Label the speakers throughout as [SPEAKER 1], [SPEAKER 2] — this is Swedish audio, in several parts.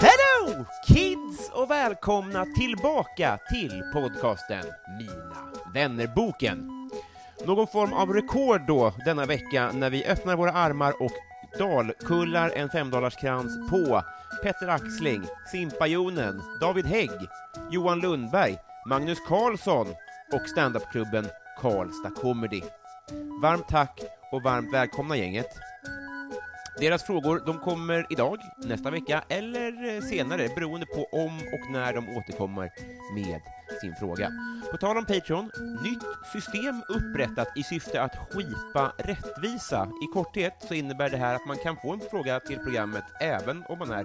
[SPEAKER 1] Hello kids och välkomna tillbaka till podcasten Mina vännerboken. Någon form av rekord då denna vecka när vi öppnar våra armar och dalkullar en femdollarskrans på Petter Axling, Simpajonen, David Hägg, Johan Lundberg, Magnus Carlsson och standupklubben Karlstad Comedy. Varmt tack och varmt välkomna gänget. Deras frågor de kommer idag, nästa vecka eller eh, senare beroende på om och när de återkommer med sin fråga. På tal om Patreon, nytt system upprättat i syfte att skipa rättvisa. I korthet så innebär det här att man kan få en fråga till programmet även om man är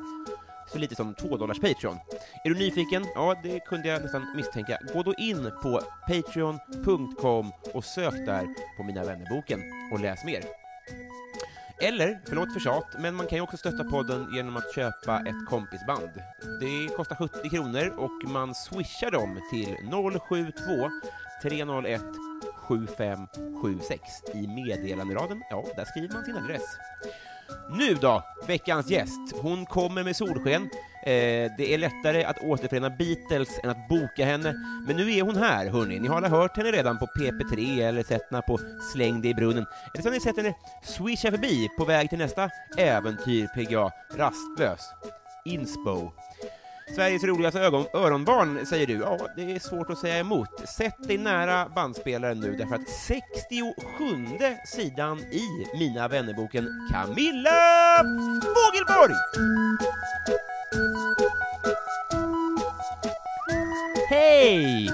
[SPEAKER 1] så lite som 2 dollars Patreon. Är du nyfiken? Ja, det kunde jag nästan misstänka. Gå då in på patreon.com och sök där på Mina vännerboken och läs mer. Eller, förlåt för tjat, men man kan ju också stötta podden genom att köpa ett kompisband. Det kostar 70 kronor och man swishar dem till 072 301 7576 i meddelanderaden. Ja, där skriver man sin adress. Nu då, veckans gäst. Hon kommer med solsken. Eh, det är lättare att återförena Beatles än att boka henne. Men nu är hon här, hörni. Ni har alla hört henne redan på PP3 eller sett henne på Släng dig i brunnen. Eller så har ni sett henne swisha förbi på väg till nästa äventyr, PGA Rastlös. Inspo. Sveriges roligaste ögon, öronbarn, säger du. Ja, det är svårt att säga emot. Sätt dig nära bandspelaren nu, därför att 67 sidan i Mina vännerboken Camilla Fogelborg! Hej!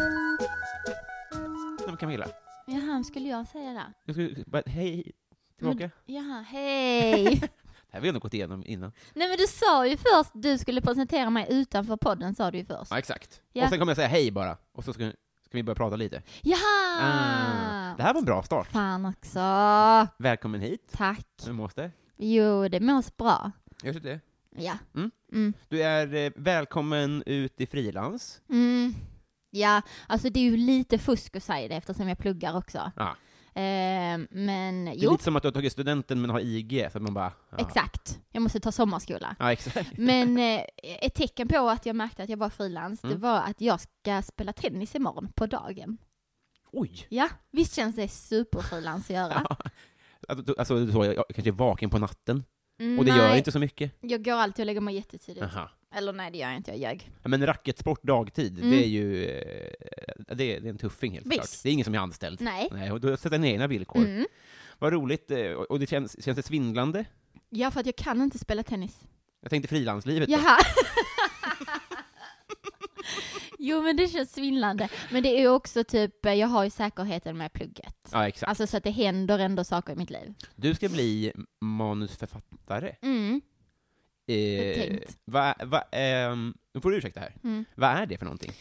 [SPEAKER 1] Nej, men Camilla,
[SPEAKER 2] Jaha, skulle jag säga det?
[SPEAKER 1] jag skulle bara, hej tillbaka.
[SPEAKER 2] Men, jaha, hej!
[SPEAKER 1] Det här har vi ändå gått igenom innan.
[SPEAKER 2] Nej men du sa ju först, du skulle presentera mig utanför podden sa du ju först.
[SPEAKER 1] Ja, exakt.
[SPEAKER 2] Ja.
[SPEAKER 1] Och sen kommer jag säga hej bara, och så ska, ska vi börja prata lite.
[SPEAKER 2] Jaha!
[SPEAKER 1] Ah, det här var en bra start.
[SPEAKER 2] Fan också!
[SPEAKER 1] Välkommen hit.
[SPEAKER 2] Tack!
[SPEAKER 1] Du måste.
[SPEAKER 2] Jo, det mås bra.
[SPEAKER 1] Gör du det?
[SPEAKER 2] Ja.
[SPEAKER 1] Mm.
[SPEAKER 2] Mm.
[SPEAKER 1] Du är eh, välkommen ut i frilans.
[SPEAKER 2] Mm. Ja, alltså det är ju lite fusk att säga det eftersom jag pluggar också.
[SPEAKER 1] Ja.
[SPEAKER 2] Eh, men
[SPEAKER 1] Det är
[SPEAKER 2] jo,
[SPEAKER 1] lite som att du har tagit studenten men har IG, så att man bara... Ja.
[SPEAKER 2] exakt. Jag måste ta sommarskola.
[SPEAKER 1] Ja, exakt.
[SPEAKER 2] Men eh, ett tecken på att jag märkte att jag var frilans, det
[SPEAKER 1] Mm.
[SPEAKER 2] var att jag ska spela tennis imorgon på dagen.
[SPEAKER 1] Oj!
[SPEAKER 2] Ja, visst känns det superfrilans att göra?
[SPEAKER 1] Alltså, du- alltså du sa, jag jag kanske är vaken på natten,
[SPEAKER 2] Mm,
[SPEAKER 1] och det gör
[SPEAKER 2] nej,
[SPEAKER 1] inte så mycket.
[SPEAKER 2] Jag går alltid och lägger mig jättetidigt.
[SPEAKER 1] Aha.
[SPEAKER 2] Eller nej, det gör jag inte, jag ljög.
[SPEAKER 1] Ja, Men racketsport dagtid,
[SPEAKER 2] Mm.
[SPEAKER 1] det är ju... eh, Det är, det är en tuffing helt klart.
[SPEAKER 2] Visst.
[SPEAKER 1] Det är ingen som är anställd.
[SPEAKER 2] Nej.
[SPEAKER 1] Nej, och du har satt dina egna villkor.
[SPEAKER 2] Mm.
[SPEAKER 1] Vad roligt, eh, och och det känns, känns det svindlande?
[SPEAKER 2] Ja, för att jag kan inte spela tennis.
[SPEAKER 1] Jag tänkte frilanslivet. då.
[SPEAKER 2] Jaha. jo, men det känns svindlande. Men det är ju också typ, eh, jag har ju säkerheten med plugget.
[SPEAKER 1] Ja, exakt.
[SPEAKER 2] Alltså så att det händer ändå saker i mitt liv.
[SPEAKER 1] Du ska bli manusförfattare.
[SPEAKER 2] Mm. är
[SPEAKER 1] Eh,
[SPEAKER 2] tänkt.
[SPEAKER 1] vad, vad, ehm, nu får du ursäkta här.
[SPEAKER 2] Mm.
[SPEAKER 1] Vad är det för någonting?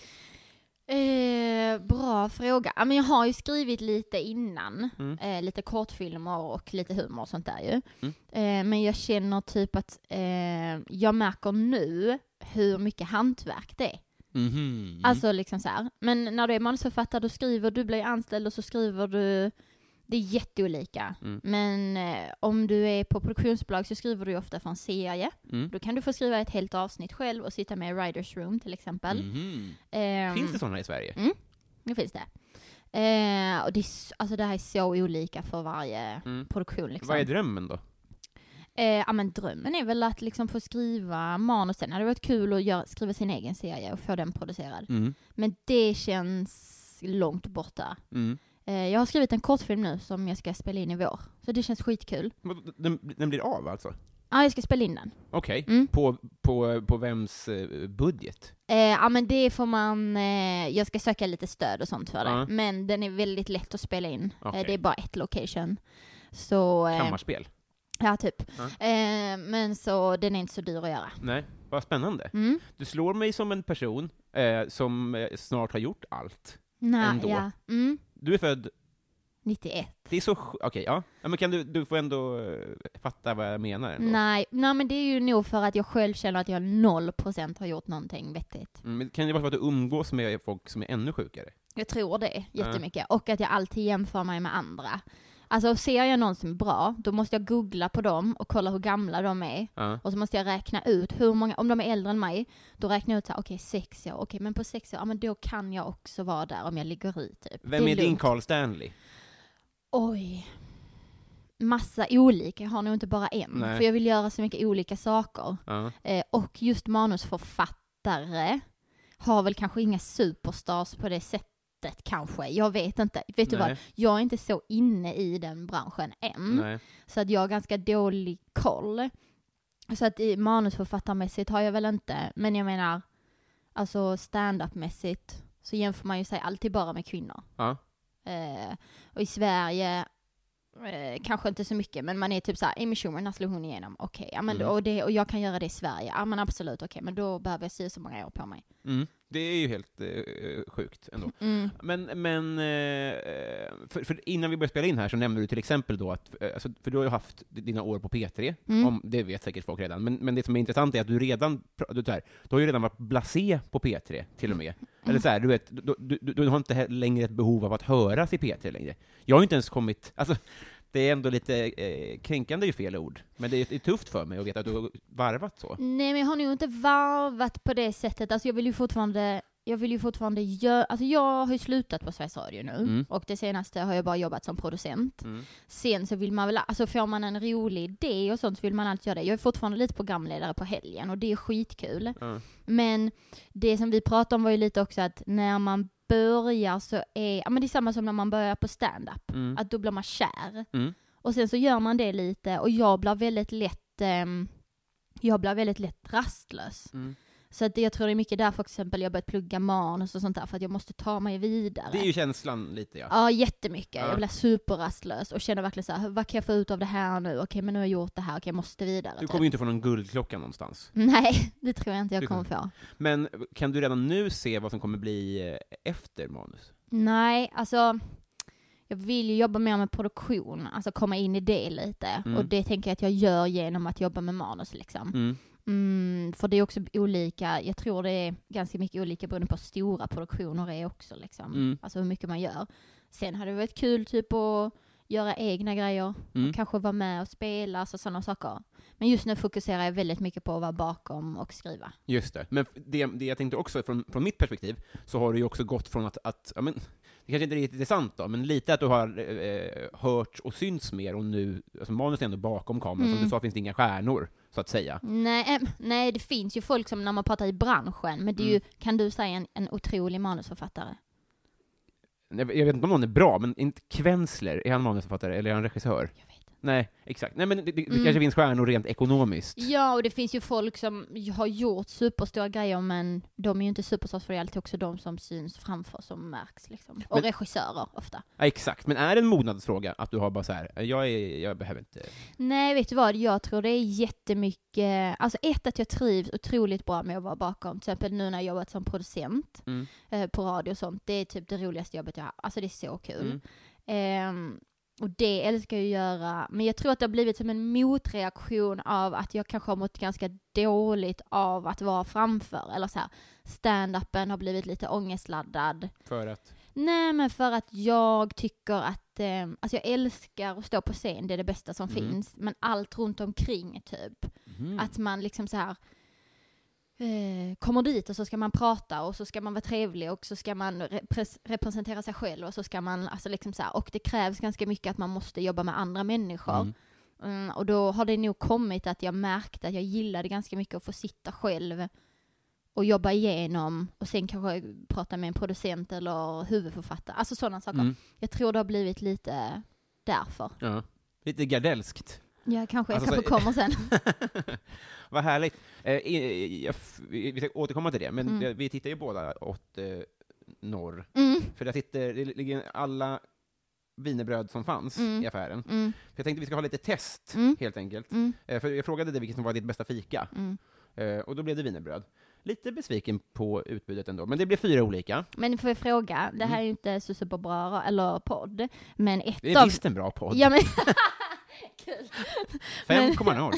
[SPEAKER 2] Eh, bra fråga. Ja, men jag har ju skrivit lite innan.
[SPEAKER 1] Mm.
[SPEAKER 2] Eh, lite kortfilmer och lite humor och sånt där ju.
[SPEAKER 1] Mm.
[SPEAKER 2] Eh, men jag känner typ att eh, jag märker nu hur mycket hantverk det är.
[SPEAKER 1] Mhm.
[SPEAKER 2] Alltså liksom så här. Men när du är manusförfattare då skriver du, blir anställd och så skriver du. Det är jätteolika.
[SPEAKER 1] Mm.
[SPEAKER 2] Men eh, om du är på produktionsbolag så skriver du ju ofta för en serie.
[SPEAKER 1] Mm.
[SPEAKER 2] Då kan du få skriva ett helt avsnitt själv och sitta med i writers room till exempel.
[SPEAKER 1] Mhm.
[SPEAKER 2] Ehm,
[SPEAKER 1] Finns det sådana i Sverige?
[SPEAKER 2] Nu finns det. Eh, och det, är, s- alltså det här är så olika för varje
[SPEAKER 1] Mm.
[SPEAKER 2] produktion liksom.
[SPEAKER 1] Vad är drömmen då?
[SPEAKER 2] Eh, ja men drömmen är väl att liksom få skriva manus. Sen hade det varit kul att göra, skriva sin egen serie och få den producerad.
[SPEAKER 1] Mm.
[SPEAKER 2] Men det känns långt borta.
[SPEAKER 1] Mm.
[SPEAKER 2] Eh, jag har skrivit en kortfilm nu som jag ska spela in i vår. Så det känns skitkul.
[SPEAKER 1] Vad- Den, den blir av alltså?
[SPEAKER 2] Ja, jag ska spela in den.
[SPEAKER 1] Okej.
[SPEAKER 2] Mm.
[SPEAKER 1] På, på, på vems eh, budget?
[SPEAKER 2] Eh, ja men det får man, eh, jag ska söka lite stöd och sånt för det.
[SPEAKER 1] Ja.
[SPEAKER 2] Men den är väldigt lätt att spela in.
[SPEAKER 1] Okej.
[SPEAKER 2] Eh, det är bara ett location. Så, eh,
[SPEAKER 1] Kammarspel?
[SPEAKER 2] ja typ.
[SPEAKER 1] Ja.
[SPEAKER 2] Eh, men så den är inte så dyr att göra.
[SPEAKER 1] Nej, vad spännande.
[SPEAKER 2] Mm.
[SPEAKER 1] Du slår mig som en person eh, som eh, snart har gjort allt.
[SPEAKER 2] Nej,
[SPEAKER 1] Ändå.
[SPEAKER 2] Ja. Mm.
[SPEAKER 1] Du är född,
[SPEAKER 2] 91.
[SPEAKER 1] det är så sj- Okej, ja. ja. Men kan du, du får ändå eh, fatta vad jag menar ändå.
[SPEAKER 2] Nej, nej men det är ju nog för att jag själv känner att jag 0% har gjort någonting vettigt.
[SPEAKER 1] Mm, men kan det vara för att du umgås med folk som är ännu sjukare?
[SPEAKER 2] Jag tror det jättemycket. Och att jag alltid jämför mig med andra. Alltså ser jag någon som är bra, då måste jag googla på dem och kolla hur gamla de är.
[SPEAKER 1] Ja.
[SPEAKER 2] Och så måste jag räkna ut hur många, om de är äldre än mig, då räknar jag ut såhär, okej sex år, okej men på sex år, ja men då kan jag också vara där om jag ligger i typ.
[SPEAKER 1] Vem
[SPEAKER 2] Det
[SPEAKER 1] är, din
[SPEAKER 2] lugnt.
[SPEAKER 1] Carl Stanley?
[SPEAKER 2] Oj. Massa olika, jag har nog inte bara en.
[SPEAKER 1] Nej.
[SPEAKER 2] För jag vill göra så mycket olika saker.
[SPEAKER 1] Ja.
[SPEAKER 2] Eh, och just manusförfattare har väl kanske inga superstars på det sättet kanske. Jag vet inte. Vet du
[SPEAKER 1] Nej.
[SPEAKER 2] vad? Mm. Jag är inte så inne i den branschen än.
[SPEAKER 1] Nej.
[SPEAKER 2] Så att jag har ganska dålig koll. Så att i manusförfattarmässigt har jag väl inte, men jag menar alltså stand-up-mässigt så jämför man ju sig alltid bara med kvinnor.
[SPEAKER 1] Ja.
[SPEAKER 2] Eh, och i Sverige eh, kanske inte så mycket, men man är typ såhär, Amy Schumer, när slog hon igenom? Okej, ja, men
[SPEAKER 1] Mm.
[SPEAKER 2] då- och, det, och jag kan göra det i Sverige? Ja men absolut, okej, men då behöver jag se så många år på mig.
[SPEAKER 1] Mm. Det är ju helt eh, sjukt ändå.
[SPEAKER 2] Mm.
[SPEAKER 1] Men, men eh, för, för innan vi började spela in här så nämnde du till exempel då att, eh, alltså, för du har ju haft dina år på P3,
[SPEAKER 2] Mm.
[SPEAKER 1] om, det vet säkert folk redan, men, men det som är intressant är att du redan, pra- du, så här, du har ju redan varit blasé på P3 till och med. Eller så här, du vet, du, du, du, du har inte he- längre ett behov av att höras i P3 längre. Jag har ju inte ens kommit, alltså, det är ändå lite, eh, kränkande är ju fel ord, men det är, det är tufft för mig att veta att du har varvat så.
[SPEAKER 2] Nej men jag har nog inte varvat på det sättet, alltså jag vill ju fortfarande jag vill ju fortfarande göra, alltså jag har ju slutat på Sveriges Radio nu
[SPEAKER 1] Mm.
[SPEAKER 2] och det senaste har jag bara jobbat som producent.
[SPEAKER 1] Mm.
[SPEAKER 2] Sen så vill man väl, alltså får man en rolig idé och sånt så vill man alltid göra det. Jag är fortfarande lite programledare på helgen och det är skitkul.
[SPEAKER 1] Ja.
[SPEAKER 2] Men det som vi pratade om var ju lite också att när man börjar så är, ja men det är samma som när man börjar på stand-up.
[SPEAKER 1] Mm.
[SPEAKER 2] Att då blir man kär.
[SPEAKER 1] Mm.
[SPEAKER 2] Och sen så gör man det lite och jag blir väldigt lätt, ehm, jag blir väldigt lätt rastlös.
[SPEAKER 1] Mm.
[SPEAKER 2] Så att det- jag tror det är mycket därför till exempel jag börjat plugga manus och sånt där för att jag måste ta mig vidare.
[SPEAKER 1] Det är ju känslan lite ja.
[SPEAKER 2] Ja, jättemycket.
[SPEAKER 1] Ja.
[SPEAKER 2] Jag blir superrastlös och känner verkligen så här, vad kan jag få ut av det här nu? Okej, men nu har jag gjort det här, okej, jag måste vidare.
[SPEAKER 1] Du
[SPEAKER 2] typ.
[SPEAKER 1] kommer ju inte få någon guldklocka någonstans.
[SPEAKER 2] Nej, det tror jag inte
[SPEAKER 1] Du
[SPEAKER 2] jag kommer få.
[SPEAKER 1] Men kan du redan nu se vad som kommer bli eh, efter manus?
[SPEAKER 2] Nej, alltså jag vill ju jobba mer med produktion, alltså komma in i det lite.
[SPEAKER 1] Mm.
[SPEAKER 2] Och det tänker jag att jag gör genom att jobba med manus liksom. Mm, för det är också olika, jag tror det är ganska mycket olika beroende på hur stora produktioner är också liksom.
[SPEAKER 1] Mm.
[SPEAKER 2] Alltså hur mycket man gör. Sen hade det varit kul typ att göra egna grejer,
[SPEAKER 1] Mm.
[SPEAKER 2] och kanske vara med och spela, alltså sådana saker. Men just nu fokuserar jag väldigt mycket på att vara bakom och skriva.
[SPEAKER 1] Just det. Men det, det jag tänkte också, från, från mitt perspektiv, så har du ju också gått från att, att ja, men, det kanske inte är riktigt är sant då, men lite att du har eh, hört och synts mer, och nu, alltså manus är ändå bakom kameran, som
[SPEAKER 2] Mm.
[SPEAKER 1] du sa finns det inga stjärnor, så att säga.
[SPEAKER 2] Nej, eh, nej, det finns ju folk som när man pratar i branschen, men det är
[SPEAKER 1] Mm.
[SPEAKER 2] ju, kan du säga en, en otrolig manusförfattare?
[SPEAKER 1] Jag jag vet inte om någon är bra, men inte Kvensler, är han manusförfattare, eller är han regissör?
[SPEAKER 2] Jag vet.
[SPEAKER 1] Nej, exakt. Nej, men det, det
[SPEAKER 2] Mm.
[SPEAKER 1] kanske finns stjärnor rent ekonomiskt.
[SPEAKER 2] Ja, och det finns ju folk som har gjort superstora grejer, men de är ju inte superstars för det är alltid också de som syns framför som märks liksom. Och
[SPEAKER 1] Men-
[SPEAKER 2] regissörer ofta.
[SPEAKER 1] Ja, exakt. Men är det en mognadsfråga att du har bara så här, jag, är, jag behöver inte...
[SPEAKER 2] Nej, vet du vad? Jag tror det är jättemycket, alltså ett att jag trivs otroligt bra med att vara bakom, till exempel nu när jag jobbat som producent
[SPEAKER 1] Mm.
[SPEAKER 2] eh, på radio och sånt, det är typ det roligaste jobbet jag har, alltså det är så kul.
[SPEAKER 1] Mm.
[SPEAKER 2] Ehm, och det älskar jag att göra, men jag tror att det har blivit som en motreaktion av att jag kanske har mått ganska dåligt av att vara framför, eller så här, stand-upen har blivit lite ångestladdad.
[SPEAKER 1] För att...
[SPEAKER 2] Nej men för att jag tycker att, eh, alltså jag älskar att stå på scen, det är det bästa som
[SPEAKER 1] Mm.
[SPEAKER 2] finns. Men allt runt omkring typ.
[SPEAKER 1] Mm.
[SPEAKER 2] Att man liksom så här eh, kommer dit och så ska man prata och så ska man vara trevlig och så ska man repres- representera sig själv och så ska man, alltså liksom så här, och det krävs ganska mycket att man måste jobba med andra människor.
[SPEAKER 1] Mm.
[SPEAKER 2] Mm, och då har det nog kommit att jag märkte att jag gillade ganska mycket att få sitta själv och jobba igenom och sen kanske prata med en producent eller huvudförfattare, alltså sådana saker.
[SPEAKER 1] Mm.
[SPEAKER 2] Jag tror det har blivit lite därför.
[SPEAKER 1] Ja. Lite gardelskt.
[SPEAKER 2] Ja, kanske,
[SPEAKER 1] Alltså,
[SPEAKER 2] jag kanske
[SPEAKER 1] så-
[SPEAKER 2] kommer sen.
[SPEAKER 1] Vad härligt. Eh, i- jag f- vi vi ska återkomma till det, men
[SPEAKER 2] Mm.
[SPEAKER 1] eh, vi tittar ju båda åt eh, norr.
[SPEAKER 2] Mm,
[SPEAKER 1] För där sitter, det ligger alla vinerbröd som fanns
[SPEAKER 2] Mm.
[SPEAKER 1] i affären. För
[SPEAKER 2] mm,
[SPEAKER 1] jag tänkte vi ska ha lite test,
[SPEAKER 2] Mm.
[SPEAKER 1] helt enkelt.
[SPEAKER 2] mm,
[SPEAKER 1] Eh, för jag frågade dig vilket som var ditt bästa fika,
[SPEAKER 2] mm.
[SPEAKER 1] eh, och då blev det vinerbröd. Lite besviken på utbudet ändå, men det blev fyra olika.
[SPEAKER 2] Men får jag fråga, det här är ju inte så superbra, eller podd, men ett
[SPEAKER 1] Mm. Det är
[SPEAKER 2] av...
[SPEAKER 1] visst en bra podd.
[SPEAKER 2] Ja, men... Kul.
[SPEAKER 1] 5,0.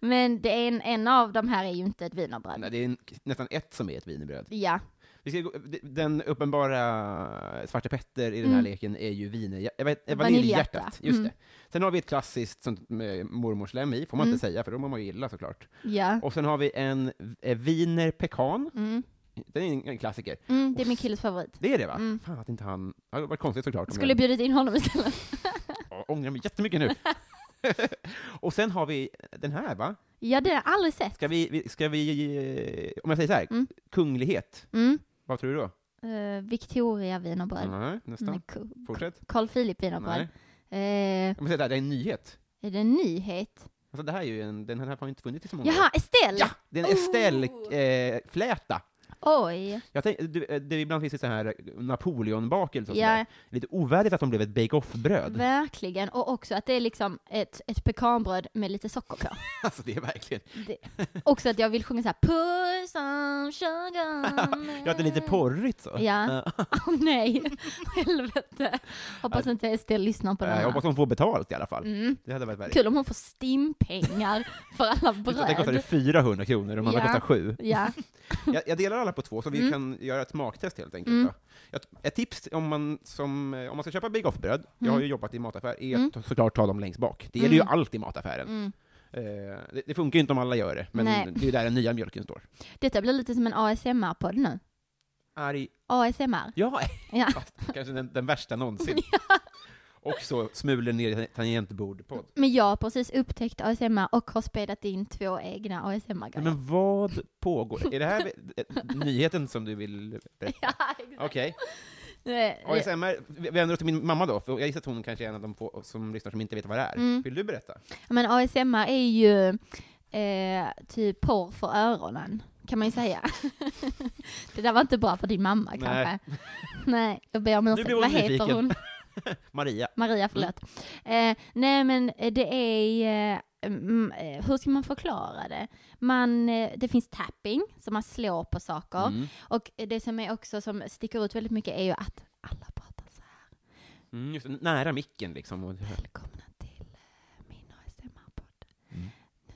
[SPEAKER 2] Men det är en, en av de här är ju inte ett wienerbröd.
[SPEAKER 1] Nej, det är en, nästan ett som är ett wienerbröd.
[SPEAKER 2] Ja,
[SPEAKER 1] Vi ska gå, den uppenbara eh, Svarte Petter i den här
[SPEAKER 2] Mm.
[SPEAKER 1] leken är ju viner, jag vet, eh,
[SPEAKER 2] Vaniljhjärta.
[SPEAKER 1] vaniljhjärtat. Just
[SPEAKER 2] Mm.
[SPEAKER 1] det. Sen har vi ett klassiskt sånt med mormorslem i, får man
[SPEAKER 2] Mm.
[SPEAKER 1] inte säga, för då mår man ju illa såklart.
[SPEAKER 2] ja.
[SPEAKER 1] Och sen har vi en eh, wiener pekan.
[SPEAKER 2] Mm.
[SPEAKER 1] Den är en, en klassiker.
[SPEAKER 2] Mm, det är min killes favorit.
[SPEAKER 1] Det är det va?
[SPEAKER 2] Mm.
[SPEAKER 1] Fan att inte han... Det hade varit konstigt såklart. om
[SPEAKER 2] Skulle
[SPEAKER 1] jag-
[SPEAKER 2] bjudit in honom istället.
[SPEAKER 1] Ja, ångrar mig jättemycket nu. och sen har vi den här va?
[SPEAKER 2] Ja, det har jag aldrig sett.
[SPEAKER 1] Ska vi, vi- ska vi eh, om jag säger så här,
[SPEAKER 2] Mm.
[SPEAKER 1] kunglighet,
[SPEAKER 2] Mm.
[SPEAKER 1] vad tror du då?
[SPEAKER 2] Eh, Victoria wienerbröd.
[SPEAKER 1] Nej, nästan.
[SPEAKER 2] Nej, Ko-
[SPEAKER 1] Fortsätt.
[SPEAKER 2] Carl Philip
[SPEAKER 1] Nej.
[SPEAKER 2] wienerbröd.
[SPEAKER 1] Om
[SPEAKER 2] Eh,
[SPEAKER 1] jag säger så här, det är en nyhet.
[SPEAKER 2] är det en nyhet?
[SPEAKER 1] Alltså det här är ju en, den här har ju inte funnits i så många år.
[SPEAKER 2] Jaha, Estelle!
[SPEAKER 1] Ja! Det är en
[SPEAKER 2] Oh.
[SPEAKER 1] Estelle-fläta.
[SPEAKER 2] Oj.
[SPEAKER 1] jag tänkte, du, eh, det, ibland finns det så här Napoleonbakelser och
[SPEAKER 2] Ja.
[SPEAKER 1] sådär. Lite ovärdigt att de blev ett bake-off-bröd.
[SPEAKER 2] Verkligen. Och också att det är liksom ett, ett pekanbröd med lite socker på.
[SPEAKER 1] Alltså det är verkligen...
[SPEAKER 2] Det, också att jag vill sjunga så här Put some sugar
[SPEAKER 1] Ja, att det är lite porrigt så.
[SPEAKER 2] Mm. Ja. Åh nej, helvete. Hoppas inte Estelle lyssnar på det
[SPEAKER 1] Eh, Jag hoppas
[SPEAKER 2] här.
[SPEAKER 1] hon får betalt i alla fall.
[SPEAKER 2] Mm.
[SPEAKER 1] Det hade varit värre.
[SPEAKER 2] Kul om hon får stimpengar för alla
[SPEAKER 1] Det kostade
[SPEAKER 2] bröd.
[SPEAKER 1] 400 kronor och man
[SPEAKER 2] Ja.
[SPEAKER 1] kostar 7.
[SPEAKER 2] Ja,
[SPEAKER 1] Jag, jag delar alla på två, så vi
[SPEAKER 2] Mm.
[SPEAKER 1] kan göra ett smaktest helt enkelt.
[SPEAKER 2] Mm.
[SPEAKER 1] Då. Ett, ett tips om man, som, eh, om man ska köpa Big Off-bröd, jag
[SPEAKER 2] Mm.
[SPEAKER 1] har ju jobbat i mataffär, är
[SPEAKER 2] Mm.
[SPEAKER 1] att såklart ta dem längst bak. Det gäller ju allt i mataffären.
[SPEAKER 2] mm.
[SPEAKER 1] Eh, det, det funkar ju inte om alla gör det, men
[SPEAKER 2] Nej.
[SPEAKER 1] det är ju där den nya mjölken står.
[SPEAKER 2] Detta blir lite som en ASMR-podd nu.
[SPEAKER 1] Arg.
[SPEAKER 2] ASMR.
[SPEAKER 1] Ja,
[SPEAKER 2] Ja.
[SPEAKER 1] kanske den, den värsta någonsin. Och så smuler ner i tangentbord-podd.
[SPEAKER 2] Men jag har precis upptäckt ASMR och har spelat in två egna
[SPEAKER 1] Nej,
[SPEAKER 2] ASMR-grejer.
[SPEAKER 1] Men vad pågår? Är det här eh, nyheten som du vill berätta?
[SPEAKER 2] Ja, exakt.
[SPEAKER 1] Okej.
[SPEAKER 2] Det- det-
[SPEAKER 1] ASMR, vi vänder oss till min mamma då, för jag gissar att hon kanske är en av de få som lyssnar som inte vet vad det är.
[SPEAKER 2] Mm.
[SPEAKER 1] Vill du berätta?
[SPEAKER 2] Men ASMR är ju eh, typ porr för öronen, kan man ju säga. det där var inte bra för din mamma
[SPEAKER 1] Nej.
[SPEAKER 2] kanske. Nej, jag ber om
[SPEAKER 1] Nu
[SPEAKER 2] ursäkt.
[SPEAKER 1] blir hon
[SPEAKER 2] Vad heter
[SPEAKER 1] nyfiken.
[SPEAKER 2] hon?
[SPEAKER 1] Maria.
[SPEAKER 2] Maria, förlåt. Eh, nej men eh, det är, eh, mm, eh, hur ska man förklara det? Man, eh, det finns tapping, så man slår på saker.
[SPEAKER 1] Mm.
[SPEAKER 2] Och det som är också som sticker ut väldigt mycket är ju att alla pratar så här.
[SPEAKER 1] Mm, just, det, nära micken liksom. Och,
[SPEAKER 2] Välkomna till eh, min ASMR-podd. Nu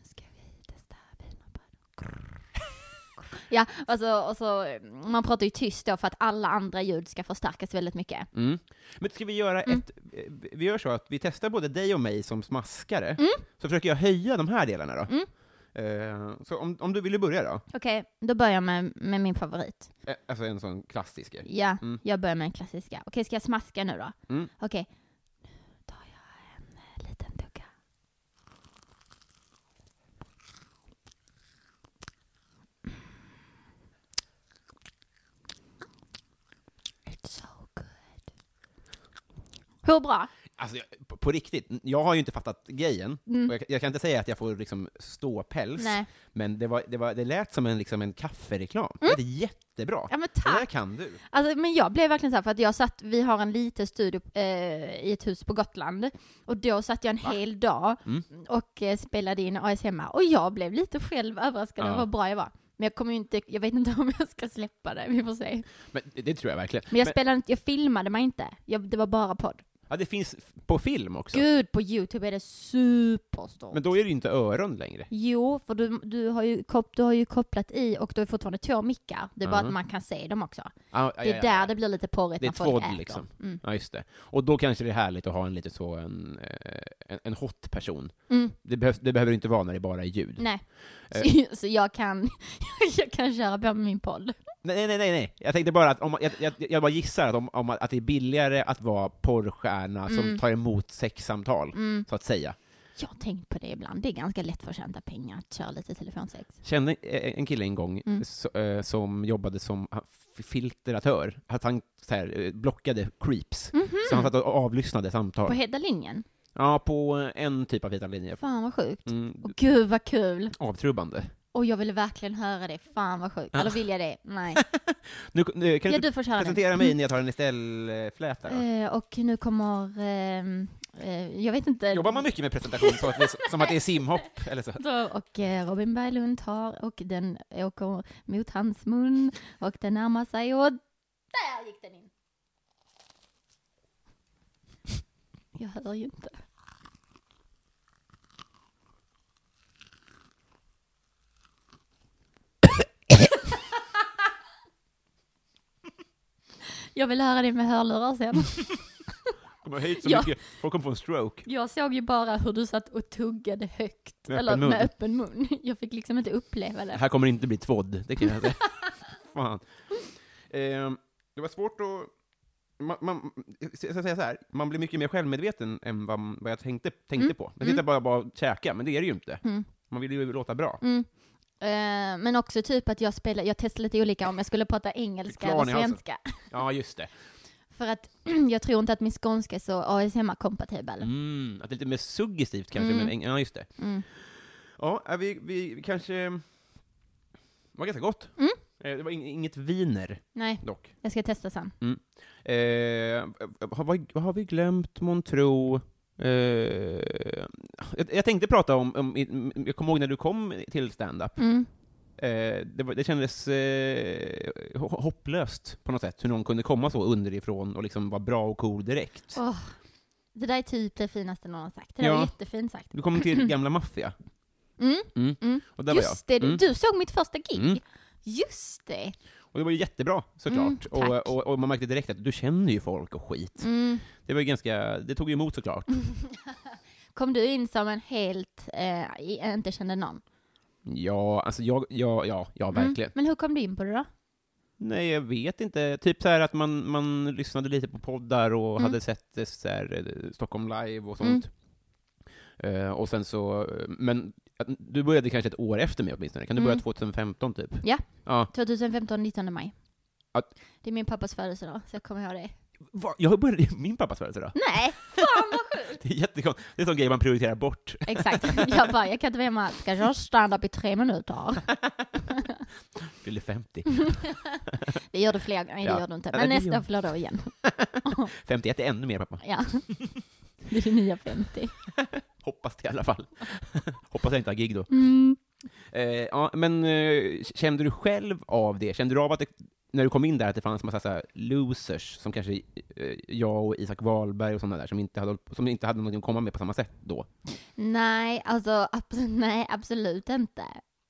[SPEAKER 2] ska vi testa wienerbröd. ja, och så, och så, eh, man pratar ju tyst då för att alla andra ljud ska förstärkas väldigt mycket.
[SPEAKER 1] mm. Men ska vi göra
[SPEAKER 2] Mm.
[SPEAKER 1] ett... eh, Vi gör så att vi testar både dig och mig som smaskare, så försöker jag höja de här delarna då.
[SPEAKER 2] Mm.
[SPEAKER 1] Eh, så om, om du ville börja då?
[SPEAKER 2] Okej, då börjar jag med, med min favorit.
[SPEAKER 1] Eh, Alltså en sån klassisk.
[SPEAKER 2] Ja,
[SPEAKER 1] Mm.
[SPEAKER 2] jag börjar med den klassiska. Okej, ska jag smaska nu då?
[SPEAKER 1] Mm.
[SPEAKER 2] Okej. Nu tar jag en eh, liten tugga. It's so good. Hur bra?
[SPEAKER 1] Alltså, jag, på, på riktigt, jag har ju inte fattat grejen.
[SPEAKER 2] Mm.
[SPEAKER 1] Och jag, jag kan inte säga att jag får liksom ståpäls,
[SPEAKER 2] Nej.
[SPEAKER 1] men det, var, det, var, det lät som en, liksom en kaffereklam. Det lät jättebra.
[SPEAKER 2] Mm. Ja men
[SPEAKER 1] Det där
[SPEAKER 2] tack!
[SPEAKER 1] kan du.
[SPEAKER 2] Alltså, men jag blev verkligen så här för att jag satt, vi har en liten studio eh, i ett hus på Gotland och då satt jag en hel dag
[SPEAKER 1] Mm.
[SPEAKER 2] och eh, spelade in ASMR och jag blev lite själv överraskad över
[SPEAKER 1] Ja.
[SPEAKER 2] hur bra jag var. Men jag kommer ju inte, jag vet inte om jag ska släppa det, vi får se.
[SPEAKER 1] Men det, det tror jag verkligen.
[SPEAKER 2] Men jag spelade inte, jag filmade mig inte. Jag, det var bara podd.
[SPEAKER 1] Ja, det finns f- på film också.
[SPEAKER 2] Gud, på YouTube är det superstort.
[SPEAKER 1] Men då är det ju inte öron längre.
[SPEAKER 2] Jo, för du, du, har ju kop, du har ju kopplat i och du har fortfarande två mickar. Det är bara
[SPEAKER 1] Ja.
[SPEAKER 2] att man kan se dem också.
[SPEAKER 1] Ah,
[SPEAKER 2] Det är där det blir lite porrigt
[SPEAKER 1] Det är
[SPEAKER 2] när folk
[SPEAKER 1] tvådd,
[SPEAKER 2] äter.
[SPEAKER 1] liksom.
[SPEAKER 2] Mm.
[SPEAKER 1] Ja, just det. Och då kanske det är härligt att ha en lite så, en, eh, en, en hot person.
[SPEAKER 2] Mm.
[SPEAKER 1] Det, behövs, det behöver inte vara när det bara är ljud.
[SPEAKER 2] Nej.
[SPEAKER 1] Eh.
[SPEAKER 2] Så, så jag kan, jag kan köra på med min podd.
[SPEAKER 1] Nej, nej, nej, nej. Jag tänkte bara att, om, jag, jag, jag bara gissar att, om, om, att det är billigare att vara porrstjärna
[SPEAKER 2] Mm.
[SPEAKER 1] som tar emot sexsamtal, så att säga.
[SPEAKER 2] Jag har tänkt på det ibland. Det är ganska lätt för att tjäna pengar att köra lite telefonsex.
[SPEAKER 1] kände eh, en kille en gång
[SPEAKER 2] Mm.
[SPEAKER 1] så, eh, som jobbade som ha- f- filtratör, att han så här, eh, blockade creeps. Så han satt och avlyssnade samtal.
[SPEAKER 2] Mm. På hela linjen.
[SPEAKER 1] ja, på eh, en typ av vita linjer.
[SPEAKER 2] Fan vad sjukt.
[SPEAKER 1] Mm,
[SPEAKER 2] Och gud vad kul.
[SPEAKER 1] avtrubbande.
[SPEAKER 2] Och jag ville verkligen höra det. Fan vad sjukt. Eller vill jag det? Nej.
[SPEAKER 1] Nu, nu kan
[SPEAKER 2] Ja,
[SPEAKER 1] du
[SPEAKER 2] du får köra den.
[SPEAKER 1] presentera mig när jag tar en Estelle-fläta då?
[SPEAKER 2] Eh, och nu kommer, ehm, eh, jag vet inte.
[SPEAKER 1] Jobbar man mycket med presentation så att det, är- som att det är simhopp? Eller så?
[SPEAKER 2] Så, och eh, Robin Berglund tar och den åker mot hans mun och den närmar sig och där gick den in. Jag hör ju inte. Jag vill höra det med hörlurar sen.
[SPEAKER 1] Kommer hit så
[SPEAKER 2] Ja.
[SPEAKER 1] mycket, folk kommer få en stroke.
[SPEAKER 2] Jag såg ju bara hur du satt och tuggade högt,
[SPEAKER 1] Med
[SPEAKER 2] eller
[SPEAKER 1] öppen mun.
[SPEAKER 2] med öppen mun. Jag fick liksom inte uppleva det.
[SPEAKER 1] Här kommer det inte bli tvådd, det kan jag säga. Fan. Ehm, det var svårt att... Man, man, jag ska säga så här, man blir mycket mer självmedveten än vad, vad jag tänkte, tänkte
[SPEAKER 2] Mm.
[SPEAKER 1] på. Jag tänkte bara, bara käka, men det är det ju inte. Man vill ju låta bra.
[SPEAKER 2] Mm. Eh, men också typ att jag spelar, jag testade lite olika om jag skulle prata engelska
[SPEAKER 1] Klan
[SPEAKER 2] eller
[SPEAKER 1] i halsen.
[SPEAKER 2] svenska.
[SPEAKER 1] Ja, just det.
[SPEAKER 2] För att jag tror inte att min skånska är så ASMR-kompatibel.
[SPEAKER 1] Mm, att det är lite mer suggestivt kanske,
[SPEAKER 2] Mm.
[SPEAKER 1] men eng- ja, just det. Ja, äh, vi, vi vi kanske... Det var ganska gott.
[SPEAKER 2] Mm.
[SPEAKER 1] Eh, Det var ing- inget viner,
[SPEAKER 2] Nej,
[SPEAKER 1] dock.
[SPEAKER 2] jag ska testa sen.
[SPEAKER 1] Eh, har, vad, vad har vi glömt månntro? Eh, jag, jag tänkte prata om, om, jag kommer ihåg när du kom till stand-up.
[SPEAKER 2] Mm.
[SPEAKER 1] Eh, det, var, det kändes eh, ho- hopplöst på något sätt, hur någon kunde komma så underifrån och liksom vara bra och cool direkt.
[SPEAKER 2] Åh, det där är typ det finaste någon har sagt. Det där
[SPEAKER 1] Ja.
[SPEAKER 2] var jättefint sagt.
[SPEAKER 1] Du kom till gamla maffia.
[SPEAKER 2] Mm.
[SPEAKER 1] Mm.
[SPEAKER 2] Mm.
[SPEAKER 1] Och där
[SPEAKER 2] Just
[SPEAKER 1] var
[SPEAKER 2] det,
[SPEAKER 1] jag. Mm.
[SPEAKER 2] du såg mitt första gig.
[SPEAKER 1] Mm.
[SPEAKER 2] Just det.
[SPEAKER 1] Och det var ju jättebra, såklart.
[SPEAKER 2] Mm,
[SPEAKER 1] och,
[SPEAKER 2] tack.
[SPEAKER 1] och, och man märkte direkt att du känner ju folk och skit.
[SPEAKER 2] Mm.
[SPEAKER 1] Det var ju ganska, det tog ju emot såklart.
[SPEAKER 2] Kom du in som en helt, eh, i- inte kände någon?
[SPEAKER 1] Ja, alltså jag, ja, ja, ja,
[SPEAKER 2] Mm.
[SPEAKER 1] verkligen.
[SPEAKER 2] Men hur kom du in på det då?
[SPEAKER 1] Nej, jag vet inte. Typ så här att man, man lyssnade lite på poddar och
[SPEAKER 2] Mm.
[SPEAKER 1] hade sett eh, så här, eh, Stockholm live och sånt.
[SPEAKER 2] Mm.
[SPEAKER 1] Eh, och sen så, eh, men att- du började kanske ett år efter mig åtminstone. Kan du börja
[SPEAKER 2] Mm.
[SPEAKER 1] 2015 typ?
[SPEAKER 2] Ja.
[SPEAKER 1] ja.
[SPEAKER 2] 2015, 19 maj.
[SPEAKER 1] Att-
[SPEAKER 2] Det är min pappas födelsedag, så jag kommer ihåg det.
[SPEAKER 1] Va? Jag började i min pappas födelsedag.
[SPEAKER 2] Nej, fan vad sjukt!
[SPEAKER 1] Det är jättekonstigt. Det är en sån grej man prioriterar bort.
[SPEAKER 2] Exakt. Jag bara, jag kan inte vara hemma. Ska jag stanna upp i tre minuter?
[SPEAKER 1] Fyller 50.
[SPEAKER 2] Mm. Det gör du fler gånger. Nej,
[SPEAKER 1] Ja.
[SPEAKER 2] det gör du inte.
[SPEAKER 1] Ja,
[SPEAKER 2] Men
[SPEAKER 1] det
[SPEAKER 2] nästa
[SPEAKER 1] gör-
[SPEAKER 2] år fyller du igen.
[SPEAKER 1] 51 är ännu mer pappa.
[SPEAKER 2] Ja. Det är din nya 50.
[SPEAKER 1] Hoppas det i alla fall. Hoppas jag inte har gig då.
[SPEAKER 2] Mm.
[SPEAKER 1] Eh, ja, men eh, kände du själv av det? Kände du av att det, när du kom in där, att det fanns massa så här, losers, som kanske eh, jag och Isak Wahlberg och sådana där, som inte, hade, hållit- som inte hade någonting att komma med på samma sätt då?
[SPEAKER 2] Nej, alltså absolut, nej, absolut inte.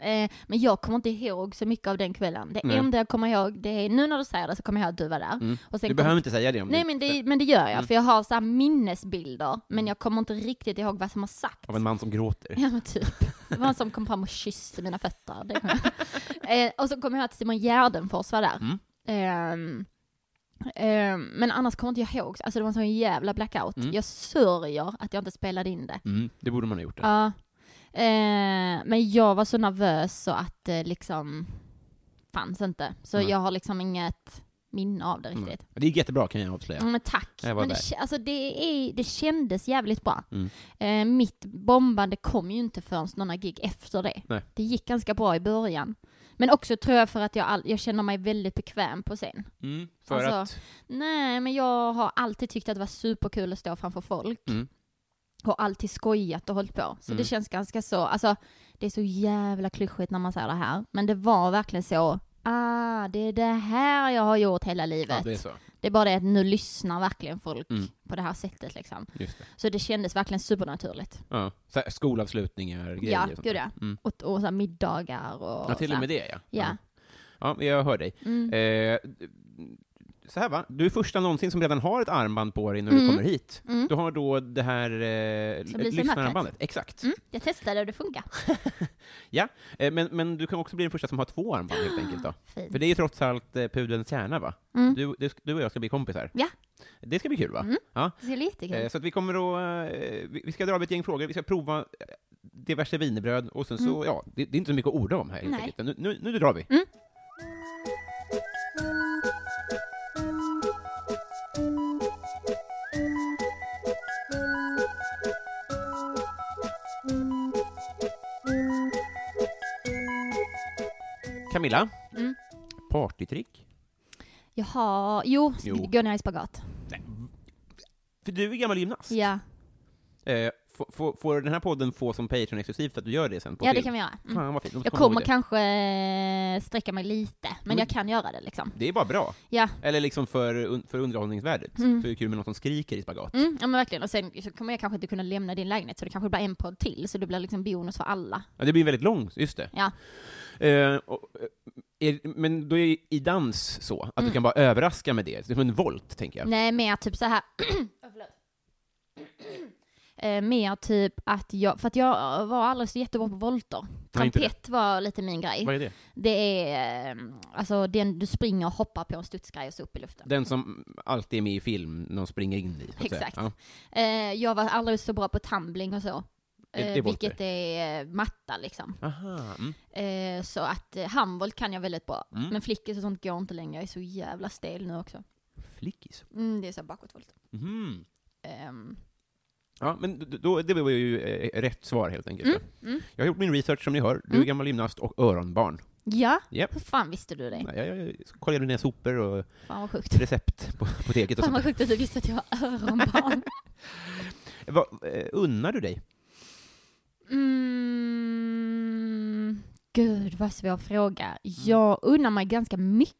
[SPEAKER 2] Eh, men jag kommer inte ihåg så mycket av den kvällen. Det
[SPEAKER 1] Nej. Mm.
[SPEAKER 2] enda jag kommer ihåg, det är, nu när du säger det så kommer jag ihåg att du var där. Och sen
[SPEAKER 1] Du
[SPEAKER 2] kom-
[SPEAKER 1] behöver inte säga det om
[SPEAKER 2] Nej
[SPEAKER 1] du,
[SPEAKER 2] men det, men det gör jag,
[SPEAKER 1] Mm.
[SPEAKER 2] för jag har så här minnesbilder, men jag kommer inte riktigt ihåg vad som har sagts.
[SPEAKER 1] Av en man som gråter.
[SPEAKER 2] Ja men typ. Det var en som kom fram och kysste mina fötter. Det kommer jag. Eh, och så kommer jag ihåg att Simon Gärdenfors var där.
[SPEAKER 1] Mm.
[SPEAKER 2] Ehm, ehm, men annars kommer inte jag ihåg. Alltså det var en sån jävla blackout.
[SPEAKER 1] Mm.
[SPEAKER 2] Jag sörjer att jag inte spelade in det.
[SPEAKER 1] Mm, det borde man ha gjort. Det.
[SPEAKER 2] Ja. Eh, men jag var så nervös så att det liksom fanns inte. Så
[SPEAKER 1] Nej.
[SPEAKER 2] jag har liksom inget minne av det
[SPEAKER 1] Mm.
[SPEAKER 2] riktigt.
[SPEAKER 1] Det är jättebra, kan jag avslöja.
[SPEAKER 2] Ja, men tack.
[SPEAKER 1] Jag var
[SPEAKER 2] Men det,
[SPEAKER 1] där.
[SPEAKER 2] kä- alltså det, är, det kändes jävligt bra.
[SPEAKER 1] Mm.
[SPEAKER 2] Eh, mitt bombande kom ju inte förrän några gig efter det.
[SPEAKER 1] Nej.
[SPEAKER 2] Det gick ganska bra i början. Men också tror jag för att jag, all, jag känner mig väldigt bekväm på scen.
[SPEAKER 1] Mm, för
[SPEAKER 2] Alltså,
[SPEAKER 1] att...
[SPEAKER 2] Nej, men jag har alltid tyckt att det var superkul att stå framför folk.
[SPEAKER 1] Mm.
[SPEAKER 2] Och alltid skojat och hållit på. Så
[SPEAKER 1] Mm.
[SPEAKER 2] det känns ganska så, alltså det är så jävla klyschigt när man säger det här. Men det var verkligen så, ah det är det här jag har gjort hela livet.
[SPEAKER 1] Ja, det är så.
[SPEAKER 2] Det är bara det att nu lyssnar verkligen folk
[SPEAKER 1] Mm.
[SPEAKER 2] på det här sättet liksom.
[SPEAKER 1] Just det.
[SPEAKER 2] Så det kändes verkligen supernaturligt.
[SPEAKER 1] Ja. Så här, skolavslutningar grejer
[SPEAKER 2] Ja,
[SPEAKER 1] och sånt
[SPEAKER 2] gud
[SPEAKER 1] där.
[SPEAKER 2] ja.
[SPEAKER 1] Mm.
[SPEAKER 2] Och, och så här, middagar och
[SPEAKER 1] Ja, till
[SPEAKER 2] så
[SPEAKER 1] och
[SPEAKER 2] här.
[SPEAKER 1] med det ja. Mm.
[SPEAKER 2] Ja.
[SPEAKER 1] Ja, men jag hör dig.
[SPEAKER 2] Mm.
[SPEAKER 1] Eh, så här va, du är första någonsin som redan har ett armband på dig när du
[SPEAKER 2] Mm.
[SPEAKER 1] kommer hit.
[SPEAKER 2] Mm.
[SPEAKER 1] Du har då det här eh,
[SPEAKER 2] Som lyser i
[SPEAKER 1] lyssnararmbandet. Exakt.
[SPEAKER 2] Mm, jag testade och det funkar.
[SPEAKER 1] Eh, men, men du kan också bli den första som har två armband helt enkelt då.
[SPEAKER 2] Fint.
[SPEAKER 1] För det är ju trots allt eh, pudelns kärna va?
[SPEAKER 2] Mm.
[SPEAKER 1] Du, du, du och jag ska bli kompisar.
[SPEAKER 2] Ja.
[SPEAKER 1] Det ska bli kul va?
[SPEAKER 2] Mm.
[SPEAKER 1] Ja.
[SPEAKER 2] Det ser lite kul
[SPEAKER 1] Eh,
[SPEAKER 2] ut.
[SPEAKER 1] Så att vi kommer att, eh, vi vi ska dra av ett gäng frågor, vi ska prova eh, diverse wienerbröd och sen så, ja, det, det är inte så mycket att orda om här helt
[SPEAKER 2] Mm. Nej.
[SPEAKER 1] enkelt. Nu, nu, nu drar vi.
[SPEAKER 2] Mm.
[SPEAKER 1] Camilla,
[SPEAKER 2] Mm.
[SPEAKER 1] partytrick?
[SPEAKER 2] Jaha, jo,
[SPEAKER 1] Jo.
[SPEAKER 2] gå ner i spagat.
[SPEAKER 1] För du är gammal gymnast.
[SPEAKER 2] Ja,
[SPEAKER 1] Eh, får, får, får den här podden få som Patreon-exklusivt att du gör det sen på
[SPEAKER 2] ja det
[SPEAKER 1] film?
[SPEAKER 2] kan vi göra. Mm.
[SPEAKER 1] Fan vad fint, De
[SPEAKER 2] Jag
[SPEAKER 1] kommer ihåg
[SPEAKER 2] kommer
[SPEAKER 1] det.
[SPEAKER 2] kanske eh, sträcka mig lite, men,
[SPEAKER 1] Men-
[SPEAKER 2] jag kan göra det liksom.
[SPEAKER 1] det är bara bra.
[SPEAKER 2] Ja.
[SPEAKER 1] Eller liksom för, un- för underhållningsvärdet.
[SPEAKER 2] Mm.
[SPEAKER 1] För det är kul med någon som skriker i spagat.
[SPEAKER 2] Mm, ja men verkligen, och sen så kommer jag kanske inte kunna lämna din lägenhet så det kanske blir en podd till, så det blir liksom bonus för alla.
[SPEAKER 1] Ja, det blir väldigt lång, just det.
[SPEAKER 2] Ja.
[SPEAKER 1] Eh, och, eh, är, men då är ju i dans så, att du
[SPEAKER 2] Mm.
[SPEAKER 1] kan bara överraska med det. Det är som en volt, tänker jag.
[SPEAKER 2] Nej, mer typ så här. Åh, förlåt. Eh, mer typ att jag, för att jag var aldrig så jättebra på volter.
[SPEAKER 1] Nej, inte det.
[SPEAKER 2] Trampett var lite min grej.
[SPEAKER 1] Vad är det?
[SPEAKER 2] Det är eh, alltså den du springer och hoppar på en studsgrej och så upp i luften.
[SPEAKER 1] Den som alltid är med i film, någon springer in i. så att säga.
[SPEAKER 2] Exakt.
[SPEAKER 1] Ja.
[SPEAKER 2] Eh, jag var aldrig så bra på tumbling och så.
[SPEAKER 1] Det- det
[SPEAKER 2] Eh,
[SPEAKER 1] är volter.
[SPEAKER 2] vilket är eh, matta liksom.
[SPEAKER 1] Aha. Mm.
[SPEAKER 2] Eh, så att eh, handboll kan jag väldigt bra.
[SPEAKER 1] Mm.
[SPEAKER 2] Men flickis och sånt går inte längre. Jag är så jävla stel nu också.
[SPEAKER 1] Flickis.
[SPEAKER 2] Mm, det är så här bakåtvolt.
[SPEAKER 1] Mhm.
[SPEAKER 2] Ehm,
[SPEAKER 1] Ja, men d- då, det var ju eh, rätt svar helt enkelt.
[SPEAKER 2] Mm,
[SPEAKER 1] då.
[SPEAKER 2] mm.
[SPEAKER 1] Jag har gjort min research som ni hör. Du är
[SPEAKER 2] Mm.
[SPEAKER 1] gammal gymnast och öronbarn.
[SPEAKER 2] ja,
[SPEAKER 1] Japp.
[SPEAKER 2] hur fan visste du det?
[SPEAKER 1] Nej, Jag, jag, jag kollade ner sopor och
[SPEAKER 2] Fan vad sjukt.
[SPEAKER 1] recept på på apoteket och
[SPEAKER 2] Fan vad
[SPEAKER 1] sånt.
[SPEAKER 2] sjukt att du visste att jag var öronbarn.
[SPEAKER 1] Vad, eh, unnar du dig?
[SPEAKER 2] Mm, gud vad svår fråga. Jag unnar mig ganska mycket.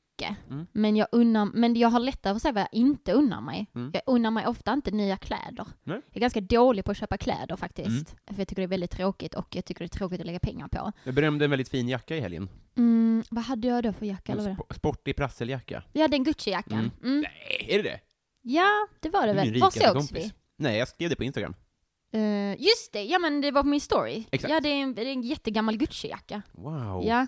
[SPEAKER 1] Mm.
[SPEAKER 2] Men, jag unnar, men jag har lättare för att säga vad jag inte unnar mig.
[SPEAKER 1] Mm.
[SPEAKER 2] Jag unnar mig ofta inte nya kläder.
[SPEAKER 1] Nej. Mm.
[SPEAKER 2] Jag är ganska dålig på att köpa kläder faktiskt. För jag tycker det är väldigt tråkigt och jag tycker det är tråkigt att lägga pengar på.
[SPEAKER 1] Jag berömde en väldigt fin jacka i helgen.
[SPEAKER 2] Mm, vad hade jag då för jacka?
[SPEAKER 1] En
[SPEAKER 2] Eller vad?
[SPEAKER 1] sp- sportig prasseljacka.
[SPEAKER 2] Ja, den Gucci-jackan.
[SPEAKER 1] Mm.
[SPEAKER 2] Mm.
[SPEAKER 1] Nej, är det det?
[SPEAKER 2] Ja, det var det
[SPEAKER 1] Du är min
[SPEAKER 2] väl. Var
[SPEAKER 1] rikaste
[SPEAKER 2] sågs
[SPEAKER 1] kompis.
[SPEAKER 2] vi?
[SPEAKER 1] Nej, jag skrev det på Instagram.
[SPEAKER 2] Eh, just det, ja men det var på min story.
[SPEAKER 1] Exakt.
[SPEAKER 2] Ja, det är en, det är en jättegammal Gucci-jacka.
[SPEAKER 1] Wow.
[SPEAKER 2] Ja.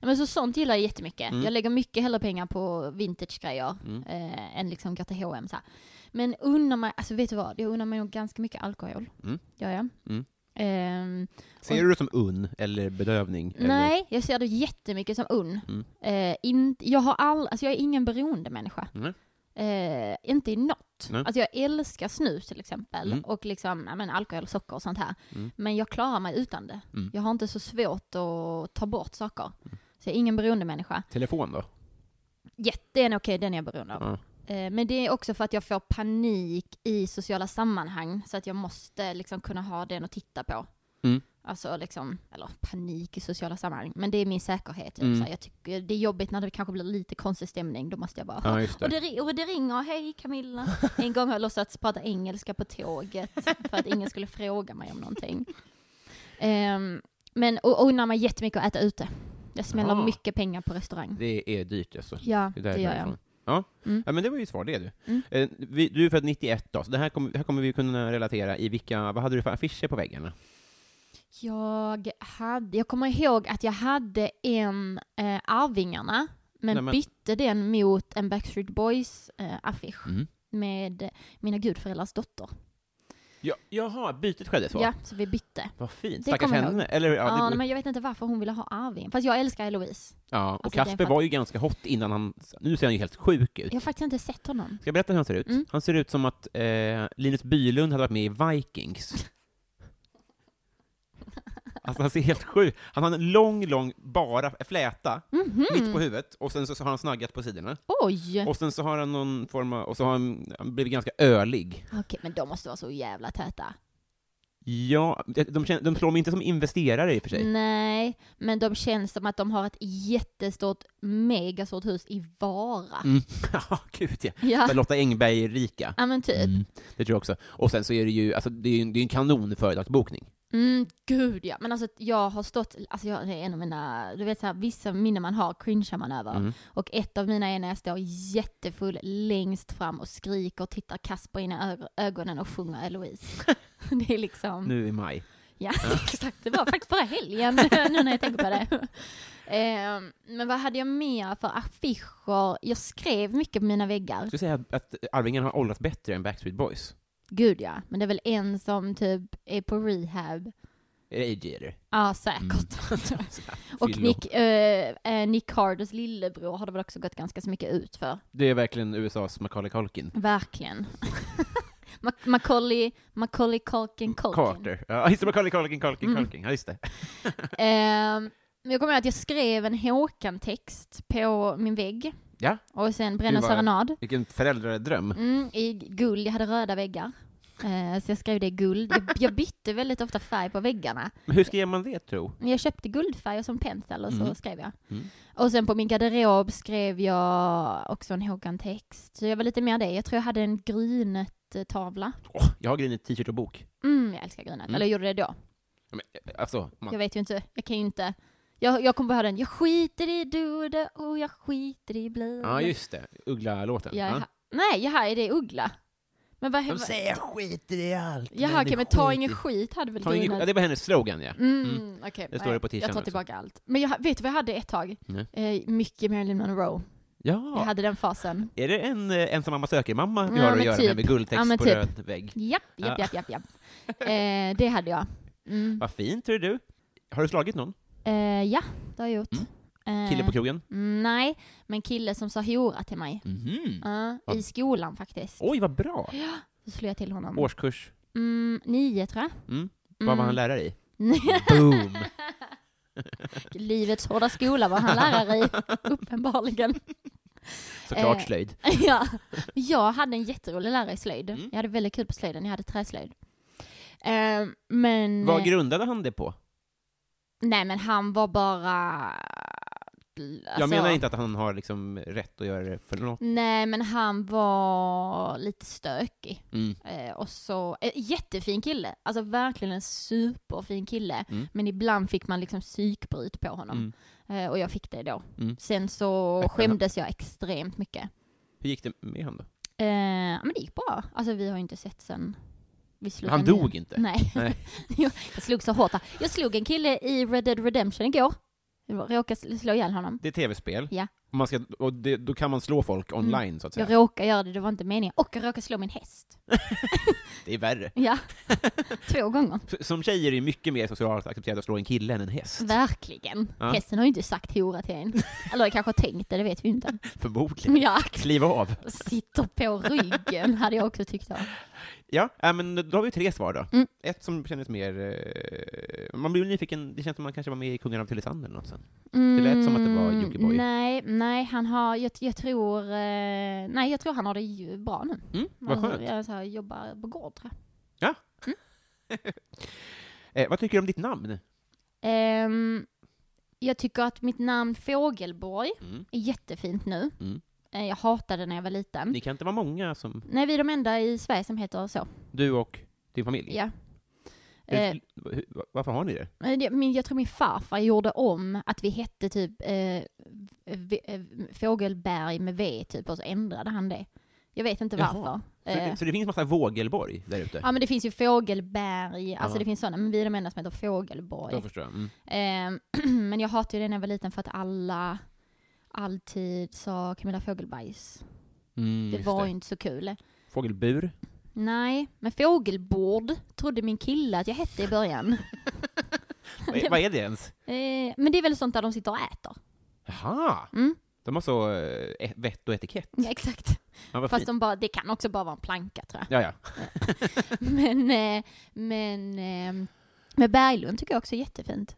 [SPEAKER 2] Nej, Men så sånt gillar jag jättemycket.
[SPEAKER 1] Oh. Mm.
[SPEAKER 2] Jag lägger mycket hellre pengar på vintage-grejer
[SPEAKER 1] Mm.
[SPEAKER 2] eh, än liksom gå till H&M så här. Men unnar mig, alltså vet du vad? Jag unnar mig nog ganska mycket alkohol.
[SPEAKER 1] Mm.
[SPEAKER 2] Gör jag.
[SPEAKER 1] Mm.
[SPEAKER 2] Ehm,
[SPEAKER 1] Ser du det som unn eller bedövning? Eller?
[SPEAKER 2] nej, jag ser det jättemycket som unn.
[SPEAKER 1] Mm.
[SPEAKER 2] Eh, in, jag, har all, alltså jag är ingen beroendemänniska.
[SPEAKER 1] Nej.
[SPEAKER 2] Eh, inte i något.
[SPEAKER 1] Nej.
[SPEAKER 2] Alltså jag älskar snus till exempel
[SPEAKER 1] Mm.
[SPEAKER 2] och liksom, ja, men alkohol, socker och sånt här.
[SPEAKER 1] Mm.
[SPEAKER 2] Men jag klarar mig utan det.
[SPEAKER 1] Mm.
[SPEAKER 2] Jag har inte så svårt att ta bort saker. Så jag är ingen beroendemänniska.
[SPEAKER 1] Telefon då?
[SPEAKER 2] Jätten, okej den är jag beroende av.
[SPEAKER 1] Ja.
[SPEAKER 2] Eh, Men det är också för att jag får panik i sociala sammanhang så att jag måste liksom kunna ha den att titta på.
[SPEAKER 1] Mm.
[SPEAKER 2] Alltså liksom, eller panik i sociala sammanhang, men det är min säkerhet. Typ.
[SPEAKER 1] Mm.
[SPEAKER 2] Så här, jag tycker det är jobbigt när det kanske blir lite konstig stämning, då måste jag bara
[SPEAKER 1] Ja, just
[SPEAKER 2] och
[SPEAKER 1] det.
[SPEAKER 2] det, ri- och det ringer, hej Camilla. En gång har jag låtsats prata engelska på tåget för att ingen skulle fråga mig om någonting. Ehm, men och unnar mig jättemycket att äta ute. Jag smäller
[SPEAKER 1] Jaha.
[SPEAKER 2] mycket pengar på restaurang.
[SPEAKER 1] Det är dyrt alltså.
[SPEAKER 2] Ja,
[SPEAKER 1] Det,
[SPEAKER 2] det,
[SPEAKER 1] där är
[SPEAKER 2] gör
[SPEAKER 1] därifrån.
[SPEAKER 2] jag.
[SPEAKER 1] Ja.
[SPEAKER 2] Mm.
[SPEAKER 1] ja, men det var ju svar det du.
[SPEAKER 2] Mm.
[SPEAKER 1] Eh, vi, du är född 91 då, så det här kommer, här kommer vi kunna relatera i vilka, vad hade du för affischer på väggarna?
[SPEAKER 2] Jag, hade, jag kommer ihåg att jag hade en eh, Arvingarna, men,
[SPEAKER 1] Nej, men-
[SPEAKER 2] bytte den mot en Backstreet Boys-affisch
[SPEAKER 1] Mm.
[SPEAKER 2] med eh, mina gudföräldrars dotter.
[SPEAKER 1] Ja, jaha, bytet skedde så?
[SPEAKER 2] Ja, så vi bytte.
[SPEAKER 1] Vad fint.
[SPEAKER 2] Det
[SPEAKER 1] Stackars
[SPEAKER 2] kommer jag
[SPEAKER 1] henne. Eller, ja,
[SPEAKER 2] Ja,
[SPEAKER 1] det,
[SPEAKER 2] men jag vet inte varför hon ville ha Arvin. Fast jag älskar Eloise.
[SPEAKER 1] ja, och
[SPEAKER 2] alltså, det är
[SPEAKER 1] Kasper
[SPEAKER 2] för att-
[SPEAKER 1] var ju ganska hot innan han, nu ser han ju helt sjuk ut.
[SPEAKER 2] Jag har faktiskt inte sett honom.
[SPEAKER 1] Ska jag berätta hur han ser ut?
[SPEAKER 2] Mm.
[SPEAKER 1] Han ser ut som att eh, Linus Bylund hade varit med i Vikings. Alltså han ser helt sjuk Han har en lång, lång bara fläta mitt
[SPEAKER 2] Mm.
[SPEAKER 1] på huvudet, och sen så, så har han snaggat på sidorna.
[SPEAKER 2] Mhm. Oj!
[SPEAKER 1] Och sen så har han någon form av, och så har han, han blivit ganska ölig.
[SPEAKER 2] Okej, men de måste vara så jävla täta.
[SPEAKER 1] Ja, de, känner, de slår mig inte som investerare i och för sig.
[SPEAKER 2] Mm. Nej, men de känns som att de har ett jättestort, megastort hus i Vara.
[SPEAKER 1] Mm. Ja, gud ja.
[SPEAKER 2] Ja.
[SPEAKER 1] Men Lotta Engberg är rika.
[SPEAKER 2] ja, men typ. Mm.
[SPEAKER 1] Mm. Det tror jag också. Och sen så är det ju, alltså det är ju en, det är en kanon företagsbokning.
[SPEAKER 2] Mm, gud ja. Men alltså jag har stått, alltså jag, det är en av mina, du vet såhär, vissa minnen man har cringear man över.
[SPEAKER 1] Mm.
[SPEAKER 2] Och ett av mina är när jag står jättefull längst fram och skriker och tittar Kasper in i ö- ögonen och sjunger Eloise. det är liksom...
[SPEAKER 1] Nu i maj.
[SPEAKER 2] Ja, exakt. Det var faktiskt förra helgen, nu när jag tänker på det. Eh, men vad hade jag mer för affischer? Jag skrev mycket på mina väggar.
[SPEAKER 1] Jag skulle säga att Arvingen har åldrats bättre än Backstreet Boys.
[SPEAKER 2] Gud ja, men det är väl en som typ är på rehab.
[SPEAKER 1] Är det AJ eller?
[SPEAKER 2] Ja, säkert.
[SPEAKER 1] Mm.
[SPEAKER 2] Och
[SPEAKER 1] Fyllo.
[SPEAKER 2] Nick, eh, eh, Nick Harders lillebror har det väl också gått ganska så mycket ut för.
[SPEAKER 1] Det är verkligen USAs Macaulay Culkin.
[SPEAKER 2] Verkligen. Mac- Macaulay, Macaulay Culkin Culkin.
[SPEAKER 1] Carter. Ja, just det, Macaulay Culkin, Culkin,
[SPEAKER 2] Mm.
[SPEAKER 1] Culkin. Ja, just det.
[SPEAKER 2] Ehm, men jag kommer ihåg att jag skrev en Håkan-text på min vägg.
[SPEAKER 1] Ja.
[SPEAKER 2] Och sen Bränna
[SPEAKER 1] Gud, vad-
[SPEAKER 2] serenad.
[SPEAKER 1] Vilken föräldradröm.
[SPEAKER 2] Mm, I guld, jag hade röda väggar. Eh, så jag skrev det i guld. Jag, jag bytte väldigt ofta färg på väggarna.
[SPEAKER 1] Men hur skriver man det, tro?
[SPEAKER 2] Men Jag köpte guldfärger som pensel och så
[SPEAKER 1] Mm.
[SPEAKER 2] skrev jag.
[SPEAKER 1] Mm.
[SPEAKER 2] Och sen på min garderob skrev jag också en Håkan-text. Så jag var lite mer det. Jag tror jag hade en Grynet-tavla.
[SPEAKER 1] Åh, jag har Grynet t-shirt och bok.
[SPEAKER 2] Mm, jag älskar Grynet.
[SPEAKER 1] Mm.
[SPEAKER 2] Eller jag gjorde det då.
[SPEAKER 1] Ja, men, Alltså,
[SPEAKER 2] Jag
[SPEAKER 1] man,
[SPEAKER 2] vet ju inte, jag kan ju inte. Jag, jag kommer bara höra den, jag skiter i du och det och jag skiter i bli.
[SPEAKER 1] ja, just det. Uggla-låten.
[SPEAKER 2] Mm. Jag är
[SPEAKER 1] Ja.
[SPEAKER 2] ha- Nej, jaha, är det Uggla? Men vad
[SPEAKER 1] De
[SPEAKER 2] vad-
[SPEAKER 1] säger skit i allt.
[SPEAKER 2] Jaha,
[SPEAKER 1] men
[SPEAKER 2] okej,
[SPEAKER 1] det
[SPEAKER 2] men ta
[SPEAKER 1] skiter-
[SPEAKER 2] ingen skit hade väl
[SPEAKER 1] Ta ingen, ja,
[SPEAKER 2] Grynet?
[SPEAKER 1] det var hennes slogan, ja.
[SPEAKER 2] Mm, okej.
[SPEAKER 1] Det står
[SPEAKER 2] nej,
[SPEAKER 1] det på t-shirten
[SPEAKER 2] Jag tar
[SPEAKER 1] också.
[SPEAKER 2] tillbaka allt. Men jag, vet du vad jag hade ett tag?
[SPEAKER 1] Nej.
[SPEAKER 2] Eh, mycket Marilyn Monroe. Jag
[SPEAKER 1] Ja,
[SPEAKER 2] hade den fasen.
[SPEAKER 1] är det en eh, ensam mamma söker-mamma vi
[SPEAKER 2] Ja,
[SPEAKER 1] har
[SPEAKER 2] men
[SPEAKER 1] att göra
[SPEAKER 2] typ.
[SPEAKER 1] med, med guldtext
[SPEAKER 2] Ja, men
[SPEAKER 1] på
[SPEAKER 2] typ.
[SPEAKER 1] röd vägg?
[SPEAKER 2] Japp, japp, japp, japp, japp. eh, det hade jag. Mm.
[SPEAKER 1] Vad fint, tror du. Har du slagit någon?
[SPEAKER 2] Eh, ja, det har jag gjort. Eh,
[SPEAKER 1] Kille på krogen?
[SPEAKER 2] mm, Nej, men kille som sa hora till mig.
[SPEAKER 1] Mhm.
[SPEAKER 2] Ja,
[SPEAKER 1] Vad-
[SPEAKER 2] I skolan faktiskt.
[SPEAKER 1] Oj, vad bra!
[SPEAKER 2] Så slog jag till honom.
[SPEAKER 1] Årskurs?
[SPEAKER 2] Mm, nio tror jag.
[SPEAKER 1] Mm. Vad var han
[SPEAKER 2] Mm.
[SPEAKER 1] lärare i? Boom!
[SPEAKER 2] Livets hårda skola var han lärare i, uppenbarligen.
[SPEAKER 1] Såklart
[SPEAKER 2] Eh.
[SPEAKER 1] slöjd.
[SPEAKER 2] ja. Jag hade en jätterolig lärare i slöjd.
[SPEAKER 1] Mm.
[SPEAKER 2] Jag hade väldigt kul på slöjden, jag hade träslöjd. Eh, men,
[SPEAKER 1] Vad grundade han det på?
[SPEAKER 2] nej men han var bara... alltså-
[SPEAKER 1] Jag menar inte att han har liksom rätt att göra det för något.
[SPEAKER 2] Nej men han var lite stökig.
[SPEAKER 1] Mm.
[SPEAKER 2] Eh, och så, eh, jättefin kille, alltså verkligen en superfin kille.
[SPEAKER 1] Mm.
[SPEAKER 2] Men ibland fick man liksom psykbryt på honom. Eh, och jag fick det då.
[SPEAKER 1] Mm.
[SPEAKER 2] Sen så
[SPEAKER 1] Öppen-
[SPEAKER 2] skämdes jag extremt mycket.
[SPEAKER 1] Hur gick det med han då?
[SPEAKER 2] Eh, ja, men det gick bra. Alltså vi har ju inte sett sen vi slog
[SPEAKER 1] Han
[SPEAKER 2] en-
[SPEAKER 1] dog inte?
[SPEAKER 2] Nej.
[SPEAKER 1] Nej.
[SPEAKER 2] jag jag slog så hårt här. Jag slog en kille i Red Dead Redemption igår. Jag råkade sl- slå ihjäl honom.
[SPEAKER 1] Det är tv-spel.
[SPEAKER 2] Ja. Mm.
[SPEAKER 1] Och Man ska, och det, då kan man slå folk online, så att säga.
[SPEAKER 2] Jag råkade göra det, det var inte meningen. Och jag råkade slå min häst.
[SPEAKER 1] Det är värre.
[SPEAKER 2] Ja. Två gånger.
[SPEAKER 1] S- Som tjejer är det mycket mer socialt accepterat att slå en kille än en häst.
[SPEAKER 2] Verkligen.
[SPEAKER 1] Ja.
[SPEAKER 2] Hästen har ju inte sagt hora till en. Eller jag kanske har tänkt det, det vet Mm. vi ju inte.
[SPEAKER 1] Förmodligen.
[SPEAKER 2] Ja,
[SPEAKER 1] Kliva av.
[SPEAKER 2] sitter på ryggen hade jag också tyckt om.
[SPEAKER 1] Ja, äh, men då har vi tre svar då.
[SPEAKER 2] Mm.
[SPEAKER 1] Ett som kändes mer... Eh, man blir nyfiken, det känns som man kanske var med i Kungen av Tylösand eller något sen.
[SPEAKER 2] Mm,
[SPEAKER 1] lät som att det var Jockiboi.
[SPEAKER 2] Nej, nej, han har, jag, jag tror, eh, nej jag tror han har det ju bra nu.
[SPEAKER 1] Mm, vad
[SPEAKER 2] Alltså,
[SPEAKER 1] skönt.
[SPEAKER 2] Jag så här, jobbar på gård tror jag.
[SPEAKER 1] Eh, vad tycker du om ditt namn?
[SPEAKER 2] Ehm, jag tycker att mitt namn Fågelborg
[SPEAKER 1] Mm.
[SPEAKER 2] är jättefint nu.
[SPEAKER 1] Mm.
[SPEAKER 2] Eh, jag hatade det när jag var liten.
[SPEAKER 1] Ni kan inte vara många som...
[SPEAKER 2] Nej, vi är de enda i Sverige som heter så.
[SPEAKER 1] Du och din familj?
[SPEAKER 2] Ja.
[SPEAKER 1] Hur,
[SPEAKER 2] Eh,
[SPEAKER 1] hur, varför har ni det?
[SPEAKER 2] men det- min- jag tror min farfar gjorde om att vi hette typ eh, v, eh, Fågelberg med V typ och så ändrade han det. Jag vet inte
[SPEAKER 1] Jaha.
[SPEAKER 2] varför. Eh,
[SPEAKER 1] Så, det, så det finns massa Vågelborg där ute?
[SPEAKER 2] Ja men det finns ju Fågelberg, alltså
[SPEAKER 1] Ja.
[SPEAKER 2] det finns sådana, men vi är de enda som heter
[SPEAKER 1] Då
[SPEAKER 2] Fågelborg.
[SPEAKER 1] förstår jag. Mm.
[SPEAKER 2] Ehm, men jag hatade ju det när jag var liten för att alla alltid sa Camilla Fågelbajs.
[SPEAKER 1] Mm,
[SPEAKER 2] Det
[SPEAKER 1] just
[SPEAKER 2] var ju inte så kul.
[SPEAKER 1] Fågelbur?
[SPEAKER 2] Nej, men fågelbord trodde min kille att jag hette i början.
[SPEAKER 1] vad, är, vad är det ens?
[SPEAKER 2] Eh, men det är väl sånt där de sitter och äter?
[SPEAKER 1] Jaha!
[SPEAKER 2] Mm.
[SPEAKER 1] De har så eh, vett och etikett.
[SPEAKER 2] Ja, exakt.
[SPEAKER 1] Ja, vad
[SPEAKER 2] Fast
[SPEAKER 1] fint.
[SPEAKER 2] de bara, det kan också bara vara en planka tror jag.
[SPEAKER 1] Ja, ja.
[SPEAKER 2] Men, eh, ehm, men, eh, men Berglund tycker jag också är jättefint.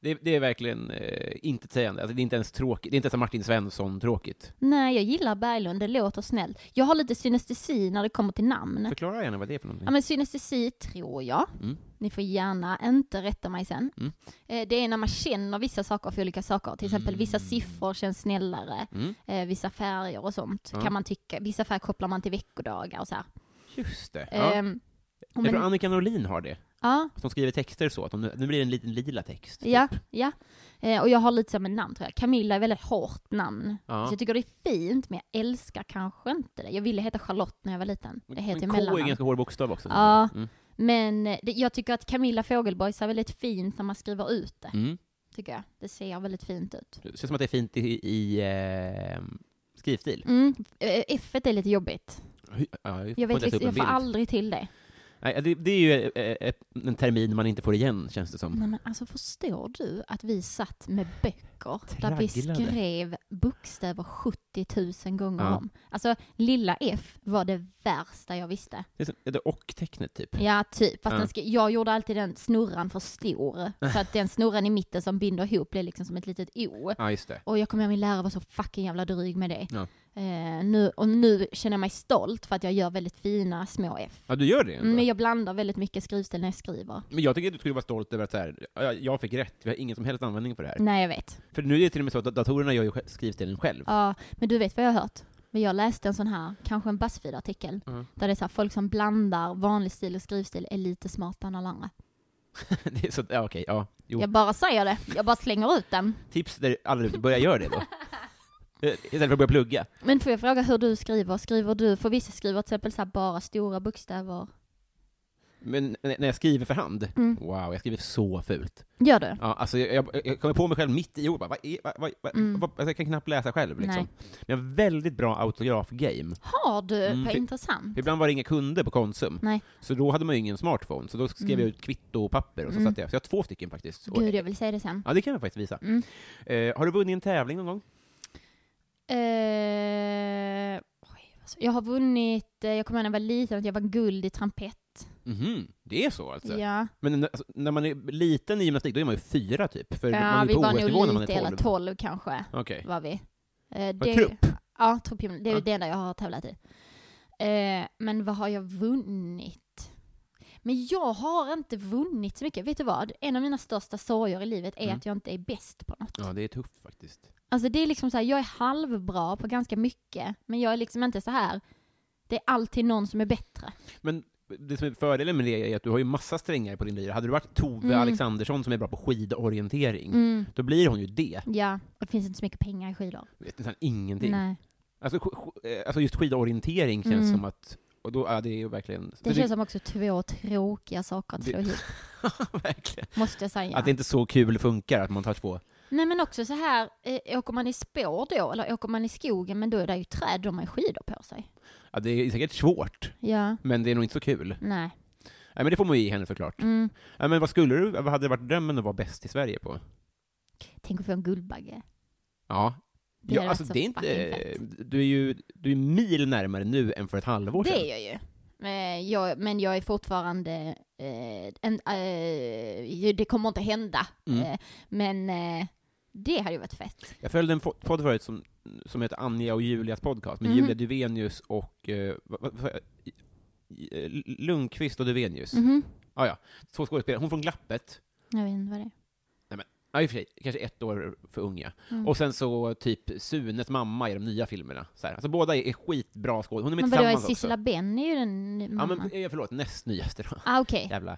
[SPEAKER 1] Det, det är verkligen eh, inte sägande. Alltså, det är inte ens tråkigt. Det är inte ens Martin Svensson-tråkigt.
[SPEAKER 2] Nej, jag gillar Berglund, det låter snällt. Jag har lite synestesi när det kommer till namn.
[SPEAKER 1] Förklara gärna vad det är för någonting.
[SPEAKER 2] Ja men synestesi tror jag.
[SPEAKER 1] Mm.
[SPEAKER 2] Ni får gärna inte rätta mig sen.
[SPEAKER 1] Mm.
[SPEAKER 2] Eh, Det är när man känner vissa saker för olika saker. Till exempel vissa siffror känns snällare.
[SPEAKER 1] Mm.
[SPEAKER 2] Eh, Vissa färger och sånt
[SPEAKER 1] Ja.
[SPEAKER 2] kan man tycka. Vissa färger kopplar man till veckodagar och så här.
[SPEAKER 1] Just det. Ja.
[SPEAKER 2] Ehm, och
[SPEAKER 1] jag tror
[SPEAKER 2] men,
[SPEAKER 1] Annika Norlin har det.
[SPEAKER 2] ja,
[SPEAKER 1] Att de skriver texter så, att de, nu blir det en liten lila text. typ.
[SPEAKER 2] ja, ja. Eh, Och jag har lite samma namn tror jag. Camilla är väldigt hårt namn.
[SPEAKER 1] Ja.
[SPEAKER 2] Så jag tycker det är fint, men jag älskar kanske inte det. Jag ville heta Charlotte när jag var liten. Det heter
[SPEAKER 1] Men K är en
[SPEAKER 2] mellannamn.
[SPEAKER 1] ganska hård bokstav också.
[SPEAKER 2] Ja.
[SPEAKER 1] Mm.
[SPEAKER 2] Men eh, det, jag tycker att Camilla Fogelborgs är väldigt fint när man skriver ut det.
[SPEAKER 1] Mm.
[SPEAKER 2] tycker jag. Det ser väldigt fint ut.
[SPEAKER 1] Det känns som att det är fint i, i eh, skrivstil.
[SPEAKER 2] Mm. eh, F är lite jobbigt.
[SPEAKER 1] Hur- Ja, får
[SPEAKER 2] Jag,
[SPEAKER 1] inte
[SPEAKER 2] vet,
[SPEAKER 1] ens upp
[SPEAKER 2] ex-
[SPEAKER 1] en
[SPEAKER 2] jag får
[SPEAKER 1] bild.
[SPEAKER 2] aldrig till det.
[SPEAKER 1] Nej, det, det är ju eh, eh, en termin man inte får igen, känns det som.
[SPEAKER 2] Nej, men alltså förstår du att vi satt med böcker där vi
[SPEAKER 1] Tragglade.
[SPEAKER 2] skrev bokstäver 70 000 gånger
[SPEAKER 1] Ja.
[SPEAKER 2] om? Alltså lilla F var det värsta jag visste.
[SPEAKER 1] Det är som det och-tecknet, typ.
[SPEAKER 2] Ja, typ. Fast
[SPEAKER 1] Ja.
[SPEAKER 2] den sk- jag gjorde alltid den snurran för stor. Så att den snurran i mitten som binder ihop blev liksom som ett litet O.
[SPEAKER 1] Ja, just det.
[SPEAKER 2] Och jag kommer ihåg min lärare var så fucking jävla dryg med det.
[SPEAKER 1] Ja.
[SPEAKER 2] Eh, nu, och nu känner jag mig stolt för att jag gör väldigt fina små F.
[SPEAKER 1] Ja, du gör det ändå.
[SPEAKER 2] Men jag blandar väldigt mycket skrivstil när jag skriver.
[SPEAKER 1] Men jag tycker att du skulle vara stolt över att så här, ja, jag fick rätt, vi har ingen som helst användning för det här.
[SPEAKER 2] Nej, jag vet.
[SPEAKER 1] För nu är det till och med så att dat- datorerna gör ju sj- skrivstilen själv.
[SPEAKER 2] Ja, men du vet vad jag har hört? Men jag läste en sån här, kanske en Buzzfeed-artikel,
[SPEAKER 1] Mm.
[SPEAKER 2] där det är så här, folk som blandar vanlig stil och skrivstil är lite smartare än alla andra.
[SPEAKER 1] det är så, ja, okej, ja. Jo.
[SPEAKER 2] Jag bara säger det, jag bara slänger ut den.
[SPEAKER 1] Tips där alla ute, börja göra det då. Eh, Istället för att börja plugga.
[SPEAKER 2] Men får jag fråga hur du skriver? Skriver du, för vissa skriver till exempel så här, bara stora bokstäver.
[SPEAKER 1] Men n- när jag skriver för hand,
[SPEAKER 2] Mm.
[SPEAKER 1] wow, jag skriver så fult.
[SPEAKER 2] Gör du?
[SPEAKER 1] Ja, alltså, jag, jag, jag kommer på mig själv mitt i ordet, bara, vad är, vad, vad, vad,
[SPEAKER 2] Mm.
[SPEAKER 1] vad, alltså, jag kan knappt läsa själv liksom.
[SPEAKER 2] Nej.
[SPEAKER 1] Men jag har väldigt bra autograf-game.
[SPEAKER 2] Har du?
[SPEAKER 1] Mm,
[SPEAKER 2] Vad
[SPEAKER 1] fi-
[SPEAKER 2] intressant.
[SPEAKER 1] För Ibland var det inga kunder på Konsum,
[SPEAKER 2] Nej.
[SPEAKER 1] så då hade man ju ingen smartphone, så då skrev
[SPEAKER 2] Mm.
[SPEAKER 1] jag ut kvitto och papper och så
[SPEAKER 2] Mm.
[SPEAKER 1] satte jag, så jag har två stycken faktiskt. Och-
[SPEAKER 2] Gud, jag vill säga det sen.
[SPEAKER 1] Ja, det kan jag faktiskt visa.
[SPEAKER 2] Mm.
[SPEAKER 1] Eh, har du vunnit en tävling någon gång?
[SPEAKER 2] Eh, oj, alltså, jag har vunnit, eh, jag kommer ihåg när jag var liten att jag var guld i trampett.
[SPEAKER 1] Mhm, det är så alltså?
[SPEAKER 2] Ja,
[SPEAKER 1] Men när- alltså, när man är liten i gymnastik, då är man ju fyra typ, för man
[SPEAKER 2] ja
[SPEAKER 1] är ju
[SPEAKER 2] vi
[SPEAKER 1] på
[SPEAKER 2] var
[SPEAKER 1] OS-nivå när
[SPEAKER 2] nog
[SPEAKER 1] man
[SPEAKER 2] lite,
[SPEAKER 1] är
[SPEAKER 2] eller
[SPEAKER 1] tolv.
[SPEAKER 2] 12 kanske
[SPEAKER 1] Okej.
[SPEAKER 2] var vi. Eh,
[SPEAKER 1] Vad, trupp?
[SPEAKER 2] Ja, truppgymnastik. Det är
[SPEAKER 1] Ja.
[SPEAKER 2] ju det enda jag har tävlat i. Eh, men vad har jag vunnit? Men jag har inte vunnit så mycket. Vet du vad? En av mina största sorger i livet är
[SPEAKER 1] Mm.
[SPEAKER 2] att jag inte är bäst på något.
[SPEAKER 1] Ja, det är tufft faktiskt.
[SPEAKER 2] Alltså det är liksom så här, jag är halvbra på ganska mycket, men jag är liksom inte så här. Det är alltid någon som är bättre.
[SPEAKER 1] Men det som är fördelen med det är att du har ju massa strängar på din lyra. Hade du varit Tove
[SPEAKER 2] Mm.
[SPEAKER 1] Alexandersson som är bra på skidorientering,
[SPEAKER 2] Mm.
[SPEAKER 1] då blir hon ju det.
[SPEAKER 2] Ja, och det finns inte så mycket pengar i skidor.
[SPEAKER 1] Vet nästan ingenting.
[SPEAKER 2] Nej.
[SPEAKER 1] Alltså, sk- sk- eh, alltså just skidorientering känns
[SPEAKER 2] Mm.
[SPEAKER 1] som att, och då, ja, det är ju verkligen...
[SPEAKER 2] Det känns som också två tråkiga saker att slå
[SPEAKER 1] Det-
[SPEAKER 2] ihop,
[SPEAKER 1] verkligen.
[SPEAKER 2] måste jag säga.
[SPEAKER 1] Att det inte så kul funkar, att man tar två.
[SPEAKER 2] Nej men också så här, eh, åker man i spår då, eller åker man i skogen, men då är det ju träd de har skidor på sig.
[SPEAKER 1] Ja, det är säkert svårt,
[SPEAKER 2] Ja,
[SPEAKER 1] men det är nog inte så kul.
[SPEAKER 2] nej.
[SPEAKER 1] Nej, men det får man ju ge henne såklart.
[SPEAKER 2] Mm.
[SPEAKER 1] Ja, men vad skulle du, vad hade det varit drömmen att vara bäst i Sverige på?
[SPEAKER 2] Tänk att få en Guldbagge.
[SPEAKER 1] Ja.
[SPEAKER 2] Det
[SPEAKER 1] ja,
[SPEAKER 2] hade
[SPEAKER 1] alltså
[SPEAKER 2] varit så
[SPEAKER 1] det är inte,
[SPEAKER 2] fucking fett.
[SPEAKER 1] du är ju du är mil närmare nu än för ett halvår
[SPEAKER 2] Det
[SPEAKER 1] sedan.
[SPEAKER 2] är jag ju. Eh, jag, men jag är fortfarande, eh, en, eh, ju- det kommer inte hända.
[SPEAKER 1] Mm.
[SPEAKER 2] Eh, men eh, det hade ju varit fett.
[SPEAKER 1] Jag följde en fo- podd förut som, som heter Anja och Julias podcast, med
[SPEAKER 2] Mhm.
[SPEAKER 1] Julia Duvenius och eh, vad- vad- vad- eh, Lundqvist och Duvenius.
[SPEAKER 2] Mhm.
[SPEAKER 1] Ah, ja. Två skådespelare, hon från Glappet,
[SPEAKER 2] Jag vet inte vad det är.
[SPEAKER 1] ja, i och för sig, kanske ett år för unga.
[SPEAKER 2] Mm.
[SPEAKER 1] Och sen så typ Sunes mamma i de nya filmerna. Så här. Alltså båda är, är skitbra skådespelare, hon är med
[SPEAKER 2] Men vadå, är
[SPEAKER 1] tillsammans också.
[SPEAKER 2] Sissela Benn är ju den
[SPEAKER 1] Ja,
[SPEAKER 2] mamman.
[SPEAKER 1] men eh, förlåt, näst nyaste då.
[SPEAKER 2] Ah, okej.
[SPEAKER 1] Jävla...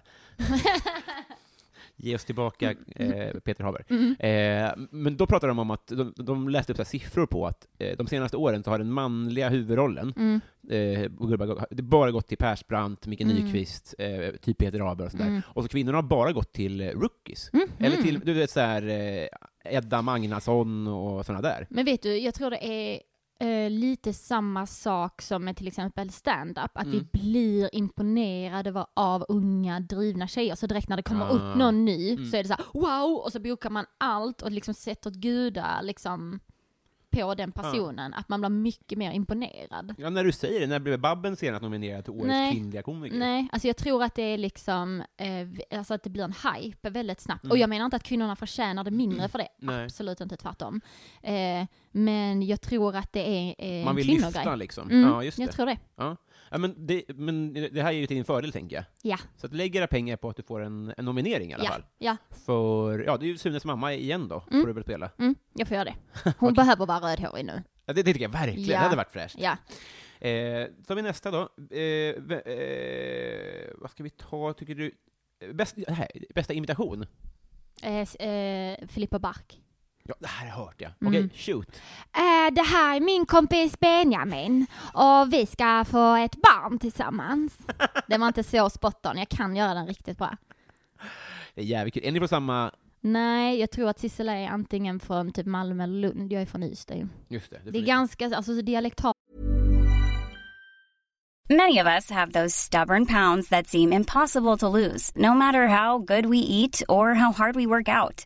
[SPEAKER 1] Ge oss tillbaka eh, Peter Haber.
[SPEAKER 2] Mm.
[SPEAKER 1] Eh, men då pratade de om att, de, de läste upp så här siffror på att eh, de senaste åren så har den manliga huvudrollen,
[SPEAKER 2] Mm.
[SPEAKER 1] eh, på Guldbagge- det bara gått till Persbrandt, Micke
[SPEAKER 2] Mm.
[SPEAKER 1] Nyqvist, eh, typ Peter Haber och sådär.
[SPEAKER 2] Mm.
[SPEAKER 1] Och så kvinnorna har bara gått till eh, rookies.
[SPEAKER 2] Mhm.
[SPEAKER 1] Eller till, du vet såhär, eh, Edda Magnusson och sådana där.
[SPEAKER 2] Men vet du, jag tror det är eh, lite samma sak som med till exempel stand-up. Att
[SPEAKER 1] Mm.
[SPEAKER 2] vi blir imponerade va- av unga drivna tjejer. Så direkt när det kommer
[SPEAKER 1] Ah.
[SPEAKER 2] upp någon ny
[SPEAKER 1] Mm.
[SPEAKER 2] så är det så här: wow! Och så bokar man allt och liksom sätter åt gudar liksom. på den
[SPEAKER 1] Ah.
[SPEAKER 2] personen, att man blir mycket mer imponerad.
[SPEAKER 1] Ja, när du säger det, när blev Babben senast nominerad till Årets
[SPEAKER 2] Nej.
[SPEAKER 1] kvinnliga komiker?
[SPEAKER 2] Nej, alltså jag tror att det är liksom, eh, vi- alltså att det blir en hype väldigt snabbt. Och jag menar inte att kvinnorna förtjänar det mindre för det,
[SPEAKER 1] Mm. Nej.
[SPEAKER 2] absolut inte tvärtom. Eh, men jag tror att det är eh,
[SPEAKER 1] Man
[SPEAKER 2] en
[SPEAKER 1] vill
[SPEAKER 2] kvinnogrej.
[SPEAKER 1] lyfta liksom.
[SPEAKER 2] Mm,
[SPEAKER 1] Ja, just det.
[SPEAKER 2] Jag tror det.
[SPEAKER 1] Ja. Ja, men, det, men det här är ju till din fördel, tänker jag.
[SPEAKER 2] Ja.
[SPEAKER 1] Så att lägg era pengar på att du får en, en nominering i alla
[SPEAKER 2] ja,
[SPEAKER 1] fall.
[SPEAKER 2] ja.
[SPEAKER 1] För, ja, det är ju Sunes mamma igen då, får du väl spela.
[SPEAKER 2] Mm, jag får göra det. Hon behöver vara rödhårig nu.
[SPEAKER 1] Ja, det, det tycker jag verkligen,
[SPEAKER 2] Ja.
[SPEAKER 1] det hade varit fräscht.
[SPEAKER 2] Ja.
[SPEAKER 1] Eh, tar vi nästa då. Eh, ve- eh, vad ska vi ta, tycker du? Eh, Bäst, det här, bästa imitation?
[SPEAKER 2] Eh, s- eh, Filippa Bark.
[SPEAKER 1] Ja, det här har jag hört, ja.
[SPEAKER 2] Mm.
[SPEAKER 1] Okej, shoot.
[SPEAKER 2] Eh, det här är min kompis Benjamin och vi ska få ett barn tillsammans. Det var inte så spot on, jag kan göra den riktigt bra.
[SPEAKER 1] Det är jävligt kul. Är ni från samma...
[SPEAKER 2] Nej, jag tror att Sissela är antingen från typ Malmö eller Lund. Jag är från Ystad ju.
[SPEAKER 1] Just det.
[SPEAKER 2] Det är ganska, alltså så dialektalt
[SPEAKER 3] Many of us have those stubborn pounds that seem impossible to lose, no matter how good we eat or how hard we work out.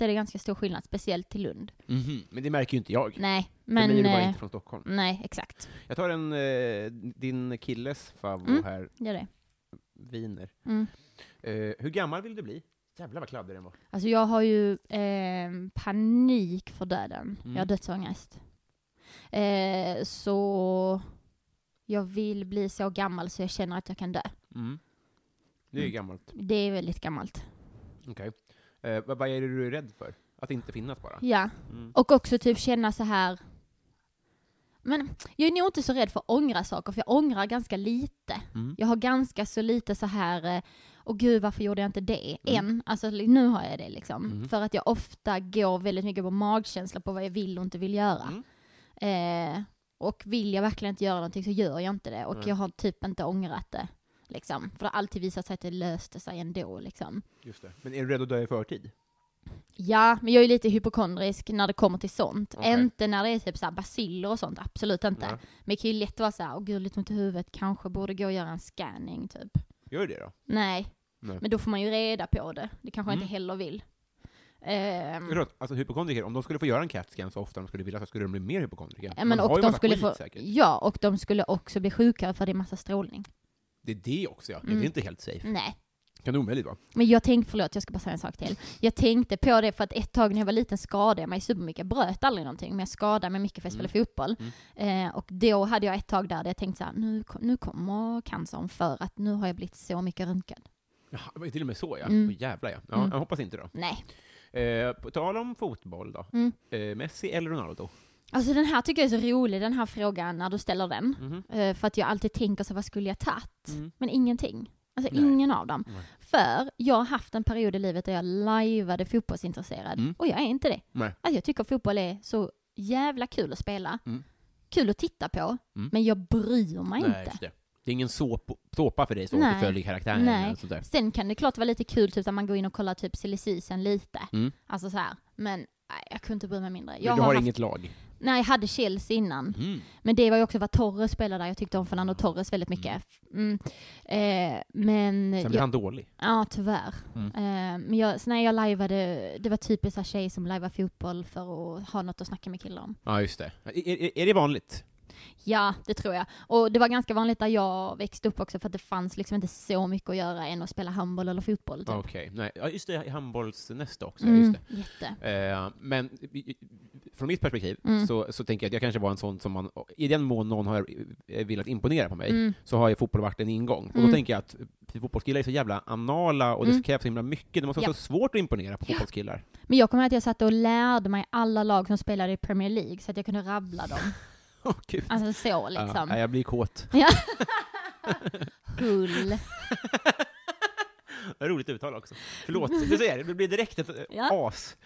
[SPEAKER 2] är det ganska stor skillnad, speciellt till Lund.
[SPEAKER 1] Mhm, Men det märker ju inte jag.
[SPEAKER 2] Nej,
[SPEAKER 1] För mig är
[SPEAKER 2] men...
[SPEAKER 1] du bara
[SPEAKER 2] eh,
[SPEAKER 1] inte från Stockholm.
[SPEAKER 2] Nej, exakt.
[SPEAKER 1] Jag tar en, eh, din killes favvo
[SPEAKER 2] Mm.
[SPEAKER 1] här,
[SPEAKER 2] Gör det.
[SPEAKER 1] Wiener.
[SPEAKER 2] Mm.
[SPEAKER 1] Eh, hur gammal vill du bli? Jävlar vad kladdig den var.
[SPEAKER 2] Alltså jag har ju eh, panik för döden.
[SPEAKER 1] Mm.
[SPEAKER 2] Jag har dödsångest. Eh, så jag vill bli så gammal så jag känner att jag kan dö.
[SPEAKER 1] Mm. Det är ju
[SPEAKER 2] Mm.
[SPEAKER 1] gammalt.
[SPEAKER 2] Det är väldigt gammalt.
[SPEAKER 1] Okej. Eh, vad, vad är det du är rädd för? Att inte finnas bara?
[SPEAKER 2] Ja.
[SPEAKER 1] Mm.
[SPEAKER 2] Och också typ känna så här. Men jag är nog inte så rädd för att ångra saker, för jag ångrar ganska lite.
[SPEAKER 1] Mm.
[SPEAKER 2] Jag har ganska så lite så här, eh, åh gud varför gjorde jag inte det? Än. Alltså li- nu har jag det liksom.
[SPEAKER 1] Mm.
[SPEAKER 2] För att jag ofta går väldigt mycket på magkänsla på vad jag vill och inte vill göra.
[SPEAKER 1] Mm.
[SPEAKER 2] Eh, och vill jag verkligen inte göra någonting så gör jag inte det. Och
[SPEAKER 1] Nej.
[SPEAKER 2] jag har typ inte ångrat det. Liksom. För det har alltid visat sig att det löste sig ändå liksom.
[SPEAKER 1] Just det. Men är du rädd att dö i förtid?
[SPEAKER 2] Ja, men jag är lite hypokondrisk när det kommer till sånt.
[SPEAKER 1] Okej.
[SPEAKER 2] Inte när det är typ såhär baciller och sånt, absolut inte.
[SPEAKER 1] Nej.
[SPEAKER 2] Men det kan ju lätt vara såhär, åh gud, lite ont i huvudet, kanske borde gå och göra en scanning typ.
[SPEAKER 1] Gör du det då?
[SPEAKER 2] Nej.
[SPEAKER 1] Nej.
[SPEAKER 2] men då får man ju reda på det. Det kanske jag
[SPEAKER 1] Mm.
[SPEAKER 2] inte heller vill.
[SPEAKER 1] Jag
[SPEAKER 2] Ehm,
[SPEAKER 1] tror att, alltså hypokondriker, om de skulle få göra en CAT-scan så ofta de skulle vilja så skulle de bli mer hypokondriker.
[SPEAKER 2] ja, men
[SPEAKER 1] Man har
[SPEAKER 2] och
[SPEAKER 1] ju
[SPEAKER 2] de
[SPEAKER 1] massa
[SPEAKER 2] skulle
[SPEAKER 1] skit
[SPEAKER 2] få,
[SPEAKER 1] säkert.
[SPEAKER 2] ja, och de skulle också bli sjukare för det är massa strålning.
[SPEAKER 1] Det är det också ja. Det
[SPEAKER 2] Mm.
[SPEAKER 1] är inte helt safe.
[SPEAKER 2] Nej.
[SPEAKER 1] Kan det omöjligt vara?
[SPEAKER 2] Men jag tänkte, förlåt jag ska bara säga en sak till. Jag tänkte på det för att ett tag när jag var liten skadade jag mig supermycket. Jag bröt aldrig någonting men jag skadade mig mycket för jag spelade fotboll. Eh, och då hade jag ett tag där, där jag tänkte så här, nu, ko- nu kommer cancern för att nu har jag blivit så mycket röntgad.
[SPEAKER 1] Jaha, det var ju till och med så ja.
[SPEAKER 2] Mm.
[SPEAKER 1] Åh, jävlar ja. ja
[SPEAKER 2] Mm.
[SPEAKER 1] Jag hoppas inte då.
[SPEAKER 2] Nej.
[SPEAKER 1] Eh, på tal om fotboll då.
[SPEAKER 2] Mm.
[SPEAKER 1] Eh, Messi eller Ronaldo?
[SPEAKER 2] Alltså den här tycker jag är så rolig, den här frågan när du ställer den.
[SPEAKER 1] Mhm.
[SPEAKER 2] Eh, för att jag alltid tänker så här, vad skulle jag tagit?
[SPEAKER 1] Mm.
[SPEAKER 2] Men ingenting. Alltså
[SPEAKER 1] Nej.
[SPEAKER 2] ingen av dem.
[SPEAKER 1] Nej.
[SPEAKER 2] För jag har haft en period i livet där jag lajvade fotbollsintresserad.
[SPEAKER 1] Mm.
[SPEAKER 2] Och jag är inte det.
[SPEAKER 1] Nej.
[SPEAKER 2] Alltså jag tycker fotboll är så jävla kul att spela.
[SPEAKER 1] Mm.
[SPEAKER 2] Kul att titta på.
[SPEAKER 1] Mm.
[SPEAKER 2] Men jag bryr mig
[SPEAKER 1] Nej,
[SPEAKER 2] inte.
[SPEAKER 1] just det. det är ingen såp- såpa för dig som
[SPEAKER 2] Nej.
[SPEAKER 1] inte följer karaktären
[SPEAKER 2] Nej.
[SPEAKER 1] eller sånt där.
[SPEAKER 2] Sen kan det klart vara lite kul typ att man går in och kollar typ silly season lite.
[SPEAKER 1] Mm.
[SPEAKER 2] Alltså så här. Men nej, jag kunde inte bry mig mindre.
[SPEAKER 1] Men
[SPEAKER 2] Jag
[SPEAKER 1] du har,
[SPEAKER 2] haft, Mm.
[SPEAKER 1] inget lag?
[SPEAKER 2] Nej, jag hade Chelsea innan.
[SPEAKER 1] Mm.
[SPEAKER 2] Men det var ju också vad Torres spelade där. Jag tyckte om Fernando Torres väldigt mycket. Mm. Eh, men...
[SPEAKER 1] Sen
[SPEAKER 2] jag-
[SPEAKER 1] blir han dålig.
[SPEAKER 2] Ja, tyvärr.
[SPEAKER 1] Mm.
[SPEAKER 2] Eh, men jag, så när jag lajvade, det var typiskt så här tjej som lajvar fotboll för att ha något att snacka med killar om.
[SPEAKER 1] Ja, just det. Är, är, är det vanligt?
[SPEAKER 2] Ja, det tror jag. Och det var ganska vanligt där jag växte upp också för att det fanns liksom inte så mycket att göra än att spela handboll eller fotboll. Typ.
[SPEAKER 1] Okej. Nej. Ja, just det, i handbollsnästa också.
[SPEAKER 2] Mm,
[SPEAKER 1] Just det.
[SPEAKER 2] Jätte.
[SPEAKER 1] Eh, men från mitt perspektiv,
[SPEAKER 2] Mm.
[SPEAKER 1] så, så tänker jag att jag kanske var en sån som man, i den mån någon har eh, velat imponera på mig, så har ju fotboll varit en ingång. Och då
[SPEAKER 2] Mm.
[SPEAKER 1] tänker jag att eh, fotbollskillar är så jävla anala och det
[SPEAKER 2] Mm.
[SPEAKER 1] krävs så himla mycket, det måste vara
[SPEAKER 2] Ja.
[SPEAKER 1] så svårt att imponera på fotbollskillar.
[SPEAKER 2] Men jag kommer ihåg att jag satt och lärde mig alla lag som spelade i Premier League så att jag kunde rabbla dem.
[SPEAKER 1] Åh, gud.
[SPEAKER 2] Alltså så
[SPEAKER 1] Ja, nej,
[SPEAKER 2] liksom.
[SPEAKER 1] jag blir kåt.
[SPEAKER 2] Hull.
[SPEAKER 1] Roligt uttal också. Förlåt, du ser, det blir direkt ett eh,
[SPEAKER 2] Ja.
[SPEAKER 1] as.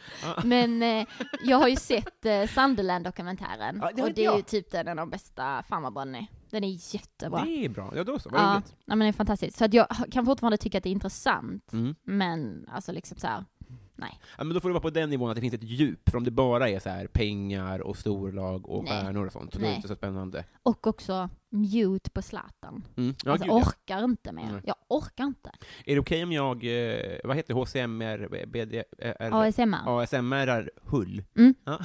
[SPEAKER 2] Men eh, jag har ju sett eh, Sunderland-dokumentären.
[SPEAKER 1] Ja, det har
[SPEAKER 2] och
[SPEAKER 1] inte
[SPEAKER 2] det är ju
[SPEAKER 1] jag.
[SPEAKER 2] typ den av de bästa. Fan vad bra den är. Den är jättebra.
[SPEAKER 1] Det är bra. Ja, då så. Vad
[SPEAKER 2] ja,
[SPEAKER 1] roligt.
[SPEAKER 2] nej, men det är fantastiskt. Så att jag ha- kan fortfarande tycka att det är intressant.
[SPEAKER 1] Mm.
[SPEAKER 2] Men alltså liksom så här.
[SPEAKER 1] Ja, men då får det vara på den nivån att det finns ett djup, för om det bara är så här pengar och storlag och
[SPEAKER 2] Nej.
[SPEAKER 1] stjärnor och sånt, så då är det
[SPEAKER 2] Nej.
[SPEAKER 1] inte så spännande.
[SPEAKER 2] Och också mute på Zlatan.
[SPEAKER 1] Mm. Ja,
[SPEAKER 2] alltså
[SPEAKER 1] gud, ja.
[SPEAKER 2] orkar inte mer.
[SPEAKER 1] Nej.
[SPEAKER 2] Jag orkar inte.
[SPEAKER 1] Är det okej om jag, eh, vad heter det, HCMR, BD, R,
[SPEAKER 2] ASMR.
[SPEAKER 1] ASMR Hull?
[SPEAKER 2] Mm.
[SPEAKER 1] Ja.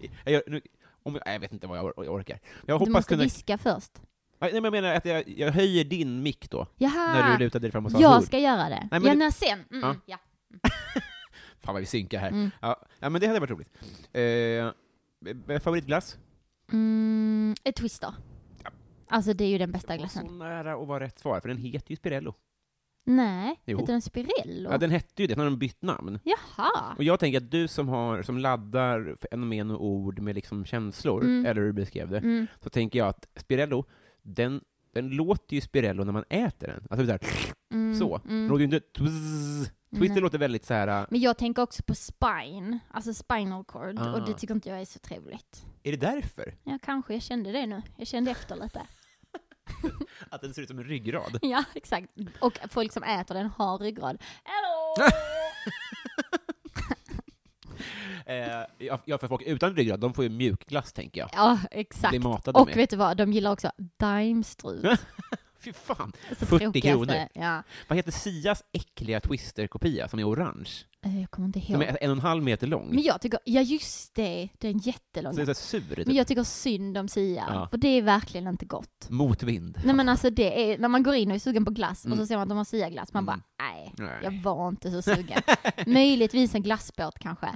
[SPEAKER 1] Jag, gör- nu, om, jag, jag vet inte vad jag, or- jag orkar. Jag
[SPEAKER 2] Du
[SPEAKER 1] hoppas
[SPEAKER 2] måste
[SPEAKER 1] kunna...
[SPEAKER 2] viska först.
[SPEAKER 1] Nej, men jag menar att jag, jag höjer din mick då, när
[SPEAKER 2] Jaha!
[SPEAKER 1] du lutade dig fram och sa
[SPEAKER 2] Ah. Jag
[SPEAKER 1] Hull.
[SPEAKER 2] ska göra det.
[SPEAKER 1] men
[SPEAKER 2] ja,
[SPEAKER 1] det-
[SPEAKER 2] när sen. Mm,
[SPEAKER 1] Ja.
[SPEAKER 2] ja. Ja.
[SPEAKER 1] Fan vad vi synkar här.
[SPEAKER 2] Mm.
[SPEAKER 1] Ja, ja, men det hade varit roligt. Eh, favoritglass?
[SPEAKER 2] Mm, ett twister. Alltså det är ju den bästa glassen.
[SPEAKER 1] så nära att vara rätt svar, för den heter ju Spirello.
[SPEAKER 2] Nej,
[SPEAKER 1] Jo.
[SPEAKER 2] heter den Spirello?
[SPEAKER 1] Ja, den hette ju det, sen har de bytt namn.
[SPEAKER 2] Jaha!
[SPEAKER 1] Och jag tänker att du som, har, som laddar fenomen och ord med liksom känslor,
[SPEAKER 2] Mm.
[SPEAKER 1] eller hur du beskrev det,
[SPEAKER 2] Mm.
[SPEAKER 1] så tänker jag att Spirello, den, den låter ju Spirello när man äter den. Alltså såhär,
[SPEAKER 2] Mm.
[SPEAKER 1] så. Den
[SPEAKER 2] Mm.
[SPEAKER 1] låter ju inte twizz. Twister
[SPEAKER 2] Nej.
[SPEAKER 1] låter väldigt så här.
[SPEAKER 2] Men jag tänker också på spine, alltså spinal cord,
[SPEAKER 1] Ah.
[SPEAKER 2] och det tycker inte jag är så trevligt.
[SPEAKER 1] är det därför?
[SPEAKER 2] Ja, kanske, jag kände det nu. Jag kände efter lite.
[SPEAKER 1] Att den ser ut som en ryggrad?
[SPEAKER 2] Ja, exakt. Och folk som äter den har ryggrad. Hello!
[SPEAKER 1] eh, ja, ja, för folk utan ryggrad, de får ju mjukglass tänker jag.
[SPEAKER 2] Ja,
[SPEAKER 1] Blir
[SPEAKER 2] exakt.
[SPEAKER 1] matade
[SPEAKER 2] Och
[SPEAKER 1] med.
[SPEAKER 2] vet du vad, de gillar också daimstrut.
[SPEAKER 1] Fy fan!
[SPEAKER 2] Så
[SPEAKER 1] 40
[SPEAKER 2] tråkigaste.
[SPEAKER 1] kronor.
[SPEAKER 2] Ja.
[SPEAKER 1] Vad heter Sias äckliga Twister-kopia som är orange?
[SPEAKER 2] Eh, Jag kommer inte ihåg.
[SPEAKER 1] Som är en och en halv meter lång.
[SPEAKER 2] Men jag tycker, ja just det, den
[SPEAKER 1] Så det
[SPEAKER 2] jättelånga.
[SPEAKER 1] är så här sur.
[SPEAKER 2] Men
[SPEAKER 1] typ.
[SPEAKER 2] jag tycker synd om Sia,
[SPEAKER 1] Ja.
[SPEAKER 2] för det är verkligen inte gott.
[SPEAKER 1] typ. Motvind.
[SPEAKER 2] Nej men alltså det är, när man går in och är sugen på glass
[SPEAKER 1] Mm.
[SPEAKER 2] och så ser man att de har Sia-glass, man
[SPEAKER 1] Mm.
[SPEAKER 2] bara nej,
[SPEAKER 1] Nej.
[SPEAKER 2] jag var inte så sugen. Möjligtvis en glassbåt kanske.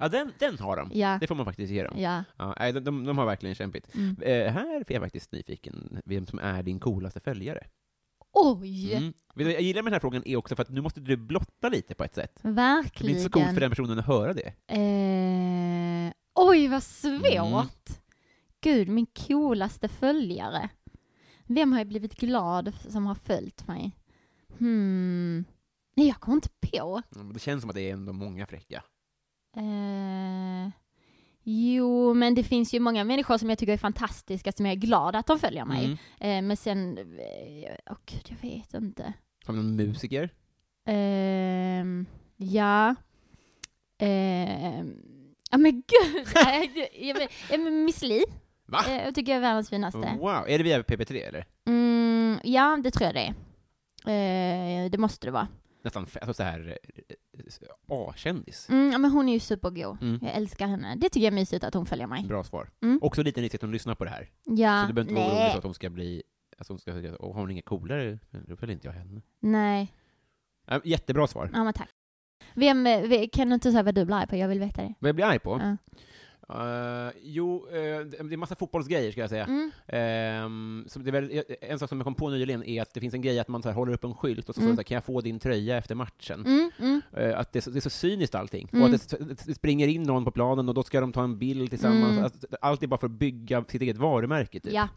[SPEAKER 1] Ja, den, den har de.
[SPEAKER 2] Ja,
[SPEAKER 1] Det får man faktiskt ge dem.
[SPEAKER 2] ja.
[SPEAKER 1] Ja, nej, de, de, de har verkligen kämpigt.
[SPEAKER 2] Mm.
[SPEAKER 1] Eh, här är jag faktiskt nyfiken, vem som är din coolaste följare.
[SPEAKER 2] Oj!
[SPEAKER 1] Mm. Vet du, Jag gillar med den här frågan är också för att nu måste du blotta lite på ett sätt. Det
[SPEAKER 2] Verkligen.
[SPEAKER 1] blir inte så coolt för den personen att höra det.
[SPEAKER 2] Eh, oj, vad svårt!
[SPEAKER 1] Mm.
[SPEAKER 2] Gud, min coolaste följare. Vem har jag blivit glad f- som har följt mig? Hmm. Nej, jag kommer inte på.
[SPEAKER 1] Mm, Det känns som att det är ändå många fräcka.
[SPEAKER 2] Eh, jo, men det finns ju många människor som jag tycker är fantastiska som jag är glad att de följer mig.
[SPEAKER 1] Mm.
[SPEAKER 2] Eh, men sen, eh, åh gud, jag vet inte.
[SPEAKER 1] Har vi någon musiker?
[SPEAKER 2] Ehm, ja. Ehm, ja men gud! Nej, du- ja, men- ja, men Miss Li
[SPEAKER 1] Va?
[SPEAKER 2] eh, jag tycker jag är världens finaste.
[SPEAKER 1] Wow, är det via PP3 eller?
[SPEAKER 2] Mm, ja, det tror jag det är. Eh, det måste det vara.
[SPEAKER 1] Nästan f- alltså så här eh, eh, A-kändis.
[SPEAKER 2] Mm, ja, men hon är ju supergo.
[SPEAKER 1] Mm.
[SPEAKER 2] Jag älskar henne. Det tycker jag är mysigt att hon följer mig.
[SPEAKER 1] Bra svar.
[SPEAKER 2] Mm.
[SPEAKER 1] Också lite nyttigt att hon lyssnar på det här.
[SPEAKER 2] Ja,
[SPEAKER 1] Så du behöver inte vara orolig för
[SPEAKER 2] nej.
[SPEAKER 1] att hon ska bli... Att hon ska säga "Åh, har hon inga coolare? Då följer inte jag henne.
[SPEAKER 2] Nej,
[SPEAKER 1] Äh, Jättebra svar.
[SPEAKER 2] ja men tack. Vem, eh, ve- kan du inte säga vad du blir arg på? Jag vill veta det.
[SPEAKER 1] Vad jag blir arg på?
[SPEAKER 2] Ja.
[SPEAKER 1] Eh, jo, eh, det det är massa fotbollsgrejer ska jag säga.
[SPEAKER 2] Mm.
[SPEAKER 1] Ehm, så det är väl, en sak som jag kom på nyligen är att det finns en grej att man så här, håller upp en skylt och så står det
[SPEAKER 2] Mm.
[SPEAKER 1] så här, kan jag få din tröja efter matchen?
[SPEAKER 2] Mm, mm,
[SPEAKER 1] Eh, att det är, så, det är så cyniskt allting.
[SPEAKER 2] Mm.
[SPEAKER 1] Och att det, s- det springer in någon på planen och då ska de ta en bild tillsammans.
[SPEAKER 2] Mm.
[SPEAKER 1] Alltså, allt är bara för att bygga sitt eget varumärke typ.
[SPEAKER 2] ja,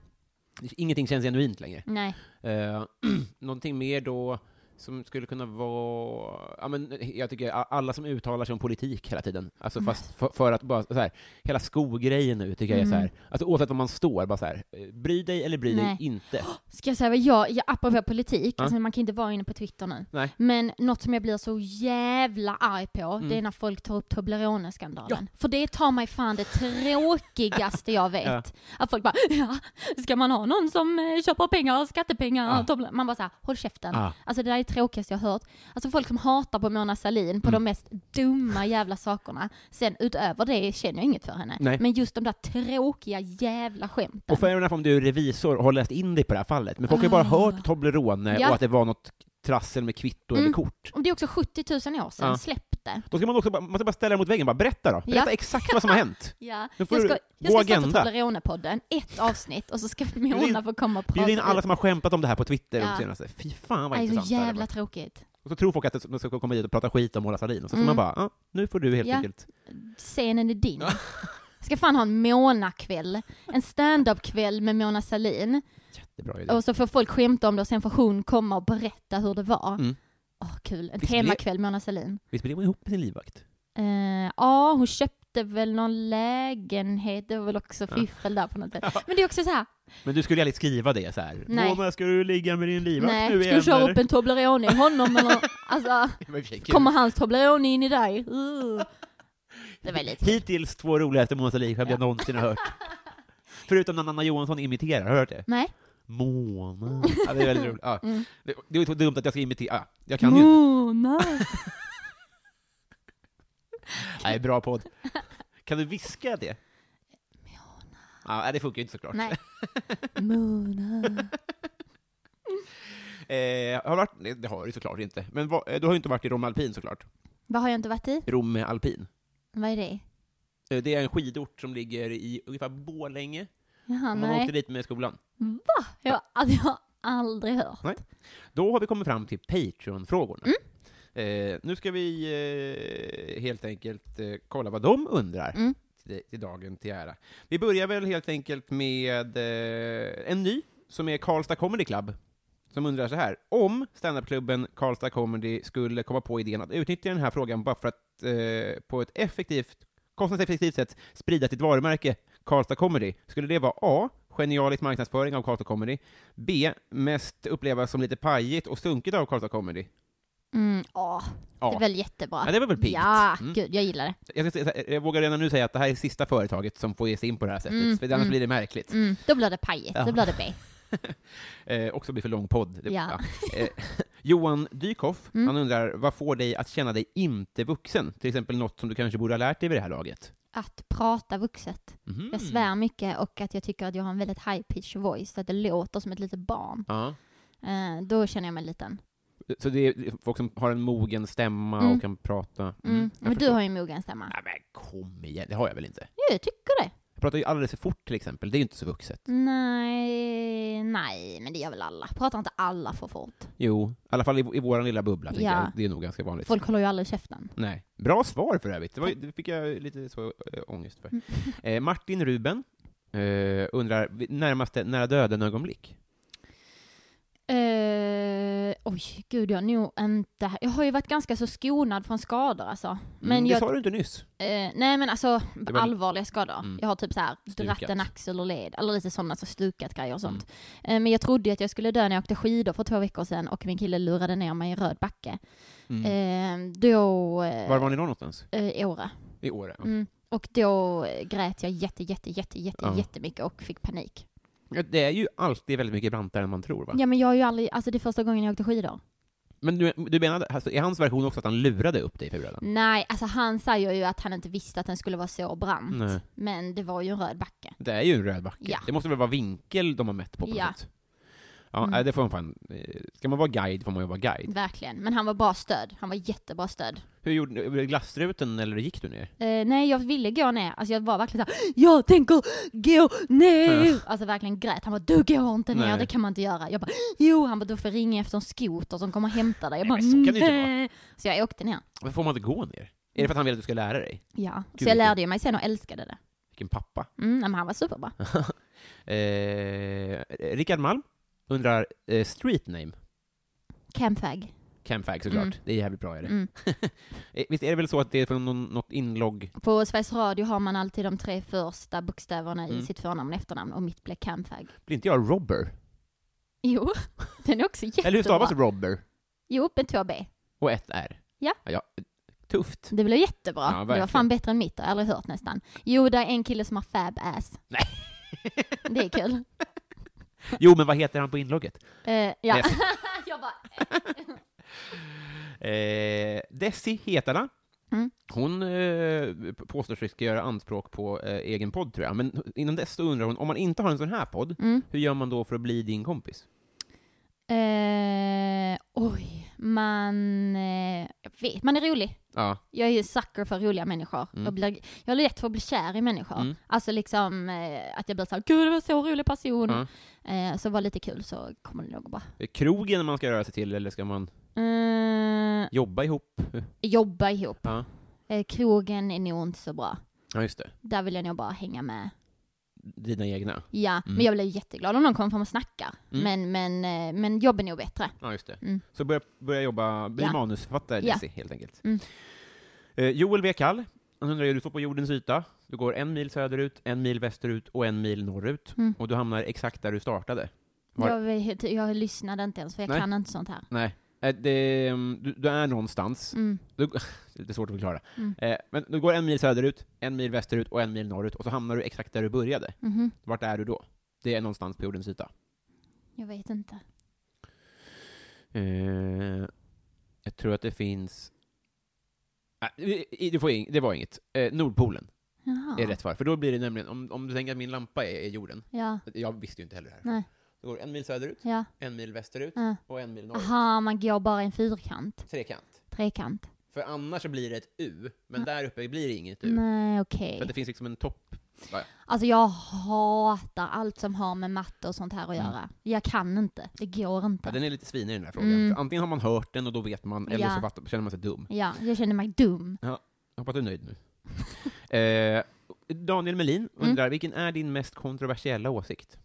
[SPEAKER 1] Ingenting känns genuint längre.
[SPEAKER 2] nej.
[SPEAKER 1] Eh, någonting mer då som skulle kunna vara... Ja, men eh, jag tycker a- alla som uttalar sig om politik hela tiden, alltså
[SPEAKER 2] Mm.
[SPEAKER 1] fast för, för att bara så här, hela skogrejen nu tycker jag är så här, alltså oavsett var man står, bara så här, eh, bry dig eller bry
[SPEAKER 2] Mm. Nej.
[SPEAKER 1] dig inte.
[SPEAKER 2] Ska jag säga vad jag, jag apropå politik,
[SPEAKER 1] Ja.
[SPEAKER 2] alltså man kan inte vara inne på Twitter nu.
[SPEAKER 1] Nej. Mm.
[SPEAKER 2] Men något som jag blir så jävla arg på, det är när folk tar upp Toblerone-skandalen. För det tar mig fan det tråkigaste jag vet.
[SPEAKER 1] Ja.
[SPEAKER 2] Att folk bara, ja, ska man ha någon som eh, köper pengar, skattepengar,
[SPEAKER 1] Ja.
[SPEAKER 2] och Toblerone?" Man bara såhär, håll käften.
[SPEAKER 1] Ja.
[SPEAKER 2] Alltså det där är det tråkigaste jag har hört. Alltså folk som hatar på Mona Sahlin
[SPEAKER 1] Mm.
[SPEAKER 2] på de mest dumma jävla sakerna. Sen utöver det känner jag inget för henne.
[SPEAKER 1] Nej.
[SPEAKER 2] Men just de där tråkiga jävla skämten.
[SPEAKER 1] Och fair enough om du är revisor och har läst in dig på det här fallet, men folk har ju bara hört Toblerone
[SPEAKER 2] Ah. Ja.
[SPEAKER 1] och att det var något trassel med kvitto
[SPEAKER 2] Mm.
[SPEAKER 1] eller kort.
[SPEAKER 2] Och Det är också 70 000 år sedan,
[SPEAKER 1] Ja.
[SPEAKER 2] släpp det.
[SPEAKER 1] Då ska man också bara, man ska bara ställa det mot väggen, bara berätta då. Berätta
[SPEAKER 2] Ja.
[SPEAKER 1] exakt vad som har hänt.
[SPEAKER 2] Ja.
[SPEAKER 1] Nu
[SPEAKER 2] Jag
[SPEAKER 1] får
[SPEAKER 2] ska,
[SPEAKER 1] du-
[SPEAKER 2] jag ska
[SPEAKER 1] gå
[SPEAKER 2] starta
[SPEAKER 1] agenda.
[SPEAKER 2] Toleranepodden, ett avsnitt, och så ska Mona få komma och prata.
[SPEAKER 1] Bjud in alla som har skämtat om det här på Twitter
[SPEAKER 2] Ja.
[SPEAKER 1] de senaste. Fy fan vad
[SPEAKER 2] Det är
[SPEAKER 1] intressant
[SPEAKER 2] så
[SPEAKER 1] det här
[SPEAKER 2] jävla
[SPEAKER 1] var.
[SPEAKER 2] tråkigt.
[SPEAKER 1] Och så tror folk att de ska komma hit och prata skit om Mona Sahlin, och så
[SPEAKER 2] Mm.
[SPEAKER 1] får man bara, ah, nu får du helt
[SPEAKER 2] Ja.
[SPEAKER 1] enkelt.
[SPEAKER 2] Scenen är din.
[SPEAKER 1] Ja.
[SPEAKER 2] Jag ska fan ha en Mona-kväll. En stand-up-kväll med Mona Salin.
[SPEAKER 1] Det är bra idé.
[SPEAKER 2] Och så får folk skämta om det och sen får hon komma och berätta hur det var. Åh,
[SPEAKER 1] Mm.
[SPEAKER 2] kul. En
[SPEAKER 1] Visst
[SPEAKER 2] temakväll Mona Salin.
[SPEAKER 1] Visst blev hon ihop med sin livvakt?
[SPEAKER 2] Eh, ja, hon köpte väl någon lägenhet. Det var väl också fiffel där på något sätt. Men det är också så här.
[SPEAKER 1] Men du skulle aldrig skriva det så här.
[SPEAKER 2] Nej.
[SPEAKER 1] Mona, ska du ligga med din livvakt nu
[SPEAKER 2] nej, ska
[SPEAKER 1] igen?
[SPEAKER 2] du köra
[SPEAKER 1] eller?
[SPEAKER 2] upp en Toblerone i honom eller? Alltså,
[SPEAKER 1] Men vilken kul.
[SPEAKER 2] kommer hans Toblerone in i dig? Uh. Det var lite
[SPEAKER 1] Hittills två roligaste Mona Sahlin-skämt jag någonsin har hört. Förutom när Anna Johansson imiterar, har du hört det?
[SPEAKER 2] Nej.
[SPEAKER 1] Mona. Ja, det är väldigt roligt. Ja.
[SPEAKER 2] Mm.
[SPEAKER 1] Det, det är så dumt att jag ska imitera. Ja, jag kan ju inte.
[SPEAKER 2] Mona.
[SPEAKER 1] Nej, bra podd. Kan du viska det? Mona. Ja, det funkar ju inte såklart.
[SPEAKER 2] Nej. Mona.
[SPEAKER 1] Eh, har du varit, nej, det har du ju såklart inte. Men vad- eh, du har ju inte varit i Rom Alpin såklart.
[SPEAKER 2] Vad har jag inte varit i?
[SPEAKER 1] Rom Alpin.
[SPEAKER 2] Vad är det?
[SPEAKER 1] Eh, Det är en skidort som ligger i ungefär Borlänge.
[SPEAKER 2] Jaha,
[SPEAKER 1] Man åkte
[SPEAKER 2] nej.
[SPEAKER 1] dit med skolan.
[SPEAKER 2] Va? Jag, alltså, jag har aldrig hört.
[SPEAKER 1] Då har vi kommit fram till Patreon-frågorna. Eh, nu ska vi eh, helt enkelt eh, kolla vad de undrar
[SPEAKER 2] Mm.
[SPEAKER 1] till, till dagen till ära. Vi börjar väl helt enkelt med eh, en ny, som är Karlstad Comedy Club, som undrar så här. Om standupklubben Karlstad Comedy skulle komma på idén att utnyttja den här frågan bara för att eh, på ett effektivt, kostnadseffektivt sätt sprida sitt varumärke Karlstad Comedy, skulle det vara A. Genialisk marknadsföring av Karlstad Comedy, B. Mest upplevas som lite pajigt och sunkigt av Karlstad Comedy.
[SPEAKER 2] Mm, åh,
[SPEAKER 1] Ja.
[SPEAKER 2] det är väl jättebra.
[SPEAKER 1] Ja, det var väl piggt.
[SPEAKER 2] Ah, Ja,
[SPEAKER 1] Mm.
[SPEAKER 2] gud, jag gillar det.
[SPEAKER 1] Jag, ska, säga- jag vågar redan nu säga att det här är sista företaget som får ge sig in på det här sättet,
[SPEAKER 2] Mm,
[SPEAKER 1] för annars
[SPEAKER 2] mm.
[SPEAKER 1] blir det märkligt.
[SPEAKER 2] Mm, då blir det pajigt,
[SPEAKER 1] Ja.
[SPEAKER 2] då blir det B.
[SPEAKER 1] Eh, också blir för lång podd. Det-
[SPEAKER 2] Mm. Ja.
[SPEAKER 1] ja. Eh, Johan Dykhoff,
[SPEAKER 2] Mm.
[SPEAKER 1] han undrar vad får dig att känna dig inte vuxen? Till exempel något som du kanske borde ha lärt dig vid det här laget?
[SPEAKER 2] Att prata vuxet.
[SPEAKER 1] Mhm.
[SPEAKER 2] Jag svär mycket och att jag tycker att jag har en väldigt high pitch voice, att det låter som ett litet barn.
[SPEAKER 1] Ja.
[SPEAKER 2] Eh, då känner jag mig liten.
[SPEAKER 1] Så det är folk som har en mogen stämma
[SPEAKER 2] Mm.
[SPEAKER 1] och kan prata? Mm,
[SPEAKER 2] Mm.
[SPEAKER 1] jag
[SPEAKER 2] Men du
[SPEAKER 1] förstår.
[SPEAKER 2] har ju en mogen stämma.
[SPEAKER 1] Nej, men kom igen, det har jag väl inte?
[SPEAKER 2] Jo, jag tycker det.
[SPEAKER 1] Jag pratar ju alldeles för fort till exempel, det är ju inte så vuxet.
[SPEAKER 2] Nej, nej, men det gör väl alla. Pratar inte alla för fort?
[SPEAKER 1] Jo, i alla fall i, i vår lilla bubbla, tänker
[SPEAKER 2] Ja.
[SPEAKER 1] jag. Det är nog ganska vanligt.
[SPEAKER 2] Folk håller ju aldrig käften.
[SPEAKER 1] Nej. Bra svar för övrigt. Det, var, ju- det fick jag lite så äh, ångest
[SPEAKER 2] Mm.
[SPEAKER 1] för. Eh, Martin Ruben eh, undrar, vi- närmaste nära döden-ögonblick?
[SPEAKER 2] Eh, oj, gud, jag har nog inte... Jag har ju varit ganska så skonad från skador alltså. Men
[SPEAKER 1] mm,
[SPEAKER 2] jag
[SPEAKER 1] Det sa du inte nyss.
[SPEAKER 2] Eh, nej men alltså
[SPEAKER 1] var-
[SPEAKER 2] allvarliga skador.
[SPEAKER 1] Mm.
[SPEAKER 2] Jag har typ så här
[SPEAKER 1] Stukat.
[SPEAKER 2] dratt en axel och led, eller lite sådana så stukat grejer och sånt.
[SPEAKER 1] Mm.
[SPEAKER 2] Eh, men jag trodde ju att jag skulle dö när jag åkte skidor för två veckor sedan och min kille lurade ner mig i röd backe.
[SPEAKER 1] Mm.
[SPEAKER 2] Eh, då... Eh,
[SPEAKER 1] Var var ni då någonstans?
[SPEAKER 2] eh, I Åre.
[SPEAKER 1] I Åre? ja.
[SPEAKER 2] Mm. Och då eh, grät jag jätte, jätte, jätte, jätte,
[SPEAKER 1] Ja.
[SPEAKER 2] jättemycket och fick panik.
[SPEAKER 1] Ja, Det är ju alltid väldigt mycket brantare än man tror, va?
[SPEAKER 2] Ja men jag har ju aldrig, alltså det är första gången jag åkte skidor.
[SPEAKER 1] Men du, du menar, alltså, är hans version också att han lurade upp dig för brödan?
[SPEAKER 2] Nej, alltså han säger ju att han inte visste att den skulle vara så brant.
[SPEAKER 1] Nej.
[SPEAKER 2] Men det var ju en röd backe.
[SPEAKER 1] Det är ju en röd backe.
[SPEAKER 2] Mm. Ja.
[SPEAKER 1] Det måste väl vara vinkel de har mätt på, på
[SPEAKER 2] Ja.
[SPEAKER 1] något sätt? Ja,
[SPEAKER 2] Mm.
[SPEAKER 1] nej, det får man fan... eh, Ska man vara guide får man ju vara guide.
[SPEAKER 2] Verkligen. Men han var bra stöd. Han var jättebra stöd.
[SPEAKER 1] Hur gjorde du? Glassruten, eller gick du ner?
[SPEAKER 2] Eh, nej, jag ville gå ner. Alltså jag var verkligen såhär, jag tänker gå ner! Alltså verkligen grät. Han bara, du går inte ner,
[SPEAKER 1] Nej.
[SPEAKER 2] det kan man inte göra. Jag bara, jo! Han bara, du får ringa efter en skoter som kommer och hämtar dig. Jag bara, "Mm,
[SPEAKER 1] Nej, men så kan det ju inte
[SPEAKER 2] "Nej." Så jag åkte ner.
[SPEAKER 1] Varför får man inte gå ner? Är det för att han vill att du ska lära dig?
[SPEAKER 2] Ja.
[SPEAKER 1] Gud,
[SPEAKER 2] Så jag
[SPEAKER 1] vilken-
[SPEAKER 2] lärde ju mig sen och älskade det.
[SPEAKER 1] Vilken pappa.
[SPEAKER 2] Mm, nej, men han var superbra.
[SPEAKER 1] Eh, Rickard Malm undrar eh, street name.
[SPEAKER 2] Campfag.
[SPEAKER 1] Camfag såklart.
[SPEAKER 2] Mm.
[SPEAKER 1] Det är jävligt bra är det.
[SPEAKER 2] Mm.
[SPEAKER 1] Eh, Visst är det väl så att det är från någon, något inlogg?
[SPEAKER 2] På Sveriges Radio har man alltid de tre första bokstäverna i
[SPEAKER 1] Mm.
[SPEAKER 2] sitt förnamn och efternamn och mitt blev Campfag.
[SPEAKER 1] Blir inte jag robber?
[SPEAKER 2] Jo, den är också jättebra.
[SPEAKER 1] Eller hur stavas robber?
[SPEAKER 2] Jo, med två B.
[SPEAKER 1] Och ett R?
[SPEAKER 2] Ja.
[SPEAKER 1] Tufft.
[SPEAKER 2] Det blev jättebra.
[SPEAKER 1] Ja,
[SPEAKER 2] det var
[SPEAKER 1] verkligen.
[SPEAKER 2] fan bättre än mitt, det har jag aldrig hört nästan. Jo, det är en kille som har fab ass.
[SPEAKER 1] Nej.
[SPEAKER 2] Det är kul.
[SPEAKER 1] Jo, men vad heter han på inlogget?
[SPEAKER 2] Eh, ja.
[SPEAKER 1] Yes.
[SPEAKER 2] jag bara,
[SPEAKER 1] Eh, Desi Hetala.
[SPEAKER 2] Mm.
[SPEAKER 1] Hon eh, påstår sig ska göra anspråk på eh, egen podd, tror jag. Men innan dess så undrar hon, om man inte har en sån här podd,
[SPEAKER 2] mm.
[SPEAKER 1] hur gör man då för att bli din kompis?
[SPEAKER 2] eh, Oj, man... Eh, jag vet, man är rolig.
[SPEAKER 1] Ja.
[SPEAKER 2] Jag är ju sucker för roliga människor. Jag, blir, jag har lätt för att bli kär i människor.
[SPEAKER 1] Mm.
[SPEAKER 2] Alltså liksom eh, att jag blir såhär, gud det var så rolig person.
[SPEAKER 1] Mm.
[SPEAKER 2] Eh, så var lite kul så kommer det nog bra.
[SPEAKER 1] Är krogen man ska röra sig till, eller ska man
[SPEAKER 2] Eh,
[SPEAKER 1] jobba ihop?
[SPEAKER 2] jobba ihop.
[SPEAKER 1] Ja,
[SPEAKER 2] Eh, krogen är nog inte så bra.
[SPEAKER 1] ja just det.
[SPEAKER 2] Där vill jag nog bara hänga med.
[SPEAKER 1] Dina egna.
[SPEAKER 2] Ja, men jag blir ju jätteglad om någon kommer fram och snackar.
[SPEAKER 1] Mm.
[SPEAKER 2] Men, men, eh, men jobb är nog bättre.
[SPEAKER 1] Ja, just det.
[SPEAKER 2] Mm.
[SPEAKER 1] Så börja, börja jobba, bli
[SPEAKER 2] Ja.
[SPEAKER 1] manusförfattare,
[SPEAKER 2] Ja.
[SPEAKER 1] Lizzie, helt enkelt.
[SPEAKER 2] Mm.
[SPEAKER 1] Eh, Joel W. Kall, han undrar ju, du står på jordens yta, du går en mil söderut, en mil västerut och en mil norrut,
[SPEAKER 2] Mm.
[SPEAKER 1] och du hamnar exakt där du startade. Var-
[SPEAKER 2] Jag, vet- jag lyssnade inte ens för jag
[SPEAKER 1] Nej.
[SPEAKER 2] kan inte sånt här.
[SPEAKER 1] Nej, eh, det, mm, du, du är någonstans,
[SPEAKER 2] Mm.
[SPEAKER 1] du, det är svårt att förklara,
[SPEAKER 2] Mm.
[SPEAKER 1] eh, men du går en mil söderut, en mil västerut och en mil norrut, och så hamnar du exakt där du började.
[SPEAKER 2] Mhm.
[SPEAKER 1] Vart är du då? Det är någonstans på jordens yta.
[SPEAKER 2] Jag vet inte.
[SPEAKER 1] Eh, jag tror att det finns... Ah, i- i- du får ing- det var inget. Eh, Nordpolen
[SPEAKER 2] Jaha.
[SPEAKER 1] är rätt svar. För då blir det nämligen, om, om du tänker att min lampa är, är jorden,
[SPEAKER 2] Ja,
[SPEAKER 1] jag visste ju inte heller det här.
[SPEAKER 2] Nej.
[SPEAKER 1] Då går en mil söderut,
[SPEAKER 2] ja.
[SPEAKER 1] en mil västerut
[SPEAKER 2] ja.
[SPEAKER 1] och en mil norrut.
[SPEAKER 2] Aha, man går bara i en fyrkant.
[SPEAKER 1] Trekant.
[SPEAKER 2] Trekant.
[SPEAKER 1] För annars så blir det ett U, men där uppe blir det inget U.
[SPEAKER 2] Nej, okej.
[SPEAKER 1] För att det finns liksom en topp.
[SPEAKER 2] Alltså jag hatar allt som har med matte och sånt här att
[SPEAKER 1] Mm.
[SPEAKER 2] göra. Jag kan inte. Det går
[SPEAKER 1] Ja,
[SPEAKER 2] inte.
[SPEAKER 1] den är lite svinig den här frågan.
[SPEAKER 2] Mm.
[SPEAKER 1] För antingen har man hört den och då vet man, eller
[SPEAKER 2] Ja.
[SPEAKER 1] så fattar, känner man sig dum.
[SPEAKER 2] Ja, jag känner mig dum.
[SPEAKER 1] Jag hoppas du är nöjd nu. eh, Daniel Melin undrar, vilken är din mest kontroversiella åsikt?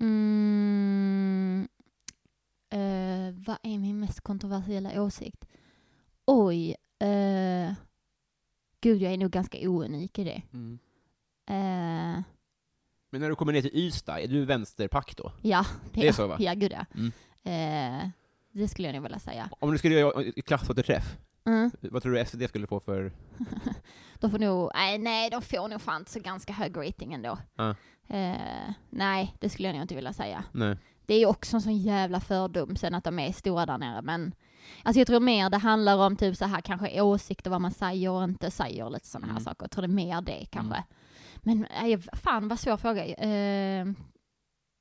[SPEAKER 2] Mm. Eh, vad är min mest kontroversiella åsikt? Oj. eh, gud, jag är nog ganska ounik i det. Eh,
[SPEAKER 1] Men när du kommer ner till Ystad, är du vänsterpack då?
[SPEAKER 2] ja,
[SPEAKER 1] Det är så, va?
[SPEAKER 2] Ja, gud ja.
[SPEAKER 1] Mm.
[SPEAKER 2] Eh, det skulle jag nog vilja säga.
[SPEAKER 1] Om du skulle göra ett klassåterträff,
[SPEAKER 2] Mm.
[SPEAKER 1] vad tror du SD skulle få för...
[SPEAKER 2] De får nog, nej, nej de får nog fan så ganska hög rating ändå.
[SPEAKER 1] Ja.
[SPEAKER 2] Eh, nej, det skulle jag nog inte vilja säga.
[SPEAKER 1] Nej.
[SPEAKER 2] Det är ju också en sån jävla fördom sen att de är stora där nere men Alltså jag tror mer det handlar om typ så här kanske åsikter, vad man säger och inte säger lite sådana här
[SPEAKER 1] Mm.
[SPEAKER 2] saker. Jag tror det är mer det kanske.
[SPEAKER 1] Mm.
[SPEAKER 2] Men nej, fan vad svår fråga. Eh,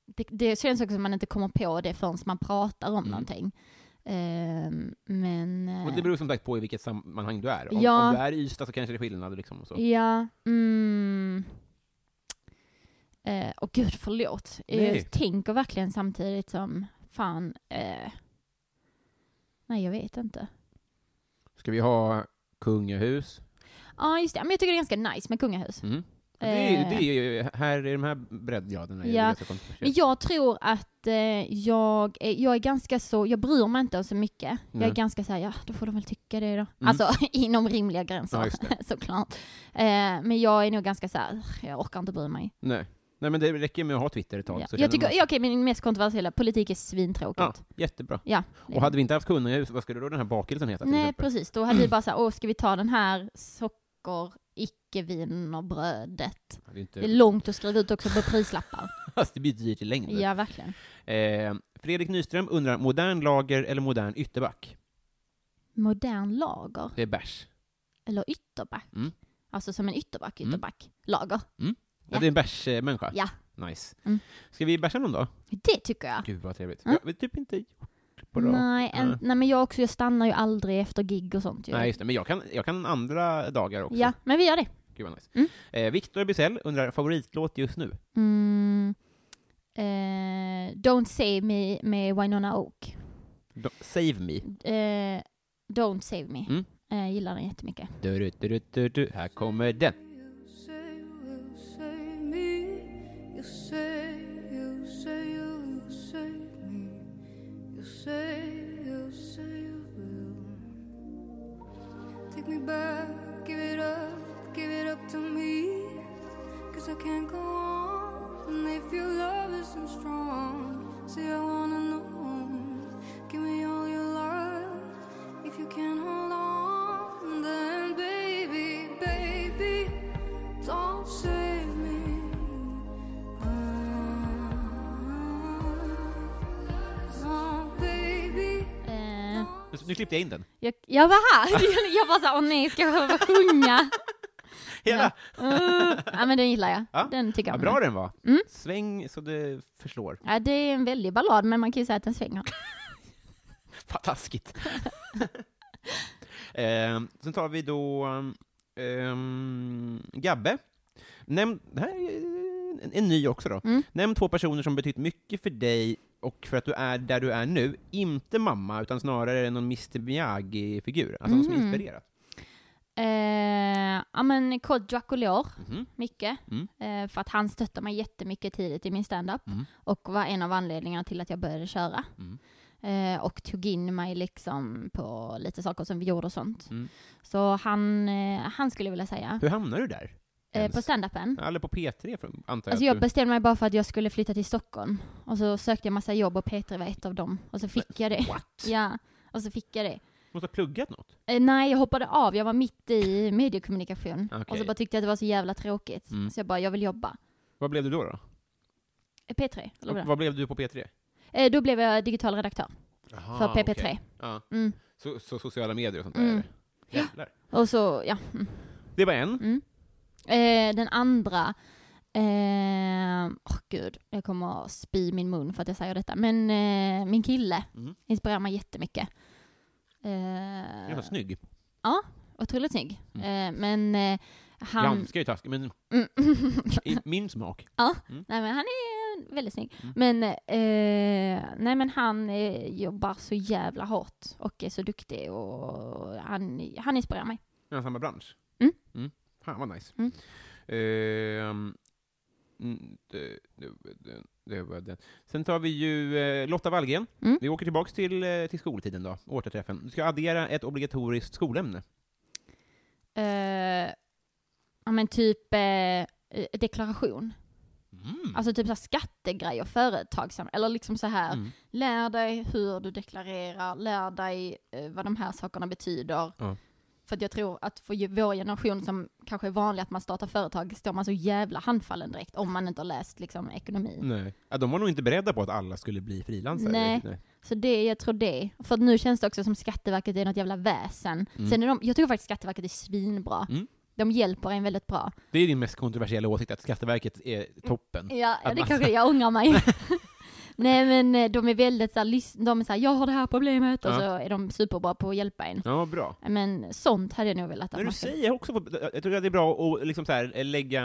[SPEAKER 2] det, det känns också som man inte kommer på det förrän man pratar om
[SPEAKER 1] Mm.
[SPEAKER 2] någonting. Eh, men...
[SPEAKER 1] Och det beror som sagt på i vilket sammanhang du är. Om,
[SPEAKER 2] Ja.
[SPEAKER 1] om du är i Ystad så kanske det är skillnad liksom och så.
[SPEAKER 2] Ja, mm. Eh, och gud, förlåt. Eh,
[SPEAKER 1] Nej.
[SPEAKER 2] Jag tänker verkligen samtidigt som, fan, eh. nej jag vet inte.
[SPEAKER 1] Ska vi ha kungahus?
[SPEAKER 2] Ja, just det. Men jag tycker det är ganska nice med kungahus.
[SPEAKER 1] Mm. Det, är,
[SPEAKER 2] Eh.
[SPEAKER 1] det är ju, här i de här breddgraderna är
[SPEAKER 2] Ja.
[SPEAKER 1] det ganska
[SPEAKER 2] Men
[SPEAKER 1] kontroversiellt.
[SPEAKER 2] jag tror att eh, jag, är, jag är ganska så, jag bryr mig inte om så mycket. Jag
[SPEAKER 1] Nej.
[SPEAKER 2] är ganska såhär, ja då får de väl tycka det då.
[SPEAKER 1] Mm.
[SPEAKER 2] Alltså inom rimliga
[SPEAKER 1] Ja,
[SPEAKER 2] gränser,
[SPEAKER 1] just det.
[SPEAKER 2] såklart. Eh, men jag är nog ganska såhär, jag orkar inte bry mig. Ja.
[SPEAKER 1] Nej. Nej, men det räcker med att ha Twitter ett tag. så känner
[SPEAKER 2] Jag tycker,
[SPEAKER 1] man-
[SPEAKER 2] ja, okej min mest kontroversiella, politik är svintråkigt.
[SPEAKER 1] Ja, jättebra.
[SPEAKER 2] Ja.
[SPEAKER 1] Och hade vi inte haft kungahus, vad skulle då den här bakelsen heta? till
[SPEAKER 2] Nej,
[SPEAKER 1] exempel?
[SPEAKER 2] precis. Då hade vi bara så här, åh, ska vi ta den här socker, icke-wienerbrödet?
[SPEAKER 1] Det, är
[SPEAKER 2] Det är
[SPEAKER 1] inte,
[SPEAKER 2] långt att skriva ut också på prislappar.
[SPEAKER 1] det blir dyrt i längden.
[SPEAKER 2] Ja, verkligen.
[SPEAKER 1] Eh, Fredrik Nyström undrar, modern lager eller modern ytterback?
[SPEAKER 2] Modern lager,
[SPEAKER 1] Det är bärs.
[SPEAKER 2] eller ytterback.
[SPEAKER 1] Mm.
[SPEAKER 2] Alltså som en ytterback,
[SPEAKER 1] Mm.
[SPEAKER 2] ytterback. Lager.
[SPEAKER 1] Ja.
[SPEAKER 2] Ja.
[SPEAKER 1] det är en bärsmänniska?
[SPEAKER 2] Ja.
[SPEAKER 1] Nice.
[SPEAKER 2] Mm.
[SPEAKER 1] Ska vi bärsa någon då?
[SPEAKER 2] Det tycker jag.
[SPEAKER 1] Gud vad trevligt.
[SPEAKER 2] Mm.
[SPEAKER 1] Jag har typ inte gjort på bra. Nej.
[SPEAKER 2] Nej, en,
[SPEAKER 1] Nej.
[SPEAKER 2] nej, men jag också, jag stannar ju aldrig efter gig och sånt ju.
[SPEAKER 1] Nej, just det. Men jag kan, jag kan andra dagar också.
[SPEAKER 2] ja, men vi gör det.
[SPEAKER 1] Gud vad nice.
[SPEAKER 2] Mm.
[SPEAKER 1] Eh, Victor Bysell undrar, favoritlåt just nu?
[SPEAKER 2] Mm. Eh, don't save me med Winona Oak.
[SPEAKER 1] Do- Save me.
[SPEAKER 2] Eh, don't save me.
[SPEAKER 1] Mm.
[SPEAKER 2] Eh, gillar den jättemycket.
[SPEAKER 1] Du, du, du, du, du, du. Här kommer den.
[SPEAKER 4] Take me back, give it up, give it up to me. Cause I can't go on. And if your love isn't strong, say I wanna know. Give me all your love. If you can hold on, then baby, baby, don't save me. Ah, oh, baby.
[SPEAKER 2] Eh,
[SPEAKER 1] Nu klippte jag in den.
[SPEAKER 2] Jag, jag var här, jag bara såhär, åh nej, ska jag behöva sjunga?
[SPEAKER 1] Hela!
[SPEAKER 2] Uh, ja men den gillar jag,
[SPEAKER 1] Ja,
[SPEAKER 2] den tycker jag
[SPEAKER 1] Vad
[SPEAKER 2] om.
[SPEAKER 1] bra den var.
[SPEAKER 2] Mm.
[SPEAKER 1] Sväng så det förslår.
[SPEAKER 2] Ja det är en väldig ballad men man kan ju säga att den svänger.
[SPEAKER 1] Fan, taskigt. eh, sen tar vi då ehm, Gabbe. Nämn, det här är en, en ny också då.
[SPEAKER 2] Mm.
[SPEAKER 1] Nämn två personer som betytt mycket för dig och för att du är där du är nu, inte mamma, utan snarare någon Mr Miyagi-figur, alltså någon som
[SPEAKER 2] Mm.
[SPEAKER 1] inspirerat.
[SPEAKER 2] Eh, ja men Kodjak Olor,
[SPEAKER 1] Mhm.
[SPEAKER 2] mycket.
[SPEAKER 1] Mm.
[SPEAKER 2] Eh, för att han stöttade mig jättemycket tidigt i min standup.
[SPEAKER 1] Mm.
[SPEAKER 2] Och var en av anledningarna till att jag började köra.
[SPEAKER 1] Mm.
[SPEAKER 2] Eh, och tog in mig liksom på lite saker som vi gjorde och sånt.
[SPEAKER 1] Mm.
[SPEAKER 2] Så han, eh, han skulle jag vilja säga.
[SPEAKER 1] Hur hamnar du där?
[SPEAKER 2] Eh,
[SPEAKER 1] ens?
[SPEAKER 2] på standupen.
[SPEAKER 1] Eller på P3, för, antar jag.
[SPEAKER 2] Alltså
[SPEAKER 1] att
[SPEAKER 2] jag
[SPEAKER 1] du-
[SPEAKER 2] bestämde mig bara för att jag skulle flytta till Stockholm. Och så sökte jag massa jobb och Peter var ett av dem. Och så fick jag det.
[SPEAKER 1] What?
[SPEAKER 2] Ja, och så fick jag det.
[SPEAKER 1] måste ha pluggat något.
[SPEAKER 2] Eh, nej, jag hoppade av. Jag var mitt i mediekommunikation.
[SPEAKER 1] Okej.
[SPEAKER 2] Och så bara tyckte jag att det var så jävla tråkigt.
[SPEAKER 1] Mm.
[SPEAKER 2] Så jag bara, jag vill jobba.
[SPEAKER 1] Vad blev du då? då?
[SPEAKER 2] Eh, P3, eller vad det
[SPEAKER 1] Vad blev du på P3?
[SPEAKER 2] var. eh, Då blev jag digital redaktör för
[SPEAKER 1] Aha,
[SPEAKER 2] PP3.
[SPEAKER 1] Ah, okej. Ja.
[SPEAKER 2] Mm.
[SPEAKER 1] Så, så sociala medier och sånt
[SPEAKER 2] Mm.
[SPEAKER 1] där? Jävlar.
[SPEAKER 2] Och så, ja. Mm.
[SPEAKER 1] Det var en.
[SPEAKER 2] Eh, den andra, åh eh, åh gud, jag kommer att spy min mun för att jag säger detta. Men eh, min kille
[SPEAKER 1] Mm.
[SPEAKER 2] inspirerar mig jättemycket.
[SPEAKER 1] Den
[SPEAKER 2] Eh,
[SPEAKER 1] var snygg.
[SPEAKER 2] otroligt snygg. Eh, men eh, han...
[SPEAKER 1] Ganska ju taskig, men
[SPEAKER 2] Mm.
[SPEAKER 1] i min smak.
[SPEAKER 2] Nej men han är väldigt snygg. Men, eh, nej, men han eh, jobbar så jävla hårt och är så duktig och han, han inspirerar mig.
[SPEAKER 1] Den har samma bransch.
[SPEAKER 2] Mm.
[SPEAKER 1] Fan vad nice.
[SPEAKER 2] Mm.
[SPEAKER 1] Ehm, mm, det, det, det, det var den. Sen tar vi ju eh, Lotta Wallgren.
[SPEAKER 2] Mm.
[SPEAKER 1] Vi åker tillbaks till, eh, till skoltiden då, återträffen. Du ska addera ett obligatoriskt skolämne.
[SPEAKER 2] Eh, ja men typ eh, deklaration.
[SPEAKER 1] Mm.
[SPEAKER 2] Alltså typ så här skattegrejer, företagsam, eller liksom så här.
[SPEAKER 1] Mm.
[SPEAKER 2] Lär dig hur du deklarerar, lär dig eh, vad de här sakerna betyder.
[SPEAKER 1] Ja.
[SPEAKER 2] För att jag tror att för ju- vår generation som kanske är vanlig att man startar företag står man så jävla handfallen direkt om man inte har läst liksom, ekonomi.
[SPEAKER 1] Nej. Ja, de var nog inte beredda på att alla skulle bli frilansare.
[SPEAKER 2] Nej. Så det, jag tror det. För att nu känns det också som Skatteverket är något jävla väsen. Sen är de, jag tror faktiskt Skatteverket är svinbra.
[SPEAKER 1] Mm.
[SPEAKER 2] De hjälper en väldigt bra.
[SPEAKER 1] Det är din mest kontroversiella åsikt, att Skatteverket är
[SPEAKER 2] Mm.
[SPEAKER 1] toppen.
[SPEAKER 2] Ja, ja det
[SPEAKER 1] man-
[SPEAKER 2] kanske, jag ångrar mig. Nej men eh, de är väldigt såhär, lys- de är såhär, jag har det här problemet och
[SPEAKER 1] Ja.
[SPEAKER 2] så är de superbra på att hjälpa en.
[SPEAKER 1] Ja, bra.
[SPEAKER 2] Eh, Men sånt hade jag nog velat att
[SPEAKER 1] Men du
[SPEAKER 2] man skulle-
[SPEAKER 1] säger också, jag tror att det är bra att liksom så här, lägga...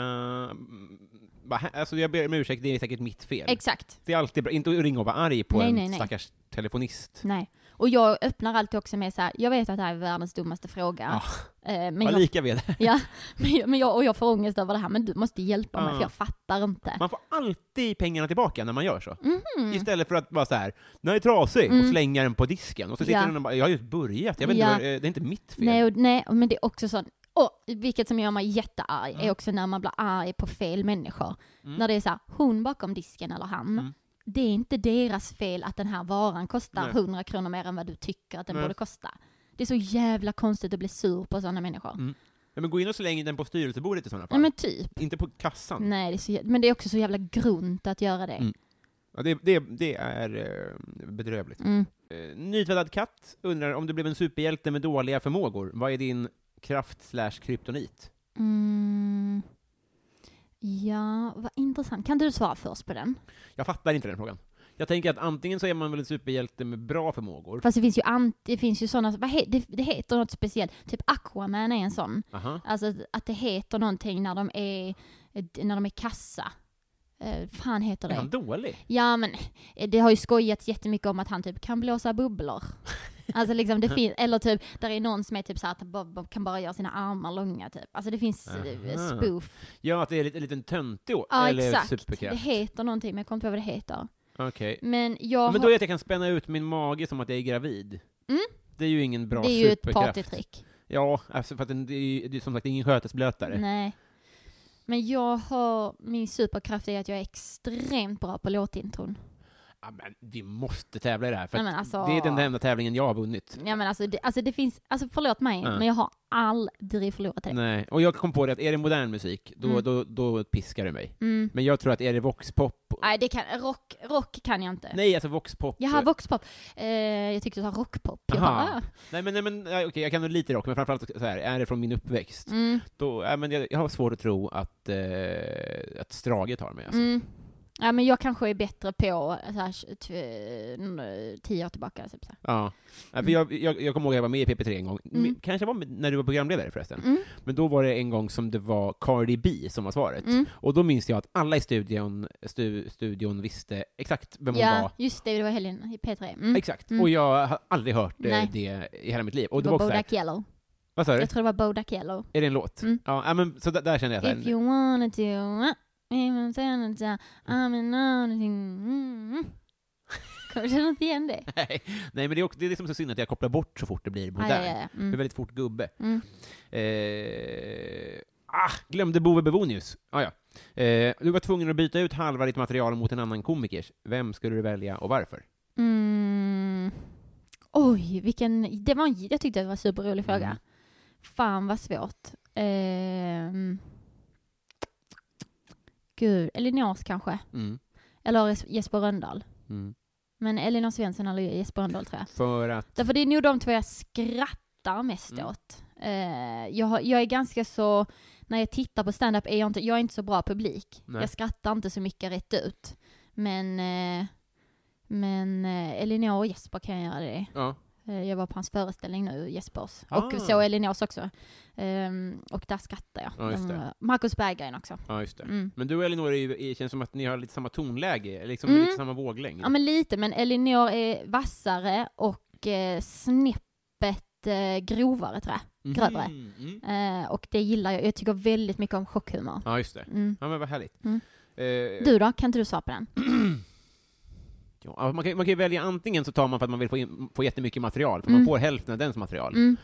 [SPEAKER 1] bara här- Alltså jag ber om ursäkt, det är säkert mitt fel.
[SPEAKER 2] Exakt.
[SPEAKER 1] det är alltid bra, inte att ringa och vara arg på
[SPEAKER 2] Nej,
[SPEAKER 1] en
[SPEAKER 2] nej, Mm, nej.
[SPEAKER 1] stackars telefonist.
[SPEAKER 2] Nej. Och jag öppnar alltid också med såhär, jag vet att det här är världens dummaste fråga. Eh, Men
[SPEAKER 1] Var
[SPEAKER 2] jag,
[SPEAKER 1] lika vid det.
[SPEAKER 2] ja, men jag- men jag, och jag får ångest över det här, men du måste hjälpa mig
[SPEAKER 1] Ja.
[SPEAKER 2] för jag fattar inte.
[SPEAKER 1] Man får alltid pengarna tillbaka när man gör så.
[SPEAKER 2] Mhm.
[SPEAKER 1] Istället för att vara så här, den här är trasig, och
[SPEAKER 2] Mm.
[SPEAKER 1] slänga den på disken. Och så sitter
[SPEAKER 2] Ja.
[SPEAKER 1] den och bara, jag har just börjat, jag vet
[SPEAKER 2] Ja.
[SPEAKER 1] inte, vad- eh, det är inte mitt fel.
[SPEAKER 2] Nej, och, nej, men det är också sån, och vilket som gör mig jättearg
[SPEAKER 1] Mm.
[SPEAKER 2] är också när man blir arg på fel människor.
[SPEAKER 1] Mm.
[SPEAKER 2] När det är så här, hon bakom disken eller han.
[SPEAKER 1] Mm.
[SPEAKER 2] Det är inte deras fel att den här varan kostar
[SPEAKER 1] Nej.
[SPEAKER 2] 100 kronor mer än vad du tycker att den
[SPEAKER 1] Nej.
[SPEAKER 2] borde kosta. Det är så jävla konstigt att bli sur på sådana människor.
[SPEAKER 1] Mm. Ja, men gå in och släng den på styrelsebordet i sådana fall.
[SPEAKER 2] Nej men typ.
[SPEAKER 1] Inte på kassan.
[SPEAKER 2] Nej, det är så, jä- men det är också så jävla grunt att göra det.
[SPEAKER 1] Mm. Ja, det, det, det är eh, bedrövligt.
[SPEAKER 2] Mm.
[SPEAKER 1] Eh, Nytvättad katt undrar om du blev en superhjälte med dåliga förmågor, vad är din kraft slash kryptonit?
[SPEAKER 2] Mm. Ja, vad intressant. Kan du svara först på den?
[SPEAKER 1] Jag fattar inte den frågan. Jag tänker att antingen så är man väl en superhjälte med bra förmågor.
[SPEAKER 2] Fast det finns ju, ant, det finns ju sådana, vad he, det, det heter något speciellt, typ Aquaman är en sån.
[SPEAKER 1] Aha.
[SPEAKER 2] Alltså att- att det heter någonting när de är, när de är kassa. Eh, fan heter
[SPEAKER 1] Är han
[SPEAKER 2] det?
[SPEAKER 1] dålig?
[SPEAKER 2] Ja men eh, det har ju skojats jättemycket om att han typ kan blåsa bubblor. Alltså liksom det finns, eller typ, där är någon som är typ såhär att han bara, bara- kan bara göra sina armar långa typ. Alltså det finns eh,
[SPEAKER 1] Aha.
[SPEAKER 2] spoof.
[SPEAKER 1] Ja, att det är lite- en liten töntig å-
[SPEAKER 2] Ja
[SPEAKER 1] eller
[SPEAKER 2] exakt. Det
[SPEAKER 1] superkraft.
[SPEAKER 2] heter någonting men jag kommer inte ihåg vad det heter.
[SPEAKER 1] Okej.
[SPEAKER 2] Men jag
[SPEAKER 1] Men då
[SPEAKER 2] har,
[SPEAKER 1] är det att jag kan spänna ut min mage som att jag är gravid.
[SPEAKER 2] Mm.
[SPEAKER 1] Det är ju ingen bra
[SPEAKER 2] det är ju ett
[SPEAKER 1] superkraft.
[SPEAKER 2] partytrick.
[SPEAKER 1] Ja, alltså för att den- det är ju det är som sagt ingen skötesblötare.
[SPEAKER 2] Nej. Men jag har, min superkraft är att jag är extremt bra på låtintron.
[SPEAKER 1] Ja, men vi måste tävla i det här, för
[SPEAKER 2] Nej, men
[SPEAKER 1] att
[SPEAKER 2] alltså-
[SPEAKER 1] det är den enda tävlingen jag har vunnit.
[SPEAKER 2] Ja men alltså det, alltså det finns, alltså förlåt mig,
[SPEAKER 1] Ja.
[SPEAKER 2] men jag har aldrig förlorat det.
[SPEAKER 1] Nej, och jag kom på det att är det modern musik, då,
[SPEAKER 2] Mm.
[SPEAKER 1] då, då piskar det mig.
[SPEAKER 2] Mm.
[SPEAKER 1] Men jag tror att är det voxpop...
[SPEAKER 2] Nej det kan, rock, rock kan jag inte.
[SPEAKER 1] Nej, alltså voxpop...
[SPEAKER 2] Jag har voxpop. Eh, jag tyckte du sa rockpop. Jag
[SPEAKER 1] Aha.
[SPEAKER 2] bara,
[SPEAKER 1] Nej, men, nej, men ja, okej, jag kan nog lite rock, men framförallt så här, är det från min uppväxt?
[SPEAKER 2] ah. mm,
[SPEAKER 1] Då, ja, men jag, jag har svårt att tro att, eh, att Strage tar mig. Alltså.
[SPEAKER 2] mm. Ja, men jag kanske är bättre på så här, tw- tio år tillbaka. Typ, så här.
[SPEAKER 1] Ja. Ja, för jag, jag, jag kommer ihåg att jag var med i PP3 en gång,
[SPEAKER 2] Mm.
[SPEAKER 1] kanske var med- när du var programledare förresten,
[SPEAKER 2] Mm.
[SPEAKER 1] men då var det en gång som det var Cardi B som var svaret,
[SPEAKER 2] Mm.
[SPEAKER 1] och då minns jag att alla i studion, stu, studion visste exakt vem hon var.
[SPEAKER 2] Ja, just det, det var helgen i P3. Mm.
[SPEAKER 1] Exakt, och jag har aldrig hört eh,
[SPEAKER 2] Nej.
[SPEAKER 1] det i hela mitt liv. Och
[SPEAKER 2] Det
[SPEAKER 1] det
[SPEAKER 2] var
[SPEAKER 1] var också såhär,
[SPEAKER 2] Bodak Yellow.
[SPEAKER 1] vad sa du?
[SPEAKER 2] Jag tror det var Bodak Yellow.
[SPEAKER 1] Är det en låt?
[SPEAKER 2] Mm.
[SPEAKER 1] Ja, ja, men så där, där kände jag
[SPEAKER 2] If
[SPEAKER 1] såhär,
[SPEAKER 2] you wanted to, uh, even if you wanted to, I'm in anything. Mm. Kommer du inte igen det?
[SPEAKER 1] nej, nej, men det är, också, det är liksom så synd att jag kopplar bort så fort det blir
[SPEAKER 2] Ja,
[SPEAKER 1] modernt.
[SPEAKER 2] ja, ja.
[SPEAKER 1] Det är
[SPEAKER 2] Mm.
[SPEAKER 1] väldigt fort gubbe.
[SPEAKER 2] Mm.
[SPEAKER 1] Eh, ah, glömde Bove Bevonius. Ah, ja. eh, du var tvungen att byta ut halva ditt material mot en annan komikers. Vem skulle du välja och varför?
[SPEAKER 2] Mm. Oj, vilken... Det var en, jag tyckte det var en superrolig fråga.
[SPEAKER 1] Mm.
[SPEAKER 2] Fan vad svårt. Ehm. Gud, Elinors kanske.
[SPEAKER 1] Mm.
[SPEAKER 2] Eller Jes- Jesper Rönndahl.
[SPEAKER 1] Mm.
[SPEAKER 2] Men Elinor Svensson eller Jesper Rönndahl tror jag.
[SPEAKER 1] För att...
[SPEAKER 2] Därför det är nog de två jag skrattar mest
[SPEAKER 1] Mm.
[SPEAKER 2] åt. Eh, jag, har- jag är ganska så, när jag tittar på stand-up är jag inte, jag är inte så bra publik.
[SPEAKER 1] Nej.
[SPEAKER 2] Jag skrattar inte så mycket rätt ut. Men, eh, men eh, Elinor och Jesper kan jag göra det.
[SPEAKER 1] Ja.
[SPEAKER 2] Eh, jag var på hans föreställning nu, Jespers.
[SPEAKER 1] Ah.
[SPEAKER 2] Och så Elinors också. Ehm, och där skrattar jag.
[SPEAKER 1] Ja, just det.
[SPEAKER 2] De- Marcus Berggren också.
[SPEAKER 1] ja, just det.
[SPEAKER 2] Mm.
[SPEAKER 1] Men du och Elinor är ju, är- känns som att ni har lite samma tonläge, liksom
[SPEAKER 2] Mm.
[SPEAKER 1] lite samma våglängd.
[SPEAKER 2] Ja men lite, men Elinor är vassare och eh, snäppet eh, grovare tror jag. grövre.
[SPEAKER 1] Mm, mm.
[SPEAKER 2] Eh, och det gillar jag. Jag tycker väldigt mycket om chockhumor.
[SPEAKER 1] Ja, just det.
[SPEAKER 2] Mm.
[SPEAKER 1] Ja, men vad härligt.
[SPEAKER 2] Mm.
[SPEAKER 1] Eh,
[SPEAKER 2] Du då? Kan inte du svara på den?
[SPEAKER 1] ja, man, kan, man kan ju välja antingen så tar man för att man vill få, in, få jättemycket material, för man
[SPEAKER 2] Mm.
[SPEAKER 1] får hälften av dens material.
[SPEAKER 2] Mm.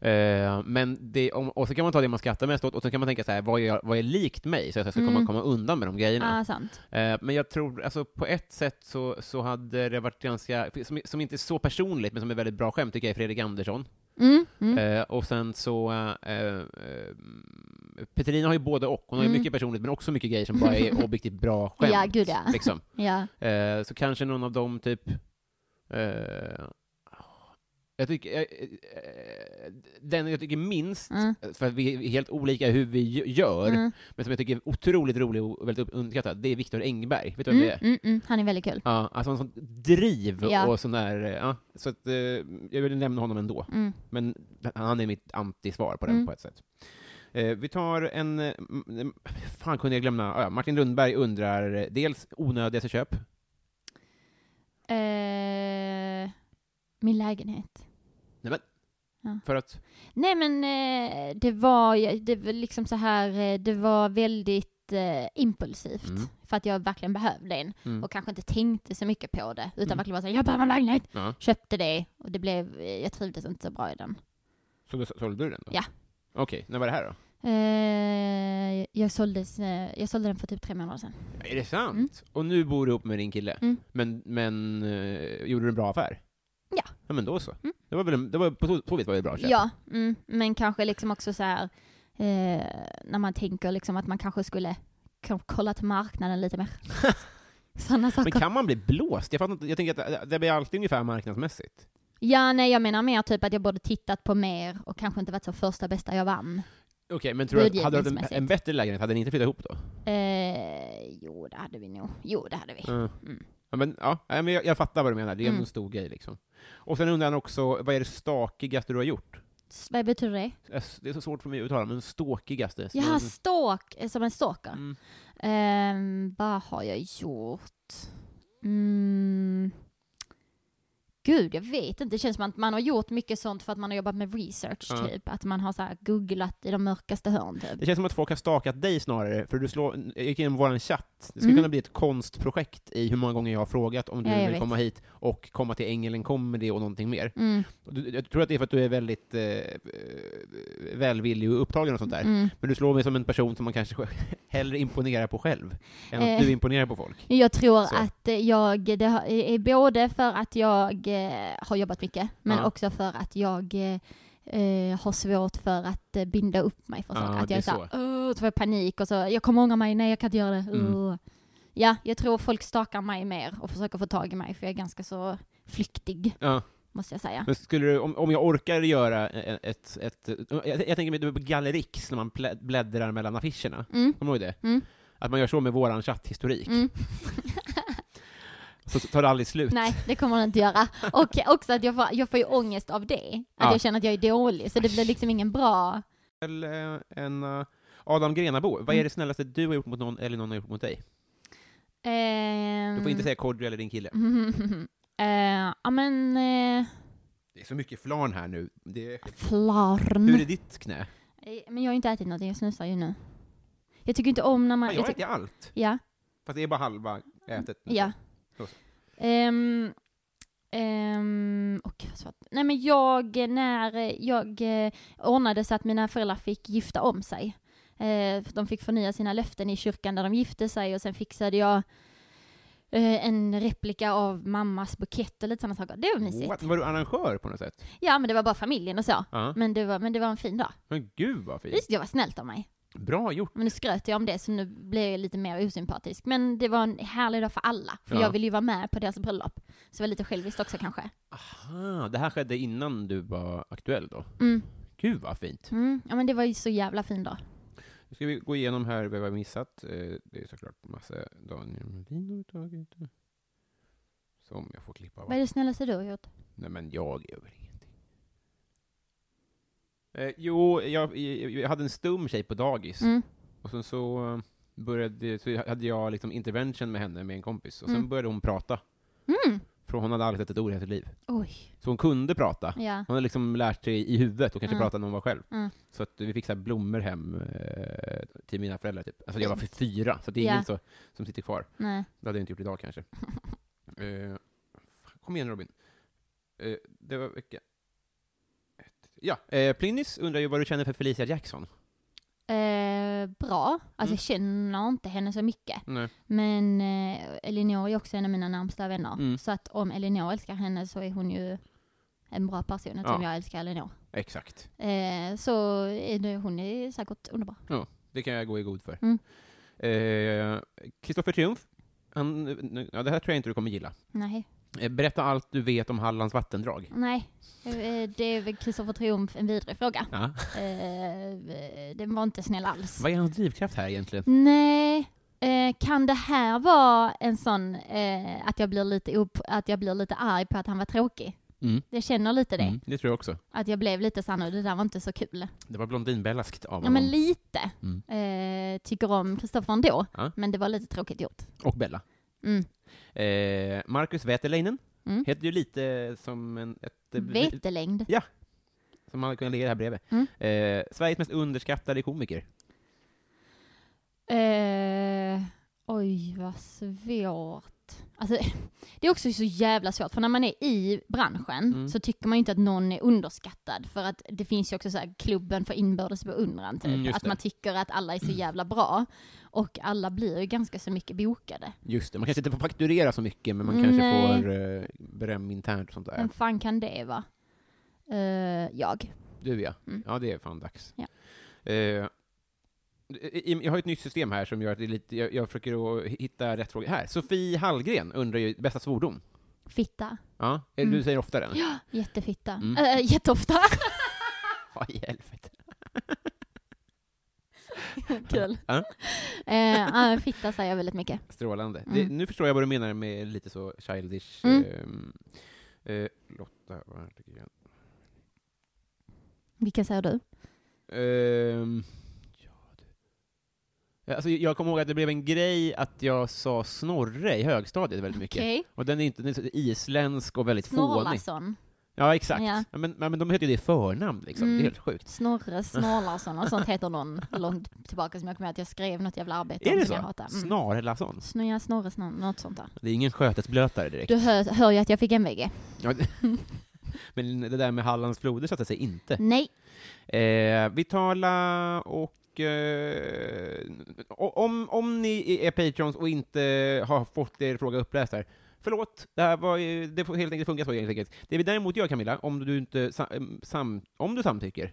[SPEAKER 1] Eh, men det, om, och så kan man ta det man skrattar mest åt, och så kan man tänka så här, vad är, jag- vad är likt mig, så att jag ska komma,
[SPEAKER 2] Mm.
[SPEAKER 1] komma undan med de grejerna.
[SPEAKER 2] Ah, sant.
[SPEAKER 1] Eh, men jag tror, alltså på ett sätt så, så hade det varit ganska, som, som inte är så personligt, men som är väldigt bra skämt, tycker jag är Fredrik Andersson.
[SPEAKER 2] Mm. Mm.
[SPEAKER 1] Eh, och sen så, eh, eh, Petrina har ju både och, hon har ju
[SPEAKER 2] Mm.
[SPEAKER 1] mycket personligt, men också mycket grejer som bara är objektivt bra skämt.
[SPEAKER 2] Ja, gud ja.
[SPEAKER 1] liksom.
[SPEAKER 2] ja.
[SPEAKER 1] Eh, så kanske någon av dem, typ... Eh, jag tycker... eh, eh, den jag tycker minst,
[SPEAKER 2] Mm.
[SPEAKER 1] för att vi är helt olika i hur vi gö- gör,
[SPEAKER 2] Mm.
[SPEAKER 1] men som jag tycker är otroligt rolig och väldigt underskattad, det är Viktor Engberg. Vet du vem
[SPEAKER 2] Mm.
[SPEAKER 1] det är?
[SPEAKER 2] Mm. Mm. Han är väldigt kul.
[SPEAKER 1] Ja, alltså en sån driv
[SPEAKER 2] Ja.
[SPEAKER 1] och sån där... eh, Ja, så att, eh, jag vill nämna honom ändå,
[SPEAKER 2] Mm.
[SPEAKER 1] men han är mitt antisvar på den
[SPEAKER 2] Mm.
[SPEAKER 1] på ett sätt. Eh, vi tar en... eh, m- m- Fan kunde jag glömma? Ah, ja, Martin Lundberg undrar eh, dels onödigaste köp,
[SPEAKER 2] Eh, min lägenhet.
[SPEAKER 1] Nej, men.
[SPEAKER 2] Ja.
[SPEAKER 1] För att...
[SPEAKER 2] Nej men eh, det var, ju- det var liksom så här, eh, det var väldigt eh, impulsivt.
[SPEAKER 1] Mm.
[SPEAKER 2] För att jag verkligen behövde en.
[SPEAKER 1] Mm.
[SPEAKER 2] Och kanske inte tänkte så mycket på det. Utan
[SPEAKER 1] Mm.
[SPEAKER 2] verkligen bara såhär, jag behöver en lägenhet.
[SPEAKER 1] Ja.
[SPEAKER 2] Köpte det och det blev, eh, jag trivdes inte så bra i den.
[SPEAKER 1] Så då sålde du den då?
[SPEAKER 2] Ja. Mm.
[SPEAKER 1] Okej, när var det här då?
[SPEAKER 2] Eh, jag, såldes, eh, jag sålde den för typ tre månader sedan.
[SPEAKER 1] Är det sant?
[SPEAKER 2] Mm.
[SPEAKER 1] Och nu bor du ihop med din kille?
[SPEAKER 2] Mm.
[SPEAKER 1] Men, men eh, gjorde du en bra affär?
[SPEAKER 2] Ja.
[SPEAKER 1] Ja, men då så.
[SPEAKER 2] Mm.
[SPEAKER 1] Det var väl en, det var, på så, så vis var det ett bra köp?
[SPEAKER 2] Ja, mm, men kanske liksom också så här eh, när man tänker liksom att man kanske skulle k- kolla till marknaden lite mer. Sådana
[SPEAKER 1] Men
[SPEAKER 2] saker.
[SPEAKER 1] kan man bli blåst? Jag, fattar inte, jag tänker att eh, det- det blir alltid ungefär marknadsmässigt.
[SPEAKER 2] Ja, nej jag menar mer typ att jag borde tittat på mer och kanske inte varit så första bästa jag vann.
[SPEAKER 1] Okej, men tror du att, hade du haft en,
[SPEAKER 2] Budgetmässigt.
[SPEAKER 1] en bättre lägenhet, hade ni inte flyttat ihop då?
[SPEAKER 2] Eh, jo, det hade vi nog. Jo, det hade vi.
[SPEAKER 1] Mm.
[SPEAKER 2] Mm.
[SPEAKER 1] Ja, men, ja, nej, men jag, jag fattar vad du menar, det är ändå
[SPEAKER 2] Mm.
[SPEAKER 1] en stor grej liksom. Och sen undrar han också, vad är det stakigaste du har gjort?
[SPEAKER 2] S- Vad betyder det?
[SPEAKER 1] Det är så svårt för mig att uttala, men ståkigaste?
[SPEAKER 2] Jag har stalk, eh, som en stalker.
[SPEAKER 1] Mm.
[SPEAKER 2] Ehm, vad har jag gjort? Mm. Gud, jag vet inte. Det känns som att man har gjort mycket sånt för att man har jobbat med research,
[SPEAKER 1] Ja.
[SPEAKER 2] typ. Att man har så här googlat i de mörkaste hörn, typ.
[SPEAKER 1] Det känns som att folk har stakat dig snarare, för du slår, jag gick igenom våran chatt. Det skulle
[SPEAKER 2] Mm.
[SPEAKER 1] kunna bli ett konstprojekt i hur många gånger jag har frågat om du
[SPEAKER 2] Ja, jag
[SPEAKER 1] vill
[SPEAKER 2] vet.
[SPEAKER 1] komma hit och komma till Engelen Comedy och någonting mer.
[SPEAKER 2] Mm,
[SPEAKER 1] Och Du, jag tror att det är för att du är väldigt eh, eh, välvillig och upptagen och sånt där.
[SPEAKER 2] mm.
[SPEAKER 1] Men du slår mig som en person som man kanske själv- hellre imponerar på själv, än att
[SPEAKER 2] Eh.
[SPEAKER 1] du imponerar på folk.
[SPEAKER 2] Jag tror
[SPEAKER 1] Så.
[SPEAKER 2] att eh, jag, det har- är både för att jag eh, har jobbat mycket, men
[SPEAKER 1] Ja.
[SPEAKER 2] också för att jag eh, eh, har svårt för att eh, binda upp mig för
[SPEAKER 1] Ja,
[SPEAKER 2] saker. att
[SPEAKER 1] det är
[SPEAKER 2] jag är
[SPEAKER 1] så.
[SPEAKER 2] såhär, "Åh", så får jag panik och så, jag kommer ångra mig, nej jag kan inte göra det.
[SPEAKER 1] Mm.
[SPEAKER 2] Åh. Ja, jag tror folk stakar mig mer och försöker få tag i mig, för jag är ganska så flyktig,
[SPEAKER 1] Ja.
[SPEAKER 2] måste jag säga.
[SPEAKER 1] Men skulle du, om, om jag orkar göra ett, ett, typ ett jag, jag tänker mig du är på Gallerix när man plä- bläddrar mellan affischerna.
[SPEAKER 2] Mm.
[SPEAKER 1] Kommer du ihåg det?
[SPEAKER 2] Mm.
[SPEAKER 1] Att man gör så med våran chatthistorik.
[SPEAKER 2] Mm.
[SPEAKER 1] Så tar det aldrig slut.
[SPEAKER 2] Nej, det kommer han inte göra. Och också att jag får, jag får ju ångest av det. Att
[SPEAKER 1] Ja.
[SPEAKER 2] jag känner att jag är dålig, så det blir liksom ingen bra...
[SPEAKER 1] Väl, eh, En, eh, Adam Grenabo,
[SPEAKER 2] Mm.
[SPEAKER 1] vad är det snällaste du har gjort mot någon eller någon har gjort mot dig?
[SPEAKER 2] Ehm...
[SPEAKER 1] Du får inte säga Kodjo eller din kille.
[SPEAKER 2] Eh, Ja men, eh,
[SPEAKER 1] Det är så mycket flarn här nu. Det...
[SPEAKER 2] flarn.
[SPEAKER 1] Hur är ditt knä?
[SPEAKER 2] Eh, Men jag har inte ätit någonting, jag snusar ju nu. Jag tycker inte om när man...
[SPEAKER 1] Ja, Ah, jag
[SPEAKER 2] jag tyck-
[SPEAKER 1] äter allt.
[SPEAKER 2] ja,
[SPEAKER 1] Fast det är bara halva ätet.
[SPEAKER 2] ja.
[SPEAKER 1] Så, så.
[SPEAKER 2] Ehm, ehm, och vad svårt. Nej men jag, när jag eh, ordnade så att mina föräldrar fick gifta om sig. Eh, för de fick förnya sina löften i kyrkan där de gifte sig och sen fixade jag eh, en replika av mammas bukett och lite sådana saker. Det var mysigt.
[SPEAKER 1] What? Var du arrangör på något sätt?
[SPEAKER 2] Ja men det var bara familjen och så.
[SPEAKER 1] Ja.
[SPEAKER 2] Men det var, men det var en fin dag.
[SPEAKER 1] Men gud vad fint.
[SPEAKER 2] Visst, jag var snällt av mig.
[SPEAKER 1] Bra gjort.
[SPEAKER 2] Men nu skröt jag om det så nu blev jag lite mer osympatisk. Men det var en härlig dag för alla. För
[SPEAKER 1] Ja.
[SPEAKER 2] jag ville ju vara med på deras bröllop. Så jag var lite själviskt också kanske.
[SPEAKER 1] Aha, Ah, det här skedde innan du var aktuell då?
[SPEAKER 2] Mm.
[SPEAKER 1] Gud vad fint.
[SPEAKER 2] Mm. Ja men det var ju så jävla fin dag.
[SPEAKER 1] Nu ska vi gå igenom här vad vi har missat. Eh, Det är såklart massa Daniel Melin har vi tagit. eh, Som jag får klippa av.
[SPEAKER 2] Vad är det snällaste du har gjort?
[SPEAKER 1] Nej men jag gör väl ingenting. Eh, jo, jag, jag, jag hade en stum tjej på dagis.
[SPEAKER 2] Mm.
[SPEAKER 1] Och sen så eh, började, så hade jag liksom intervention med henne med en kompis. Och sen
[SPEAKER 2] Mm.
[SPEAKER 1] började hon prata.
[SPEAKER 2] Mm.
[SPEAKER 1] För hon hade aldrig sett ett ord i hela sitt liv.
[SPEAKER 2] Oj.
[SPEAKER 1] Så hon kunde prata.
[SPEAKER 2] Ja.
[SPEAKER 1] Hon hade liksom lärt sig i huvudet och kanske
[SPEAKER 2] Mm.
[SPEAKER 1] prata när hon var själv.
[SPEAKER 2] Mm.
[SPEAKER 1] Så att vi fick så här blommor hem eh, till mina föräldrar typ. Alltså jag var för fyra, så det är
[SPEAKER 2] Ja.
[SPEAKER 1] ingen så, som sitter kvar.
[SPEAKER 2] Nej.
[SPEAKER 1] Det hade jag inte gjort idag kanske. eh, fan, kom igen Robin. Eh, det var vecka... ett- Ja, eh, Plynnis undrar ju vad du känner för Felicia Jackson.
[SPEAKER 2] Eh, bra. Alltså
[SPEAKER 1] Mm.
[SPEAKER 2] jag känner inte henne så mycket.
[SPEAKER 1] Nej.
[SPEAKER 2] Men eh, Elinor är också en av mina närmsta vänner.
[SPEAKER 1] Mm.
[SPEAKER 2] Så att om Elinor älskar henne så är hon ju en bra person eftersom
[SPEAKER 1] Ja.
[SPEAKER 2] jag älskar Elinor.
[SPEAKER 1] Exakt.
[SPEAKER 2] Eh, så är det, hon är säkert underbar.
[SPEAKER 1] Det kan jag gå i god för.
[SPEAKER 2] Mm.
[SPEAKER 1] Kristoffer Triumf, han, nu- ja, det här tror jag inte du kommer gilla.
[SPEAKER 2] Nej.
[SPEAKER 1] Eh, berätta allt du vet om Hallands vattendrag.
[SPEAKER 2] Nej, eh, det är väl Kristoffer Triumf en vidrig fråga.
[SPEAKER 1] Ja.
[SPEAKER 2] Eh, eh, Den var inte snäll alls.
[SPEAKER 1] Vad är hans drivkraft här egentligen?
[SPEAKER 2] Nej, eh, kan det här vara en sån eh, att, jag blir lite op- att jag blir lite arg på att han var tråkig?
[SPEAKER 1] Mm.
[SPEAKER 2] Jag känner lite det.
[SPEAKER 1] Mm, det tror jag också.
[SPEAKER 2] Att jag blev lite såhär, "Nu, det där var inte så kul.
[SPEAKER 1] Det var Blondinbellaskt av
[SPEAKER 2] Ja
[SPEAKER 1] honom.
[SPEAKER 2] men lite.
[SPEAKER 1] Mm.
[SPEAKER 2] Eh, tycker om Kristoffer ändå.
[SPEAKER 1] Ja.
[SPEAKER 2] Men det var lite tråkigt gjort.
[SPEAKER 1] Och Bella.
[SPEAKER 2] Mm.
[SPEAKER 1] Eh, Marcus Väterleinen
[SPEAKER 2] Mm.
[SPEAKER 1] heter ju lite som en... Ett,
[SPEAKER 2] Vetelängd.
[SPEAKER 1] Som hade kunnat ligga här bredvid.
[SPEAKER 2] Mm.
[SPEAKER 1] Eh, Sveriges mest underskattade komiker.
[SPEAKER 2] Eh, oj, vad svårt. Alltså, det är också så jävla svårt, för när man är i branschen
[SPEAKER 1] Mm.
[SPEAKER 2] så tycker man ju inte att någon är underskattad. För att det finns ju också så här klubben för inbördes beundran, typ.
[SPEAKER 1] Mm, just
[SPEAKER 2] att
[SPEAKER 1] det.
[SPEAKER 2] man tycker att alla är så jävla bra. Och alla blir ju ganska så mycket bokade.
[SPEAKER 1] Just det, man kanske inte får fakturera så mycket, men man kanske
[SPEAKER 2] Nej.
[SPEAKER 1] får eh, beröm internt och sånt där.
[SPEAKER 2] Vem fan kan det vara? Eh, jag.
[SPEAKER 1] Du ja.
[SPEAKER 2] Mm.
[SPEAKER 1] Ja, det är fan dags.
[SPEAKER 2] Ja.
[SPEAKER 1] Eh, i- i- jag har ju ett nytt system här som gör att det är lite, jag, jag försöker att hitta rätt fråga här. Sofie Hallgren undrar ju bästa svordom.
[SPEAKER 2] Fitta.
[SPEAKER 1] Ja, eh,
[SPEAKER 2] Mm.
[SPEAKER 1] du säger ofta den. Ja.
[SPEAKER 2] Jättefitta.
[SPEAKER 1] Mm.
[SPEAKER 2] Eh, jätteofta.
[SPEAKER 1] Vad i helvete.
[SPEAKER 2] Kul.
[SPEAKER 1] Ja.
[SPEAKER 2] Eh, eh, fitta säger jag väldigt mycket.
[SPEAKER 1] Strålande.
[SPEAKER 2] Mm.
[SPEAKER 1] Det, nu förstår jag vad du menar med lite så childish.
[SPEAKER 2] Mm.
[SPEAKER 1] ehm, eh, Lotta, vad här tycker jag?
[SPEAKER 2] Vilken säger du?
[SPEAKER 1] Ehm, ja, du. Alltså, jag kommer ihåg att det blev en grej att jag sa snorre i högstadiet väldigt mycket.
[SPEAKER 2] Okej.
[SPEAKER 1] Och den är inte den är så isländsk och väldigt fånig.
[SPEAKER 2] Snorlason.
[SPEAKER 1] Ja, exakt.
[SPEAKER 2] Ja.
[SPEAKER 1] Ja, men, men de heter ju det i förnamn, liksom.
[SPEAKER 2] Mm.
[SPEAKER 1] Det är helt sjukt.
[SPEAKER 2] Snorre Snarlarsson och sånt heter någon långt tillbaka som jag kommer ihåg att jag skrev något jävla arbete
[SPEAKER 1] Är
[SPEAKER 2] om
[SPEAKER 1] det
[SPEAKER 2] som jag
[SPEAKER 1] så?
[SPEAKER 2] hatar. Mm.
[SPEAKER 1] Snarlason?
[SPEAKER 2] Snor... Snorre Snor... något sånt där.
[SPEAKER 1] Det är ingen skötesblötare direkt.
[SPEAKER 2] Du hör, hör ju att jag fick MVG.
[SPEAKER 1] Ja, det- men det där med Hallands floder satte sig inte.
[SPEAKER 2] Nej.
[SPEAKER 1] Eh, Vitala och... Eh, o- om, om ni är patrons och inte har fått er fråga uppläst här, förlåt, det, här var, ju- det får helt enkelt funka så helt enkelt. Det vi däremot gör Camilla, om du, inte sa- em, sam, om du samtycker,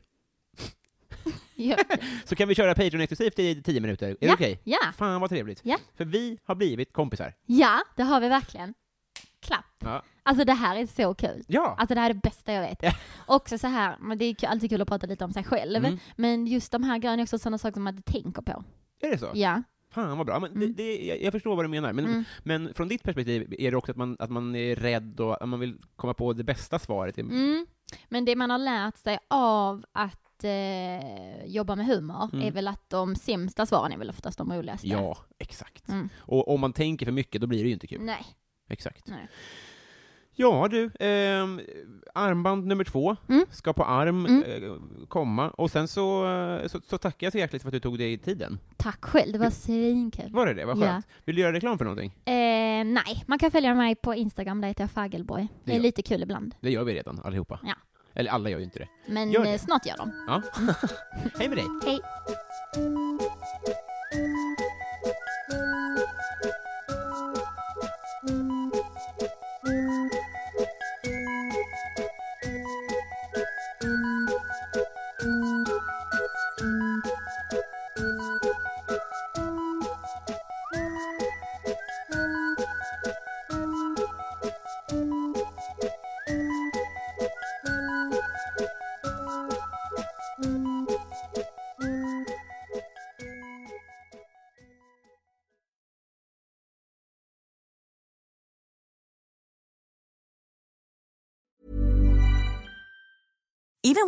[SPEAKER 2] Ja.
[SPEAKER 1] så kan vi köra Patreon exklusivt i tio minuter. Är det
[SPEAKER 2] Ja.
[SPEAKER 1] okej?
[SPEAKER 2] ja.
[SPEAKER 1] Fan vad trevligt.
[SPEAKER 2] Ja.
[SPEAKER 1] För vi har blivit kompisar.
[SPEAKER 2] Ja, det har vi verkligen. Klapp.
[SPEAKER 1] Ja.
[SPEAKER 2] Alltså det här är så kul.
[SPEAKER 1] Ja!
[SPEAKER 2] Alltså det här är det bästa jag vet. Också så här, men det är ju alltid kul att prata lite om sig själv.
[SPEAKER 1] Mm.
[SPEAKER 2] Men just de här grejerna är också sådana saker som man inte tänker på.
[SPEAKER 1] Är det så?
[SPEAKER 2] Ja. Mm.
[SPEAKER 1] Fan vad bra. Men det, det, jag- jag förstår vad du menar. Men, men från ditt perspektiv, är det också att man, att man är rädd och att man vill komma på det bästa svaret?
[SPEAKER 2] Mm. Men det man har lärt sig av att eh, jobba med humor är väl att de sämsta svaren är väl oftast de roligaste.
[SPEAKER 1] Mm. Ja, exakt.
[SPEAKER 2] Mm.
[SPEAKER 1] Och om man tänker för mycket, då blir det ju inte kul.
[SPEAKER 2] Nej.
[SPEAKER 1] Exakt.
[SPEAKER 2] Nej.
[SPEAKER 1] Ja du, ehm, armband nummer två
[SPEAKER 2] Mm.
[SPEAKER 1] ska på arm
[SPEAKER 2] Mm.
[SPEAKER 1] eh, komma, och sen så, eh, så, så tackar jag så hjärtligt för att du tog dig tiden.
[SPEAKER 2] Tack själv, det var svinkul.
[SPEAKER 1] Var det det? Vad
[SPEAKER 2] Ja.
[SPEAKER 1] skönt. Vill du göra reklam för någonting?
[SPEAKER 2] Eh, nej, man kan följa mig på Instagram, där heter jag Fagelboy.
[SPEAKER 1] Det
[SPEAKER 2] Det är
[SPEAKER 1] gör-
[SPEAKER 2] lite kul ibland.
[SPEAKER 1] Det gör vi redan, allihopa.
[SPEAKER 2] Ja.
[SPEAKER 1] Eller alla gör ju inte det.
[SPEAKER 2] Men
[SPEAKER 1] Gör det.
[SPEAKER 2] eh, snart gör de.
[SPEAKER 1] Ja. Hej med dig!
[SPEAKER 2] Hej!
[SPEAKER 5] Even